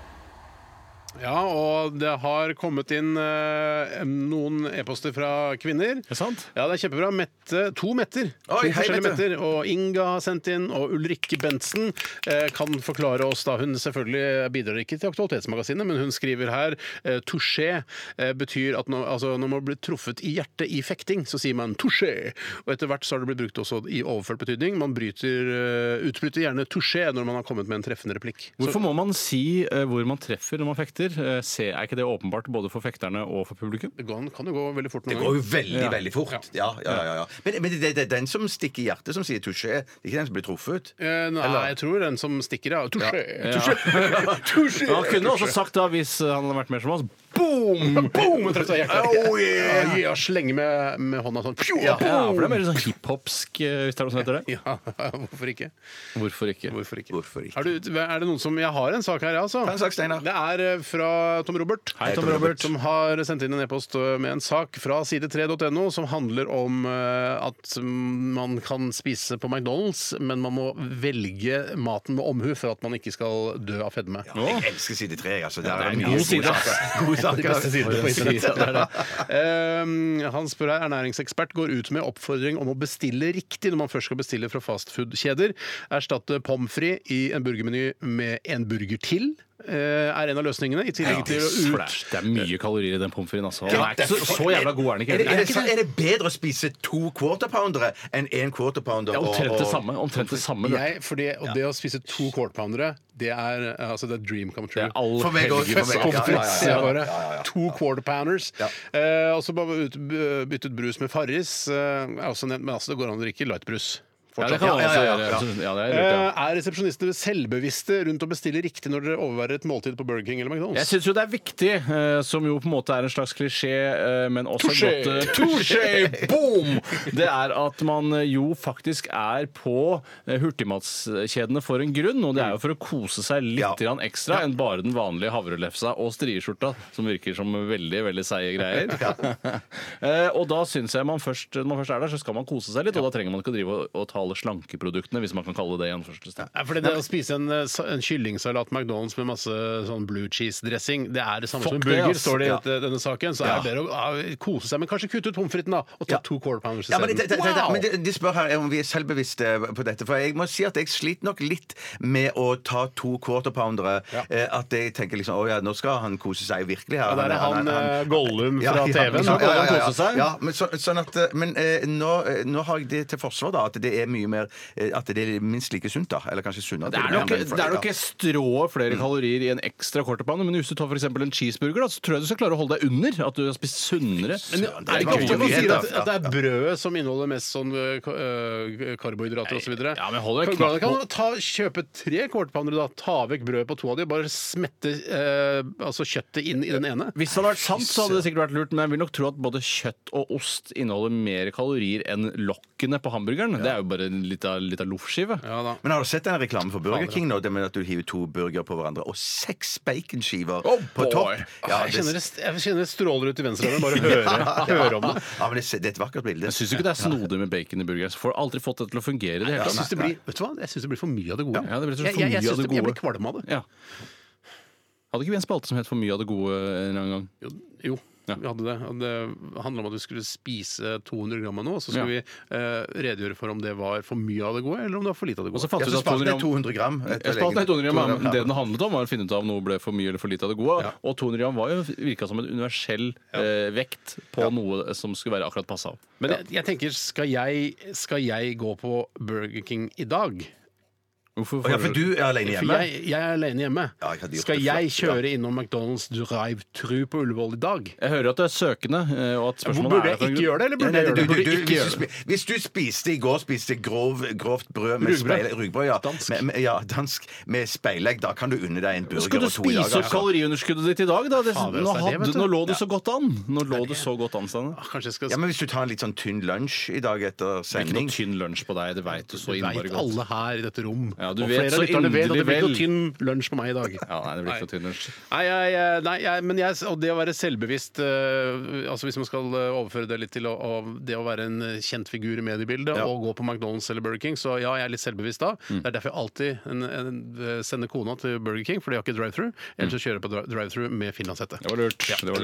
S5: Ja, og det har kommet inn eh, noen e-poster fra kvinner.
S6: det sant?
S5: Ja, det er kjempebra. Mette, to Metter.
S7: Oi,
S5: to
S7: hei,
S5: forskjellige
S7: Mette.
S5: Metter. Og Inga har sendt inn, og Ulrikke Bentsen eh, kan forklare oss da. Hun selvfølgelig bidrar ikke til Aktualitetsmagasinet, men hun skriver her eh, touché eh, betyr at når, altså, når man blir truffet i hjertet i fekting, så sier man touché. Og etter hvert så har det blitt brukt også i overført betydning. Man bryter, eh, utbryter gjerne touché når man har kommet med en treffende replikk. Så-
S6: Hvorfor må man si eh, hvor man treffer når man fekter? Eh, se, er ikke det åpenbart både for fekterne og for publikum?
S5: Det kan kan jo gå veldig fort
S7: Det
S5: noen
S7: går
S5: ganger.
S7: jo veldig, veldig fort. Ja, ja, ja, ja. Men, men det, det er den som stikker i hjertet, som sier touché. Det er ikke den som blir truffet.
S5: Eh, Nei, jeg tror den som stikker, ja. Touché! [LAUGHS]
S6: Men Han kunne også sagt da, hvis eh, han hadde vært mer som oss, boom!
S5: Boom! Jeg traff deg i hjertet. Ja, ja, slenge med, med hånda sånn. Pju,
S6: Oh, Ja,
S5: boom!
S6: for det er mer sånn hiphopsk, eh, hvis det er noe som heter det.
S5: Ja, [LAUGHS] hvorfor ikke?
S6: Hvorfor ikke?
S5: Hvorfor ikke?
S7: Hvorfor ikke?
S5: Er, du, er det noen som Jeg har en sak her, ja, altså.
S7: Ta en sak, Steinar.
S5: Det er eh, fra Tom Robert.
S6: Hei, Tom Robert.
S5: Som har sendt inn en e-post eh, med en sak fra side3.no som handler om eh, at man kan spise på McDonald's, men man må velge maten med omhu for at man ikke skal dø av fedme.
S7: Jeg elsker side tre. Altså, der er det
S6: det er en
S7: mye
S6: god
S7: gode
S6: side, ass.
S7: saker. Gode
S5: De beste
S7: saker.
S5: sidene på internett. Ja, det er det. Um, han spør her, ernæringsekspert går ut med oppfordring om å bestille riktig når man først skal bestille fra fastfood-kjeder. Erstatte pommes frites i en burgermeny med en burger til, eh, er en av løsningene. I tillegg til å
S6: For det
S5: ut...
S6: er, det er mye kalorier i den pommes fritesen. Altså. Den er ikke så, så jævla god er den
S7: Er det, er,
S6: ikke.
S7: det, er det bedre å spise to quarter poundere enn én quarter pounder?
S6: Det er omtrent det
S7: og-
S6: samme. Omtrent det samme. det.
S5: Jeg, for det, og det å spise to quarterpoundere, det er eh, altså det er dream come
S6: Det
S5: true.
S6: er all
S7: For meg også, for
S6: helges
S7: meg.
S5: Pommes
S6: pommes
S7: Ja, ja,
S5: frites,
S7: ja, ja.
S5: jeg bare.
S7: Ja, ja, ja.
S5: To quarter pounders.
S7: Ja.
S5: Eh, og så bare ut- byttet brus med Farris. Eh, er også nevnt, men altså, det går an å drikke lightbrus.
S6: Ja, det
S5: Fortsatt.
S6: kan man
S7: Ja,
S6: også
S7: ja, ja,
S6: gjøre.
S7: ja.
S6: Så- Ja, det er lurt, ja.
S5: Eh, Er resepsjonistene selvbevisste rundt å bestille riktig når dere overværer et måltid på Burger King eller
S6: Jeg
S5: McDonald's?
S6: syns jo det er viktig, eh, som jo på en måte er en slags klisjé, eh, men også
S5: Touché!
S6: et godt eh,
S7: [LAUGHS]
S6: Touché! Boom! Det er at man eh, jo faktisk er på eh, hurtigmatskjedene for en grunn, og det er jo for å kose seg litt
S7: Mm. Ja.
S6: grann ekstra enn bare den vanlige havrelefsa og strieskjorta, som virker som veldig, veldig seige
S7: [LAUGHS]
S6: greier. [LAUGHS] Eh, og da syns jeg man først, når man først er der, så skal man kose seg litt, og da trenger man ikke å drive og, og ta alle slankeproduktene, hvis man kan kalle det det i anførselstegn.
S5: Nei, fordi det Å spise en, eh, sa- en kyllingsalat på McDonald's med masse sånn blue cheese-dressing, det er det samme
S6: Fuck
S5: som en
S6: det,
S5: burger,
S6: ass.
S5: står det i
S6: Ja.
S5: dette- denne saken. Så er det bedre å ah, kose seg, men kanskje kutte ut pommes fritesen da, og ta
S7: Ja.
S5: to quarter pounders
S7: Ja, men, det, det, det,
S5: isteden.
S7: det, men
S5: Wow!
S7: det, de spør her om vi er selvbevisste på dette. For jeg må si at jeg sliter nok litt med å ta to quarterpoundere. Eh, at jeg tenker liksom Å ja, nå skal han kose seg virkelig her.
S5: Ja, der er han, eh, Gollum fra TV-en.
S7: Ja,
S5: Nå
S7: ja,
S5: kan han
S7: ja, ja,
S5: kose seg.
S7: ja, men så, sånn at, eh, men eh, nå, eh, nå har jeg det til forsvar, da. At det er mye mer eh, At det er minst like sunt, da. Eller kanskje sunnere.
S6: Det er nok, det er nok strået
S5: Mm.
S6: flere kalorier i en ekstra quarterpound, men hvis du tar for eksempel en cheeseburger, da, så tror jeg du skal klare å holde deg under. At du har spist sunnere.
S5: Er det ikke ofte man
S7: mye,
S5: sier at,
S7: da.
S5: at det er brødet som inneholder mest sånn eh, ka- eh, karbohydrater osv.?
S6: Ja, men holder det
S5: kan
S6: knapt
S5: man ta, kjøpe tre quarterpounder, da, ta vekk brødet på to av de, bare smette eh, altså kjøttet inn i den ene?
S6: Hvis det hadde vært sant, så hadde det sikkert vært lurt, men jeg vil nok tro at både kjøtt og ost inneholder mer kalorier enn lokkene på hamburgeren. Det er jo bare litt av, litt av loffskive.
S5: Ja da.
S7: Men har du sett den reklamen for Burger King nå? Det med at du hiver to burgere på hverandre, og seks baconskiver
S6: Oh,
S7: på
S6: boy.
S7: topp? Ja,
S5: Jeg kjenner, det, jeg kjenner det stråler ut i venstre øye
S6: [LAUGHS]
S5: bare å høre, høre om det.
S7: Ja, men det, det er et vakkert bilde.
S6: Jeg syns ikke det er snodig med bacon i burgeren. så Får aldri fått det til å fungere i det hele
S5: Jeg syns
S6: tatt.
S5: det, blir- vet du hva? Jeg synes det blir for mye av det gode.
S6: Ja, det blir så
S5: jeg,
S6: for
S5: jeg, jeg,
S6: mye av
S5: synes
S6: det
S5: det- jeg
S6: gode.
S5: blir kvalm av det.
S6: Ja. Hadde ikke vi en spalte som het For mye av det gode en eller annen gang?
S5: Jo, jo.
S6: Ja.
S5: Vi hadde det. Og Det handla om at vi skulle spise 200 gram av noe, og så skulle
S6: Ja.
S5: vi eh, redegjøre for om det var for mye av det gode, eller om det var for lite av det
S6: Og
S5: gode.
S6: så fant
S7: Ja,
S6: vi
S7: så
S6: ut at 200
S7: spalte
S6: gram-
S7: 200 gram. etter
S6: Jeg spalte
S7: legen.
S6: helt 200 gram, ja, men
S7: 200
S6: Det den handlet om, var å finne ut av om noe ble for mye eller for lite av det gode.
S5: Ja.
S6: Og 200 gram var jo, virka som en universell eh, vekt på noe som skulle være akkurat passe av.
S5: Men jeg, jeg tenker, skal jeg, skal jeg gå på Burger King i dag?
S6: Hvorfor
S7: Ja, for du er alene
S5: For
S7: hjemme.
S5: jeg, jeg er alene hjemme.
S7: Ja, jeg hadde gjort
S5: skal
S7: det
S5: jeg
S7: flott,
S5: kjøre innom McDonald's drive-thru på Ullevål i dag?
S6: Jeg hører at du er søkende, eh, og at
S5: Hvor
S6: spørsmålet
S5: burde
S6: er
S5: jeg ikke gjøre det, eller
S7: Nei,
S5: burde
S7: nei,
S5: jeg
S7: du,
S5: gjøre
S7: du,
S5: det?
S7: du,
S5: Burde jeg
S7: hvis,
S5: ikke
S7: du
S5: gjøre det?
S7: spi, hvis du spiste i går spiste grov, grovt brød med
S5: Rugbrød.
S7: speil- rugbrød ja.
S5: Dansk.
S7: Med, med, ja, dansk med speilegg, da kan du unne deg en burger
S6: Skal du
S7: og to i dag.
S6: spise opp
S7: altså.
S6: kaloriunderskuddet ditt i dag, da? Det,
S5: Fader, altså, det er
S6: nå,
S5: det,
S6: hadde,
S5: vet du.
S6: nå lå det så godt an. Nå lå det så godt an, Steinar.
S5: Ah, Kanskje jeg skal
S7: Ja, men Hvis du tar en litt sånn tynn lunsj i dag etter
S6: Ikke
S7: sending
S6: noe tynn lunsj på deg, det veit du så
S5: Det
S6: innmari
S5: vet
S6: godt.
S5: alle her i dette rom.
S6: Ja, du
S5: og
S6: vet
S5: flere
S6: så
S5: av lytterne vet at det blir
S6: inderlig
S5: ikke noe tynn lunsj på meg i dag.
S6: Ja, nei, det blir ikke noe tynn lunsj.
S5: Nei, jeg, jeg- nei jeg, men jeg, og det å være selvbevisst eh, altså Hvis man skal eh, overføre det litt til å, å, det å være en eh, kjent figur i mediebildet og gå på McDonald's eller Burger King, så ja, jeg er litt selvbevisst da.
S6: Mm.
S5: Det er derfor jeg alltid en, en, eh, sender kona til Burger King, for de har ikke drive-thru.
S6: Mm.
S5: Ellers så kjører jeg på dri- drive-thru med finlandshette.
S6: Det var lurt. det var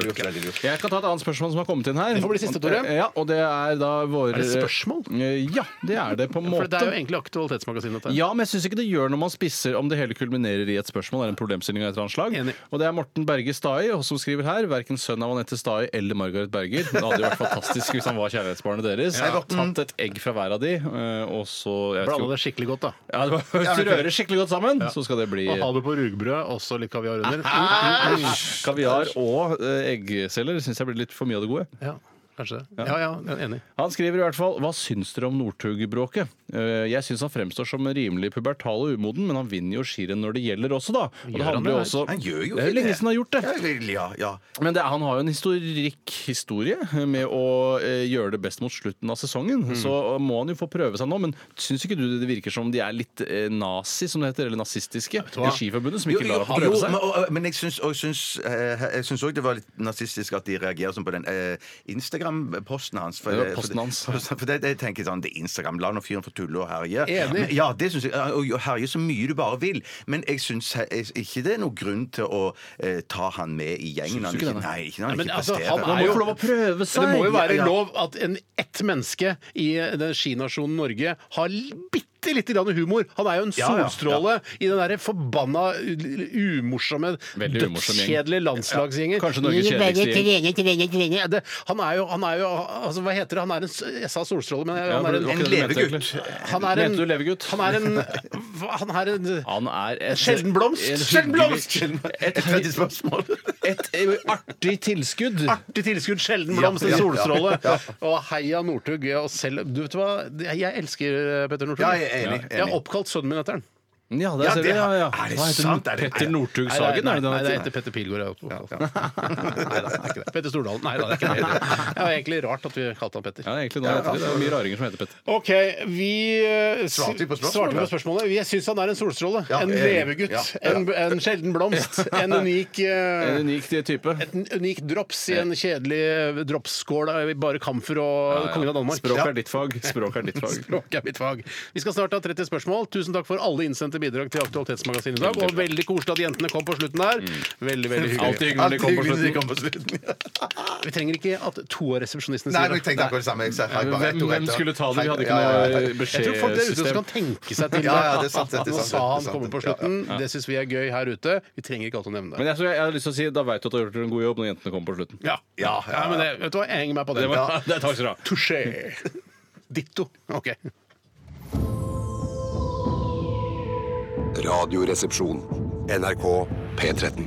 S6: lurt. Jeg kan ta et annet spørsmål som har kommet inn her.
S5: Det får bli siste, Tore.
S6: Ja, og det er da våre
S5: Er
S6: Eh,
S5: det spørsmål?
S6: Ja, det er det på en
S5: For
S6: måte.
S5: det er jo egentlig Aktualitetsmagasinet. dette.
S6: Ja, men jeg syns ikke det gjør noe om man spisser om det hele kulminerer i et spørsmål. er en problemstilling av et eller annet slag.
S5: Enig.
S6: Og det er Morten Berge Stai som skriver her. Verken sønn av Anette Stai eller Margaret Berger. Det hadde jo vært fantastisk hvis han var kjærlighetsbarnet deres. Tatt et egg fra hver av de, eh, og så jeg vet
S5: Blanda
S6: ikke,
S5: det skikkelig godt, da.
S6: ja, det var, Hvis du rører skikkelig godt sammen, så skal det bli
S5: Og ha det på rugbrød, og så litt kaviar under.
S6: Æsj! Kaviar og eh, eggceller syns jeg blir litt for mye av det gode.
S5: Ja, kanskje det. Ja ja, jeg er enig.
S6: Han skriver i hvert fall Hva syns dere om Northug-bråket? Eh, Jeg syns han fremstår som rimelig pubertal og umoden, men han vinner jo skirenn når det gjelder også, da. Og det
S5: Gjør han
S6: handler jo
S5: det?
S6: også
S7: Han gjør jo
S6: Det er
S7: ikke
S6: jo lenge
S7: det.
S6: siden han har gjort det.
S7: Ja, vel, ja, ja.
S6: Men det, er- han har jo en historikk historie med å eh, gjøre det best mot slutten av sesongen.
S5: Mm.
S6: Så må han jo få prøve seg nå. Men syns ikke du det virker som de er litt eh, nazi, som det heter, eller nazistiske
S5: du hva?
S6: i Skiforbundet, som
S7: Jo,
S6: ikke
S7: jo,
S6: lar ham
S7: jo, men,
S6: prøve seg?
S7: og, og- men jeg syns og syns, eh, jeg syns òg det var litt nazistisk at de reagerer sånn på den eh, Instagram-posten hans. For,
S6: Ja,
S7: det-
S6: posten hans.
S7: For, det- for det, det tenker jeg sånn, det er Instagram. La nå fyren få tulle og herje.
S5: Enig.
S7: Men, ja, det syns jeg. eh, Og, og herje så mye du bare vil. Men jeg syns he- jeg- ikke det er noen grunn til å eh, ta han med i gjengen. Han
S6: ikke
S7: ikke,
S6: det,
S7: nei, ikke når han
S5: Men
S7: ikke
S5: altså,
S7: presterer.
S5: han
S6: Han
S5: er
S6: må
S5: jo-
S6: jo få lov å prøve seg!
S5: Men det må jo være
S7: Ja, ja.
S5: lov at en, ett menneske i eh, den skinasjonen Norge har bitte lite grann humor. Han er jo en
S7: Ja, ja,
S5: solstråle i den derre forbanna u- umorsomme,
S6: Veldig umorsom gjeng.
S5: dødskjedelige landslagsgjengen.
S6: Kanskje Norges kjedeligste gjeng.
S5: Ja, det- Han er jo, han er jo altså, Hva heter det? Han er en s- Jeg sa solstråle, men
S6: Ja,
S5: han
S6: men
S5: er
S6: det var
S5: en
S6: ikke det du mente,
S7: levegutt.
S6: egentlig.
S5: Han er en
S6: Mente du levegutt?
S5: Han er
S6: [LAUGHS]
S5: en, han er en
S6: Han er et,
S5: Sjelden blomst!
S6: en
S5: Sjelden blomst!
S6: hyggelig-
S7: Et tredje spørsmål.
S6: Et, et artig tilskudd.
S5: Artig tilskudd, sjelden blomst, en
S7: Ja, ja,
S5: solstråle. Og heia Northug. Og selv, du vet hva, jeg elsker eh, Petter Northug.
S7: Ja, jeg er enig,
S5: Jeg har
S7: enig.
S5: oppkalt sønnen min etter han.
S6: Ja,
S7: Ja,
S6: der ser
S7: det
S6: vi. Ja,
S7: er-
S6: ja.
S7: er det
S6: Hva heter
S7: sant?
S6: den?
S7: Er det-
S6: Petter Northug-sagen?
S5: Nei,
S6: er det den
S5: nei, det
S6: heter?
S5: er etter Petter Pilgaard. jeg har fått fast. [LAUGHS] Nei, da, det er ikke det. Petter Stordalen. Nei da, det er ikke det. Det var egentlig rart at vi kalte han Petter.
S6: Ja, egentlig. Nå heter det. det er mye raringer som heter Petter.
S5: OK, vi eh, s-
S7: Svarte vi på spørsmålet?
S5: svarte vi på spørsmålet. Jeg syns han er en solstråle.
S7: Ja,
S5: en
S7: jeg er enig.
S5: levegutt.
S7: Ja,
S5: En, en sjelden blomst.
S7: [LAUGHS]
S5: En unik eh,
S6: En unik type.
S5: et n- unikt drops i en kjedelig eh, dropsskål av bare kamfer og kongen av Danmark.
S6: Språk
S5: Ja.
S6: er ditt fag. Språk er [LAUGHS] ditt fag.
S5: Språk er mitt fag. Vi skal snart ha 30 spørsmål. Tusen takk for alle innsendte bidrag til Aktualitetsmagasinet i dag. Og veldig koselig at jentene kom på slutten der. Veldig, veldig
S6: Alltid
S5: hyggelig.
S6: hyggelig når de kommer på
S7: Mm. Hyggelig de
S6: slutten.
S7: kom på slutten.
S5: [LAUGHS] Vi trenger ikke at to av resepsjonistene
S7: Nei,
S5: sier
S7: men jeg tenkte akkurat det samme. Jeg sa, hei, bare,
S6: Hvem,
S7: rett og
S6: hvem
S7: rett.
S6: skulle ta det? Vi hadde
S7: Ja, ja,
S6: ikke
S7: ja.
S6: noe eh,
S5: Jeg tror folk der ute også
S6: beskjedsystem.
S5: kan tenke seg til
S7: Ja, ja, det er sant, det er
S5: Nå
S7: sant,
S5: sa
S7: det er
S5: han
S7: sant.
S5: komme på
S7: Ja, ja,
S5: slutten. Det syns vi er gøy her ute. Vi trenger ikke alltid å nevne det.
S6: Men jeg, så jeg, jeg har lyst til å si, da veit du at du har gjort en god jobb når jentene kommer på slutten.
S5: Ja.
S7: Ja, ja,
S5: Nei, men det, vet du hva, jeg henger meg på det.
S6: Det
S7: [LAUGHS]
S6: var- [LAUGHS] det er takk skal du ha.
S5: Touché. Ditto. Ok. [LAUGHS]
S2: Radioresepsjon. NRK P13.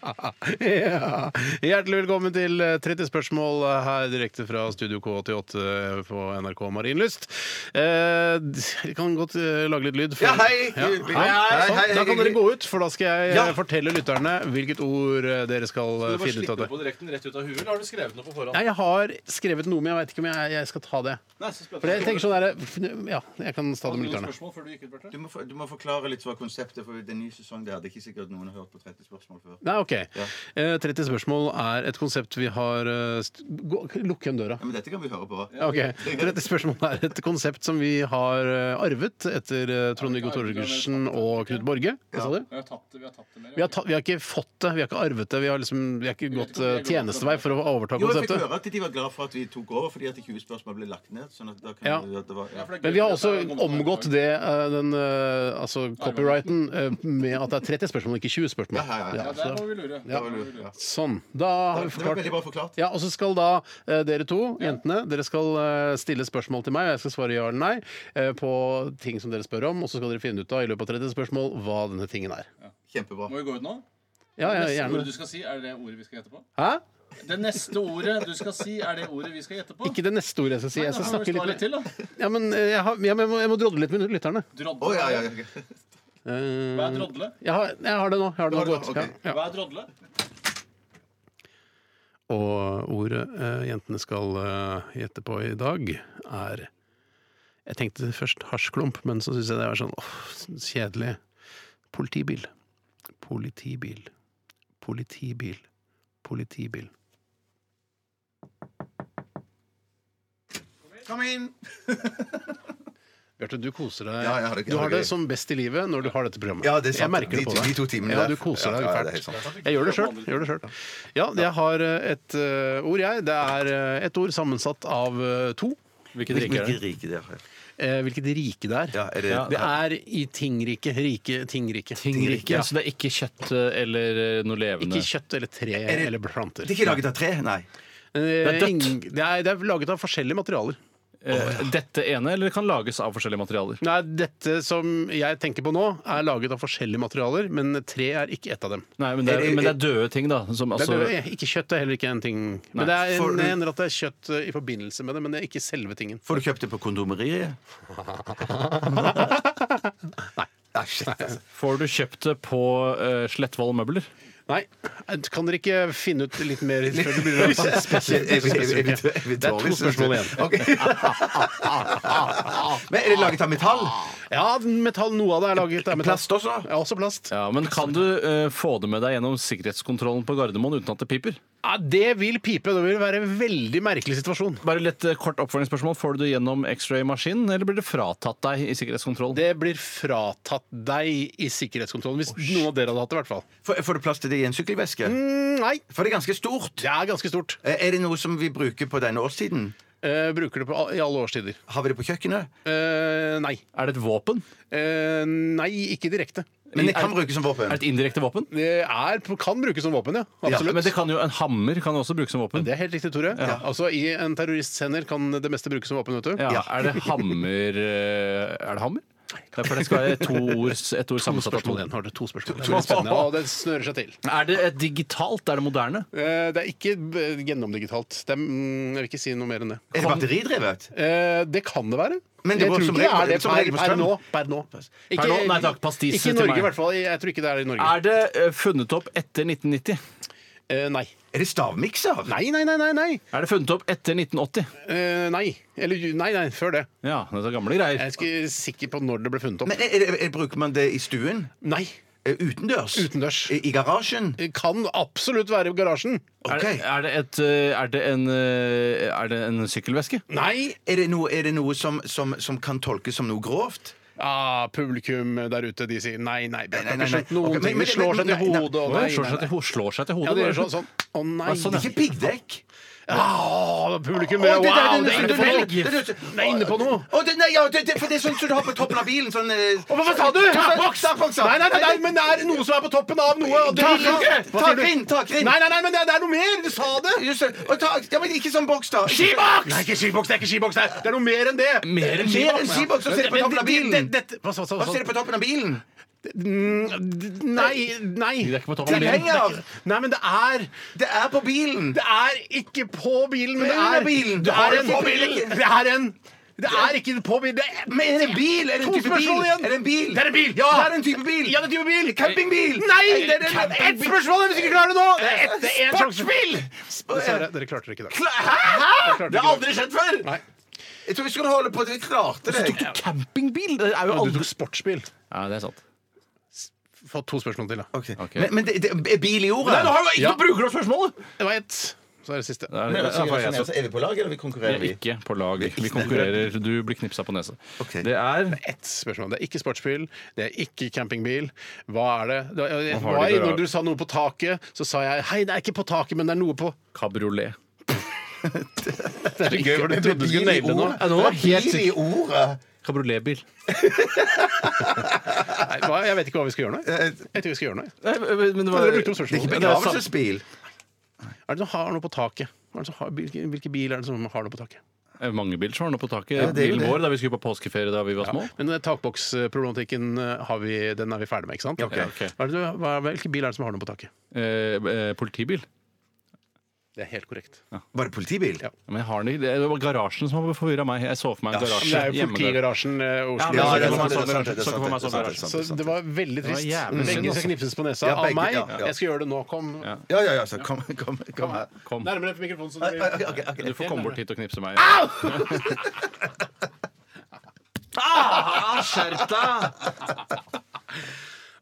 S5: Ja. Hjertelig velkommen til 30 spørsmål eh, her direkte fra Studio K88 på NRK Marienlyst. Eh, Jeg kan godt eh, lage litt lyd. for-
S7: Ja, hei!
S5: Ja.
S7: Hei,
S5: Hei,
S7: hei,
S5: sånn.
S7: hei,
S5: Da kan
S7: hei.
S5: dere gå ut, for da skal jeg
S7: Ja.
S5: eh, fortelle lytterne hvilket ord eh, dere skal eh, finne ut av det.
S6: direkten rett ut av huet, eller har du skrevet noe på forhånd?
S5: Nei, jeg har skrevet noe, men jeg veit ikke om jeg, jeg skal ta det. For jeg tenker sånn der, Ja, jeg kan ta det med lytterne.
S7: Du må, for- du må forklare litt hva konseptet for den nye sesongen det er. Det er ikke sikkert noen har hørt på 30 spørsmål før.
S5: Nei, OK. Eh, 30 spørsmål er et konsept vi har eh, st- gå- Lukk igjen døra.
S7: Ja, men dette kan vi høre på.
S5: Ok, 30 spørsmål er et konsept som vi har eh, arvet etter eh, Trond-Viggo Torgersen og Knut Borge. Hva sa du? Vi har, tatt, vi har ikke fått det, vi har ikke arvet det. Vi har, liksom, vi har ikke gått eh, tjenestevei for å overta
S7: Jo, jeg fikk
S5: konseptet.
S7: høre at de var glad for at vi tok over fordi at 20 spørsmål ble lagt ned. Sånn at da kan
S5: Ja.
S7: vi- at det var, ja.
S5: Men vi har også omgått det, eh, den, eh, altså copyrighten eh, med at det er 30 spørsmål, ikke 20 spørsmål.
S7: Ja, ja, ja.
S5: Ja, så-
S7: Det var lurt, ja.
S5: Sånn. Da har vi
S7: Det var
S5: forklart.
S7: veldig bra forklart.
S5: Ja, og så skal da eh, dere to, jentene, dere skal eh, stille spørsmål til meg, og jeg skal svare ja eller nei eh, på ting som dere spør om, og så skal dere finne ut av i løpet av 30 spørsmål hva denne tingen er.
S7: Kjempebra.
S9: Må vi gå ut nå?
S5: Ja, ja,
S9: Neste ordet
S5: gjerne.
S9: du skal si, er det ordet vi skal gjette på?
S5: Hæ?
S9: Det neste ordet du skal si, er det ordet vi skal gjette på?
S5: Ikke det neste ordet jeg skal si. Jeg skal
S9: Nei, da må
S5: snakke
S9: vi slå
S5: litt med
S9: til, da.
S5: Ja, men eh, jeg, har, ja, men jeg, må, jeg må drodle litt med lytterne.
S9: Drodle.
S7: Å, ja, ja, ja.
S5: Eh,
S9: Hva er drodle?
S5: jeg, har, jeg har det nå. Jeg har det
S7: Har
S5: nå
S7: du det?
S5: godt. Ja,
S7: Ok.
S5: ja.
S9: Hva er drodle?
S5: Og ordet eh, jentene skal eh, gjette på i dag, er Jeg tenkte først hasjklump, men så syns jeg det var sånn åh, kjedelig. Politibil. Politibil. Politibil. Politibil.
S7: Kom [LAUGHS] inn!
S5: Bjarte, du koser deg.
S7: Ja, jeg har det-
S5: du
S7: jeg har
S5: har
S7: det
S5: det
S7: gøy.
S5: som best i livet når du har dette programmet.
S7: Ja, det er sant.
S5: Jeg merker det
S7: De
S5: på
S7: to-
S5: deg.
S7: de to timene
S5: ja,
S7: der.
S5: du koser
S7: Ja,
S5: deg
S7: ja, det er
S5: fælt.
S7: helt sant.
S5: jeg gjør det sjøl. Gjør det selv. Ja, jeg har eh, et eh, ord, jeg. Det er eh, et ord sammensatt av eh, to.
S6: Hvilket rike er det?
S7: rike det er.
S5: Eh, Hvilket rike det er.
S7: Ja, er det,
S5: Det er i tingrike. Rike tingrike.
S6: Tingrike.
S5: Ja.
S6: Så det er ikke kjøtt eh, eller noe levende?
S5: Ikke kjøtt eller tre
S7: det-
S5: eller planter.
S7: det er ikke laget av tre? Nei.
S5: Eh,
S6: dødt.
S5: ing- Det er, det er laget av forskjellige materialer.
S6: Eh, Dette ene, eller det kan lages av forskjellige materialer?
S5: Nei, Dette som jeg tenker på nå, er laget av forskjellige materialer, men tre er ikke ett av dem.
S6: Nei, men det er, men det er døde ting, da. Som,
S5: Det er
S6: altså,
S5: død- ikke kjøtt er heller ikke en ting. Men det
S6: Nei,
S5: er,
S7: for-
S5: det hender at det er kjøtt eh, i forbindelse med det, men det er ikke selve tingen.
S7: Får du kjøpt det på kondomeriet? Nei. shit, altså.
S6: får du kjøpt det på eh, Slettvoll møbler?
S5: Nei, Eh, kan dere ikke finne ut litt
S7: [LAUGHS]
S5: mer før det blir
S7: Jeg- jeg- jeg- jeg- jeg- jeg-
S5: Det er to spørsmål igjen.
S7: Ok. Men er det laget av metall?
S5: Ja, metall, noe av det er laget av metall.
S7: Plast også?
S5: Ja, også plast.
S6: Ja, Men kan du eh, få det med deg gjennom sikkerhetskontrollen på Gardermoen uten at det piper?
S5: Ja, det vil pipe. Det vil være en veldig merkelig situasjon.
S6: Bare litt eh, kort oppfølgingsspørsmål. Får du det gjennom X-ray-maskinen, eller blir det fratatt deg i sikkerhetskontroll?
S5: Det blir fratatt deg i sikkerhetskontrollen. Hvis noen av dere hadde hatt det, i hvert fall.
S7: Får får du plass til det i en sykkelveske?
S5: Nei,
S7: For det er ganske stort.
S5: det er ganske stort.
S7: Eh, Er det noe som vi bruker på denne årstiden?
S5: Eh, bruker det på, al- i alle årstider.
S7: Har vi det på kjøkkenet?
S5: Eh, nei.
S6: Er det et våpen?
S5: Eh, nei, ikke direkte.
S7: Men det kan
S6: Er-
S7: brukes som
S6: Er
S7: våpen.
S6: det et indirekte våpen?
S5: Det er, kan brukes som våpen, ja. Absolutt.
S6: Ja, men det kan jo, en hammer kan jo også brukes som våpen.
S5: Det er helt riktig, Tore. Altså, I en terrorists hender kan det meste brukes som våpen. vet du.
S6: Ja, Er det hammer eh, Er det hammer? Ja, For det skal være to ord, ett ord
S4: To
S6: sammensatt av to.
S4: spørsmål igjen. Har du to spørsmål?
S5: Det er veldig spennende, og det snører seg til.
S6: Er det et digitalt? Er det moderne?
S5: Eh, Det er ikke b- gjennomdigitalt. Det er, mm, jeg vil ikke si noe mer enn det.
S7: Er det batteridrevet?
S5: Eh, Det kan det være.
S7: Men det
S5: jeg
S7: går
S5: tror
S7: som
S5: ikke det
S7: regel-
S5: er det
S7: som
S5: per,
S7: regel på
S5: per
S7: strøm.
S5: nå. Per nå. Ikke,
S6: nå? Nei takk, pastis
S5: ikke i
S6: til
S5: Norge,
S6: meg.
S5: i hvert fall. Jeg tror ikke det er i Norge.
S6: Er det eh, funnet opp etter 1990?
S5: Eh, Nei.
S7: Er det stavmikser?
S5: Nei, nei, nei, nei. Nei,
S6: Er det funnet opp etter 1980?
S5: Eh, nei. Eller ju- nei, nei, før det.
S6: Ja, det er gamle greier.
S5: Jeg er ikke sikker på når det ble funnet opp.
S7: Men er, er, er, Bruker man det i stuen?
S5: Nei.
S7: Eh, Utendørs?
S5: Utendørs.
S7: I, i garasjen?
S5: Det Kan absolutt være i garasjen.
S7: Ok.
S6: Er, det- er, det et, eh, er, det en, eh, er det en sykkelveske?
S5: Nei!
S7: Er det noe, er det noe som, som, som kan tolkes som noe grovt?
S5: Ah, publikum der ute, de sier nei, nei. Det
S7: Nei,
S5: har
S7: nei,
S5: ikke
S7: nei.
S5: skjønt noen
S7: Ok, men-
S5: ting.
S7: men-
S5: De slår seg til
S7: men- nei, nei.
S5: hodet og
S6: Å,
S5: nei,
S6: jeg slår,
S5: nei,
S6: seg
S5: nei.
S6: til, ho- slår seg til hodet.
S5: Ja, de
S6: bare.
S5: gjør sånn. sånn. Å nei.
S7: Det
S6: sånn, ja.
S7: er ikke piggdekk?
S5: Ah, publikum
S7: Å, det
S5: wow,
S7: der, det-
S5: det er inne
S7: det-
S5: på
S7: det-
S5: noe!
S7: det- det- det-
S5: Det er inne på noe!
S7: Å, det, nei, ja, det, det, for det er sånn som du har på toppen av bilen. Sånn,
S5: Og hva sa du? Takboks!
S7: Takboks, ja.
S5: Nei, nei, nei, nei, men det er noe som er på toppen av noe. og det-
S7: Takrinn!
S5: Hva sier du?
S7: Takrinn, takrinn.
S5: Nei, nei, nei, men det er, det er noe mer! Du sa det!
S7: Just det. Og ta, ja, men ikke sånn boks, da. Ikke-
S5: Skiboks! Nei, ikke skiboks, det er ikke skiboks. Det er- det er noe mer enn det.
S6: Mer enn
S7: Mer enn skiboks, så ser du på
S5: Men
S7: toppen av
S5: det-
S7: bilen.
S5: det- det- hva sa- sa-
S7: Hva
S5: sa-
S7: ser du på toppen av bilen?
S5: Mm, Nei, nei.
S6: Det er ikke på toppen av
S5: Det er
S6: bilen.
S5: ikke- Nei, men det er
S7: Det er på bilen!
S5: Det er ikke på bilen, men det
S7: Under
S5: er
S7: bilen.
S5: Det
S7: Du har
S5: er
S7: det
S5: en
S7: på bilen.
S5: Det er en Det er ikke på bilen. Det er
S7: Men er det en bil? Er det en
S5: To
S7: type
S5: spørsmål
S7: bil?
S5: igjen.
S7: Er det en bil?
S5: Det er en bil.
S7: Ja,
S5: Ja.
S7: det er en type bil.
S5: Ja, det er type bil.
S7: Campingbil.
S5: Nei!
S7: Nei, det er det-
S5: Ett spørsmål hvis du ikke klarer det nå! Det er ett- det er en sjanse.
S7: Sportsbil!
S5: Dessverre, dere klarte det ikke i dag.
S7: Hæ?!
S5: klarte
S7: Det har
S5: ikke.
S7: aldri skjedd før!
S5: Nei.
S7: Jeg tror vi skulle holde på til vi klarte det.
S6: Campingbil? Det er jo
S5: Du
S6: aldri
S5: tok sportsbil.
S6: Ja, det er sant.
S5: Få to spørsmål til, da.
S7: Ok. Men, men det, det er bil i ordet?
S6: Nei, nå har du ikke
S5: Ja.
S6: ja. bruker opp spørsmålet!
S5: Det var ett. Så er det siste.
S6: Det er,
S7: Men,
S6: det
S7: altså,
S6: er,
S7: jeg, altså, er vi på lag, eller vi konkurrerer vi?
S6: ikke på lag. Vi konkurrerer. Du blir knipsa på nese.
S7: Ok.
S6: Det er
S5: Ett spørsmål. Det er ikke sportsbil, det er ikke campingbil. Hva er det? det var- jeg,
S6: Hva har
S5: var,
S6: de der,
S5: når
S6: da?
S5: du sa noe på taket, så sa jeg hei, det er ikke på taket, men det er noe på
S6: kabriolet.
S5: Det er så gøy, for du
S7: Men
S5: trodde du skulle
S7: bil i
S5: naile det nå.
S7: ordet?
S6: Ja, nå var jeg helt
S7: Bil i ordet?
S6: Kabrioletbil.
S5: Nei, hva- Jeg vet ikke hva vi skal gjøre nå. Jeg vet ikke hva vi skal gjøre nå. jeg.
S6: Nei, Men det
S5: Men
S6: var
S5: Dere brukte opp
S7: Det er ikke
S5: spørsmålet.
S7: begravelsesbil.
S5: Er det som har noe på taket? Hva er det som har, hvilke, hvilke bil er det som har noe på taket?
S6: Eh, Mange biler som var nå på taket.
S7: Ja, det er jo
S6: Bilen
S7: det.
S6: vår da vi skulle på påskeferie da vi var små.
S5: Men eh, takboksproblematikken eh, har vi, den er vi ferdig med, ikke sant?
S6: Ja, ok.
S5: Hva er det, du- hva, hvilke bil er det som har noe på taket?
S6: Eh, eh, politibil.
S5: Det er helt korrekt.
S7: Var det politibil?
S5: Ja.
S6: Ja, Men jeg har den ikke. Det var garasjen som forvirra meg. Jeg så for meg en
S7: Ja,
S5: Men
S6: garasje.
S5: det er jo
S6: hjemme der.
S5: politigarasjen eh,
S7: det
S5: Oslo.
S6: Ja, men
S7: er sant,
S6: så ikke for
S7: det er
S6: meg
S7: sant, det er
S6: som garasje. Så ikke for meg som
S7: sant, det er sant, det
S6: garasje.
S7: er
S5: Så
S7: sant.
S5: det var veldig trist.
S6: Det var jævlig synd,
S5: Begge
S6: altså.
S5: skal knipses på nesa
S7: Ja,
S5: av
S7: begge,
S5: meg.
S7: ja, ja.
S5: Jeg skal gjøre det nå. Kom.
S7: Ja, ja, ja, så kom, kom, kom her.
S6: Kom.
S5: Nærmere på mikrofonen. Så
S7: Oi, [LAUGHS] oi, oi,
S5: dere...
S7: ok, ok.
S6: Du får komme bort hit og knipse meg.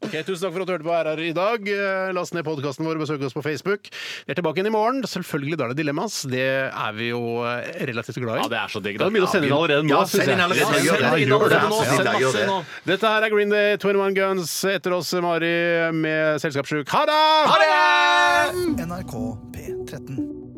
S5: Ok, tusen takk for at du hørte på RR i dag. Eh, Last ned podkasten vår og besøk oss på Facebook. Vi er tilbake igjen i morgen. Selvfølgelig, da er det dilemmas. Det er vi jo eh, relativt glad i.
S6: Ja, det er så digg.
S5: Det er mye å sende inn allerede nå.
S7: Ja,
S5: synes
S7: send inn
S5: jeg.
S7: allerede.
S5: Ja,
S7: Gjør det.
S5: send inn
S7: Gjør det.
S5: allerede nå.
S7: Send
S5: Send
S7: gjør
S5: masse
S7: det.
S5: inn nå. Dette her er Green Day, 21 Guns. Etter oss Mari med Selskapssjuk. Ha det!
S3: NRK P13.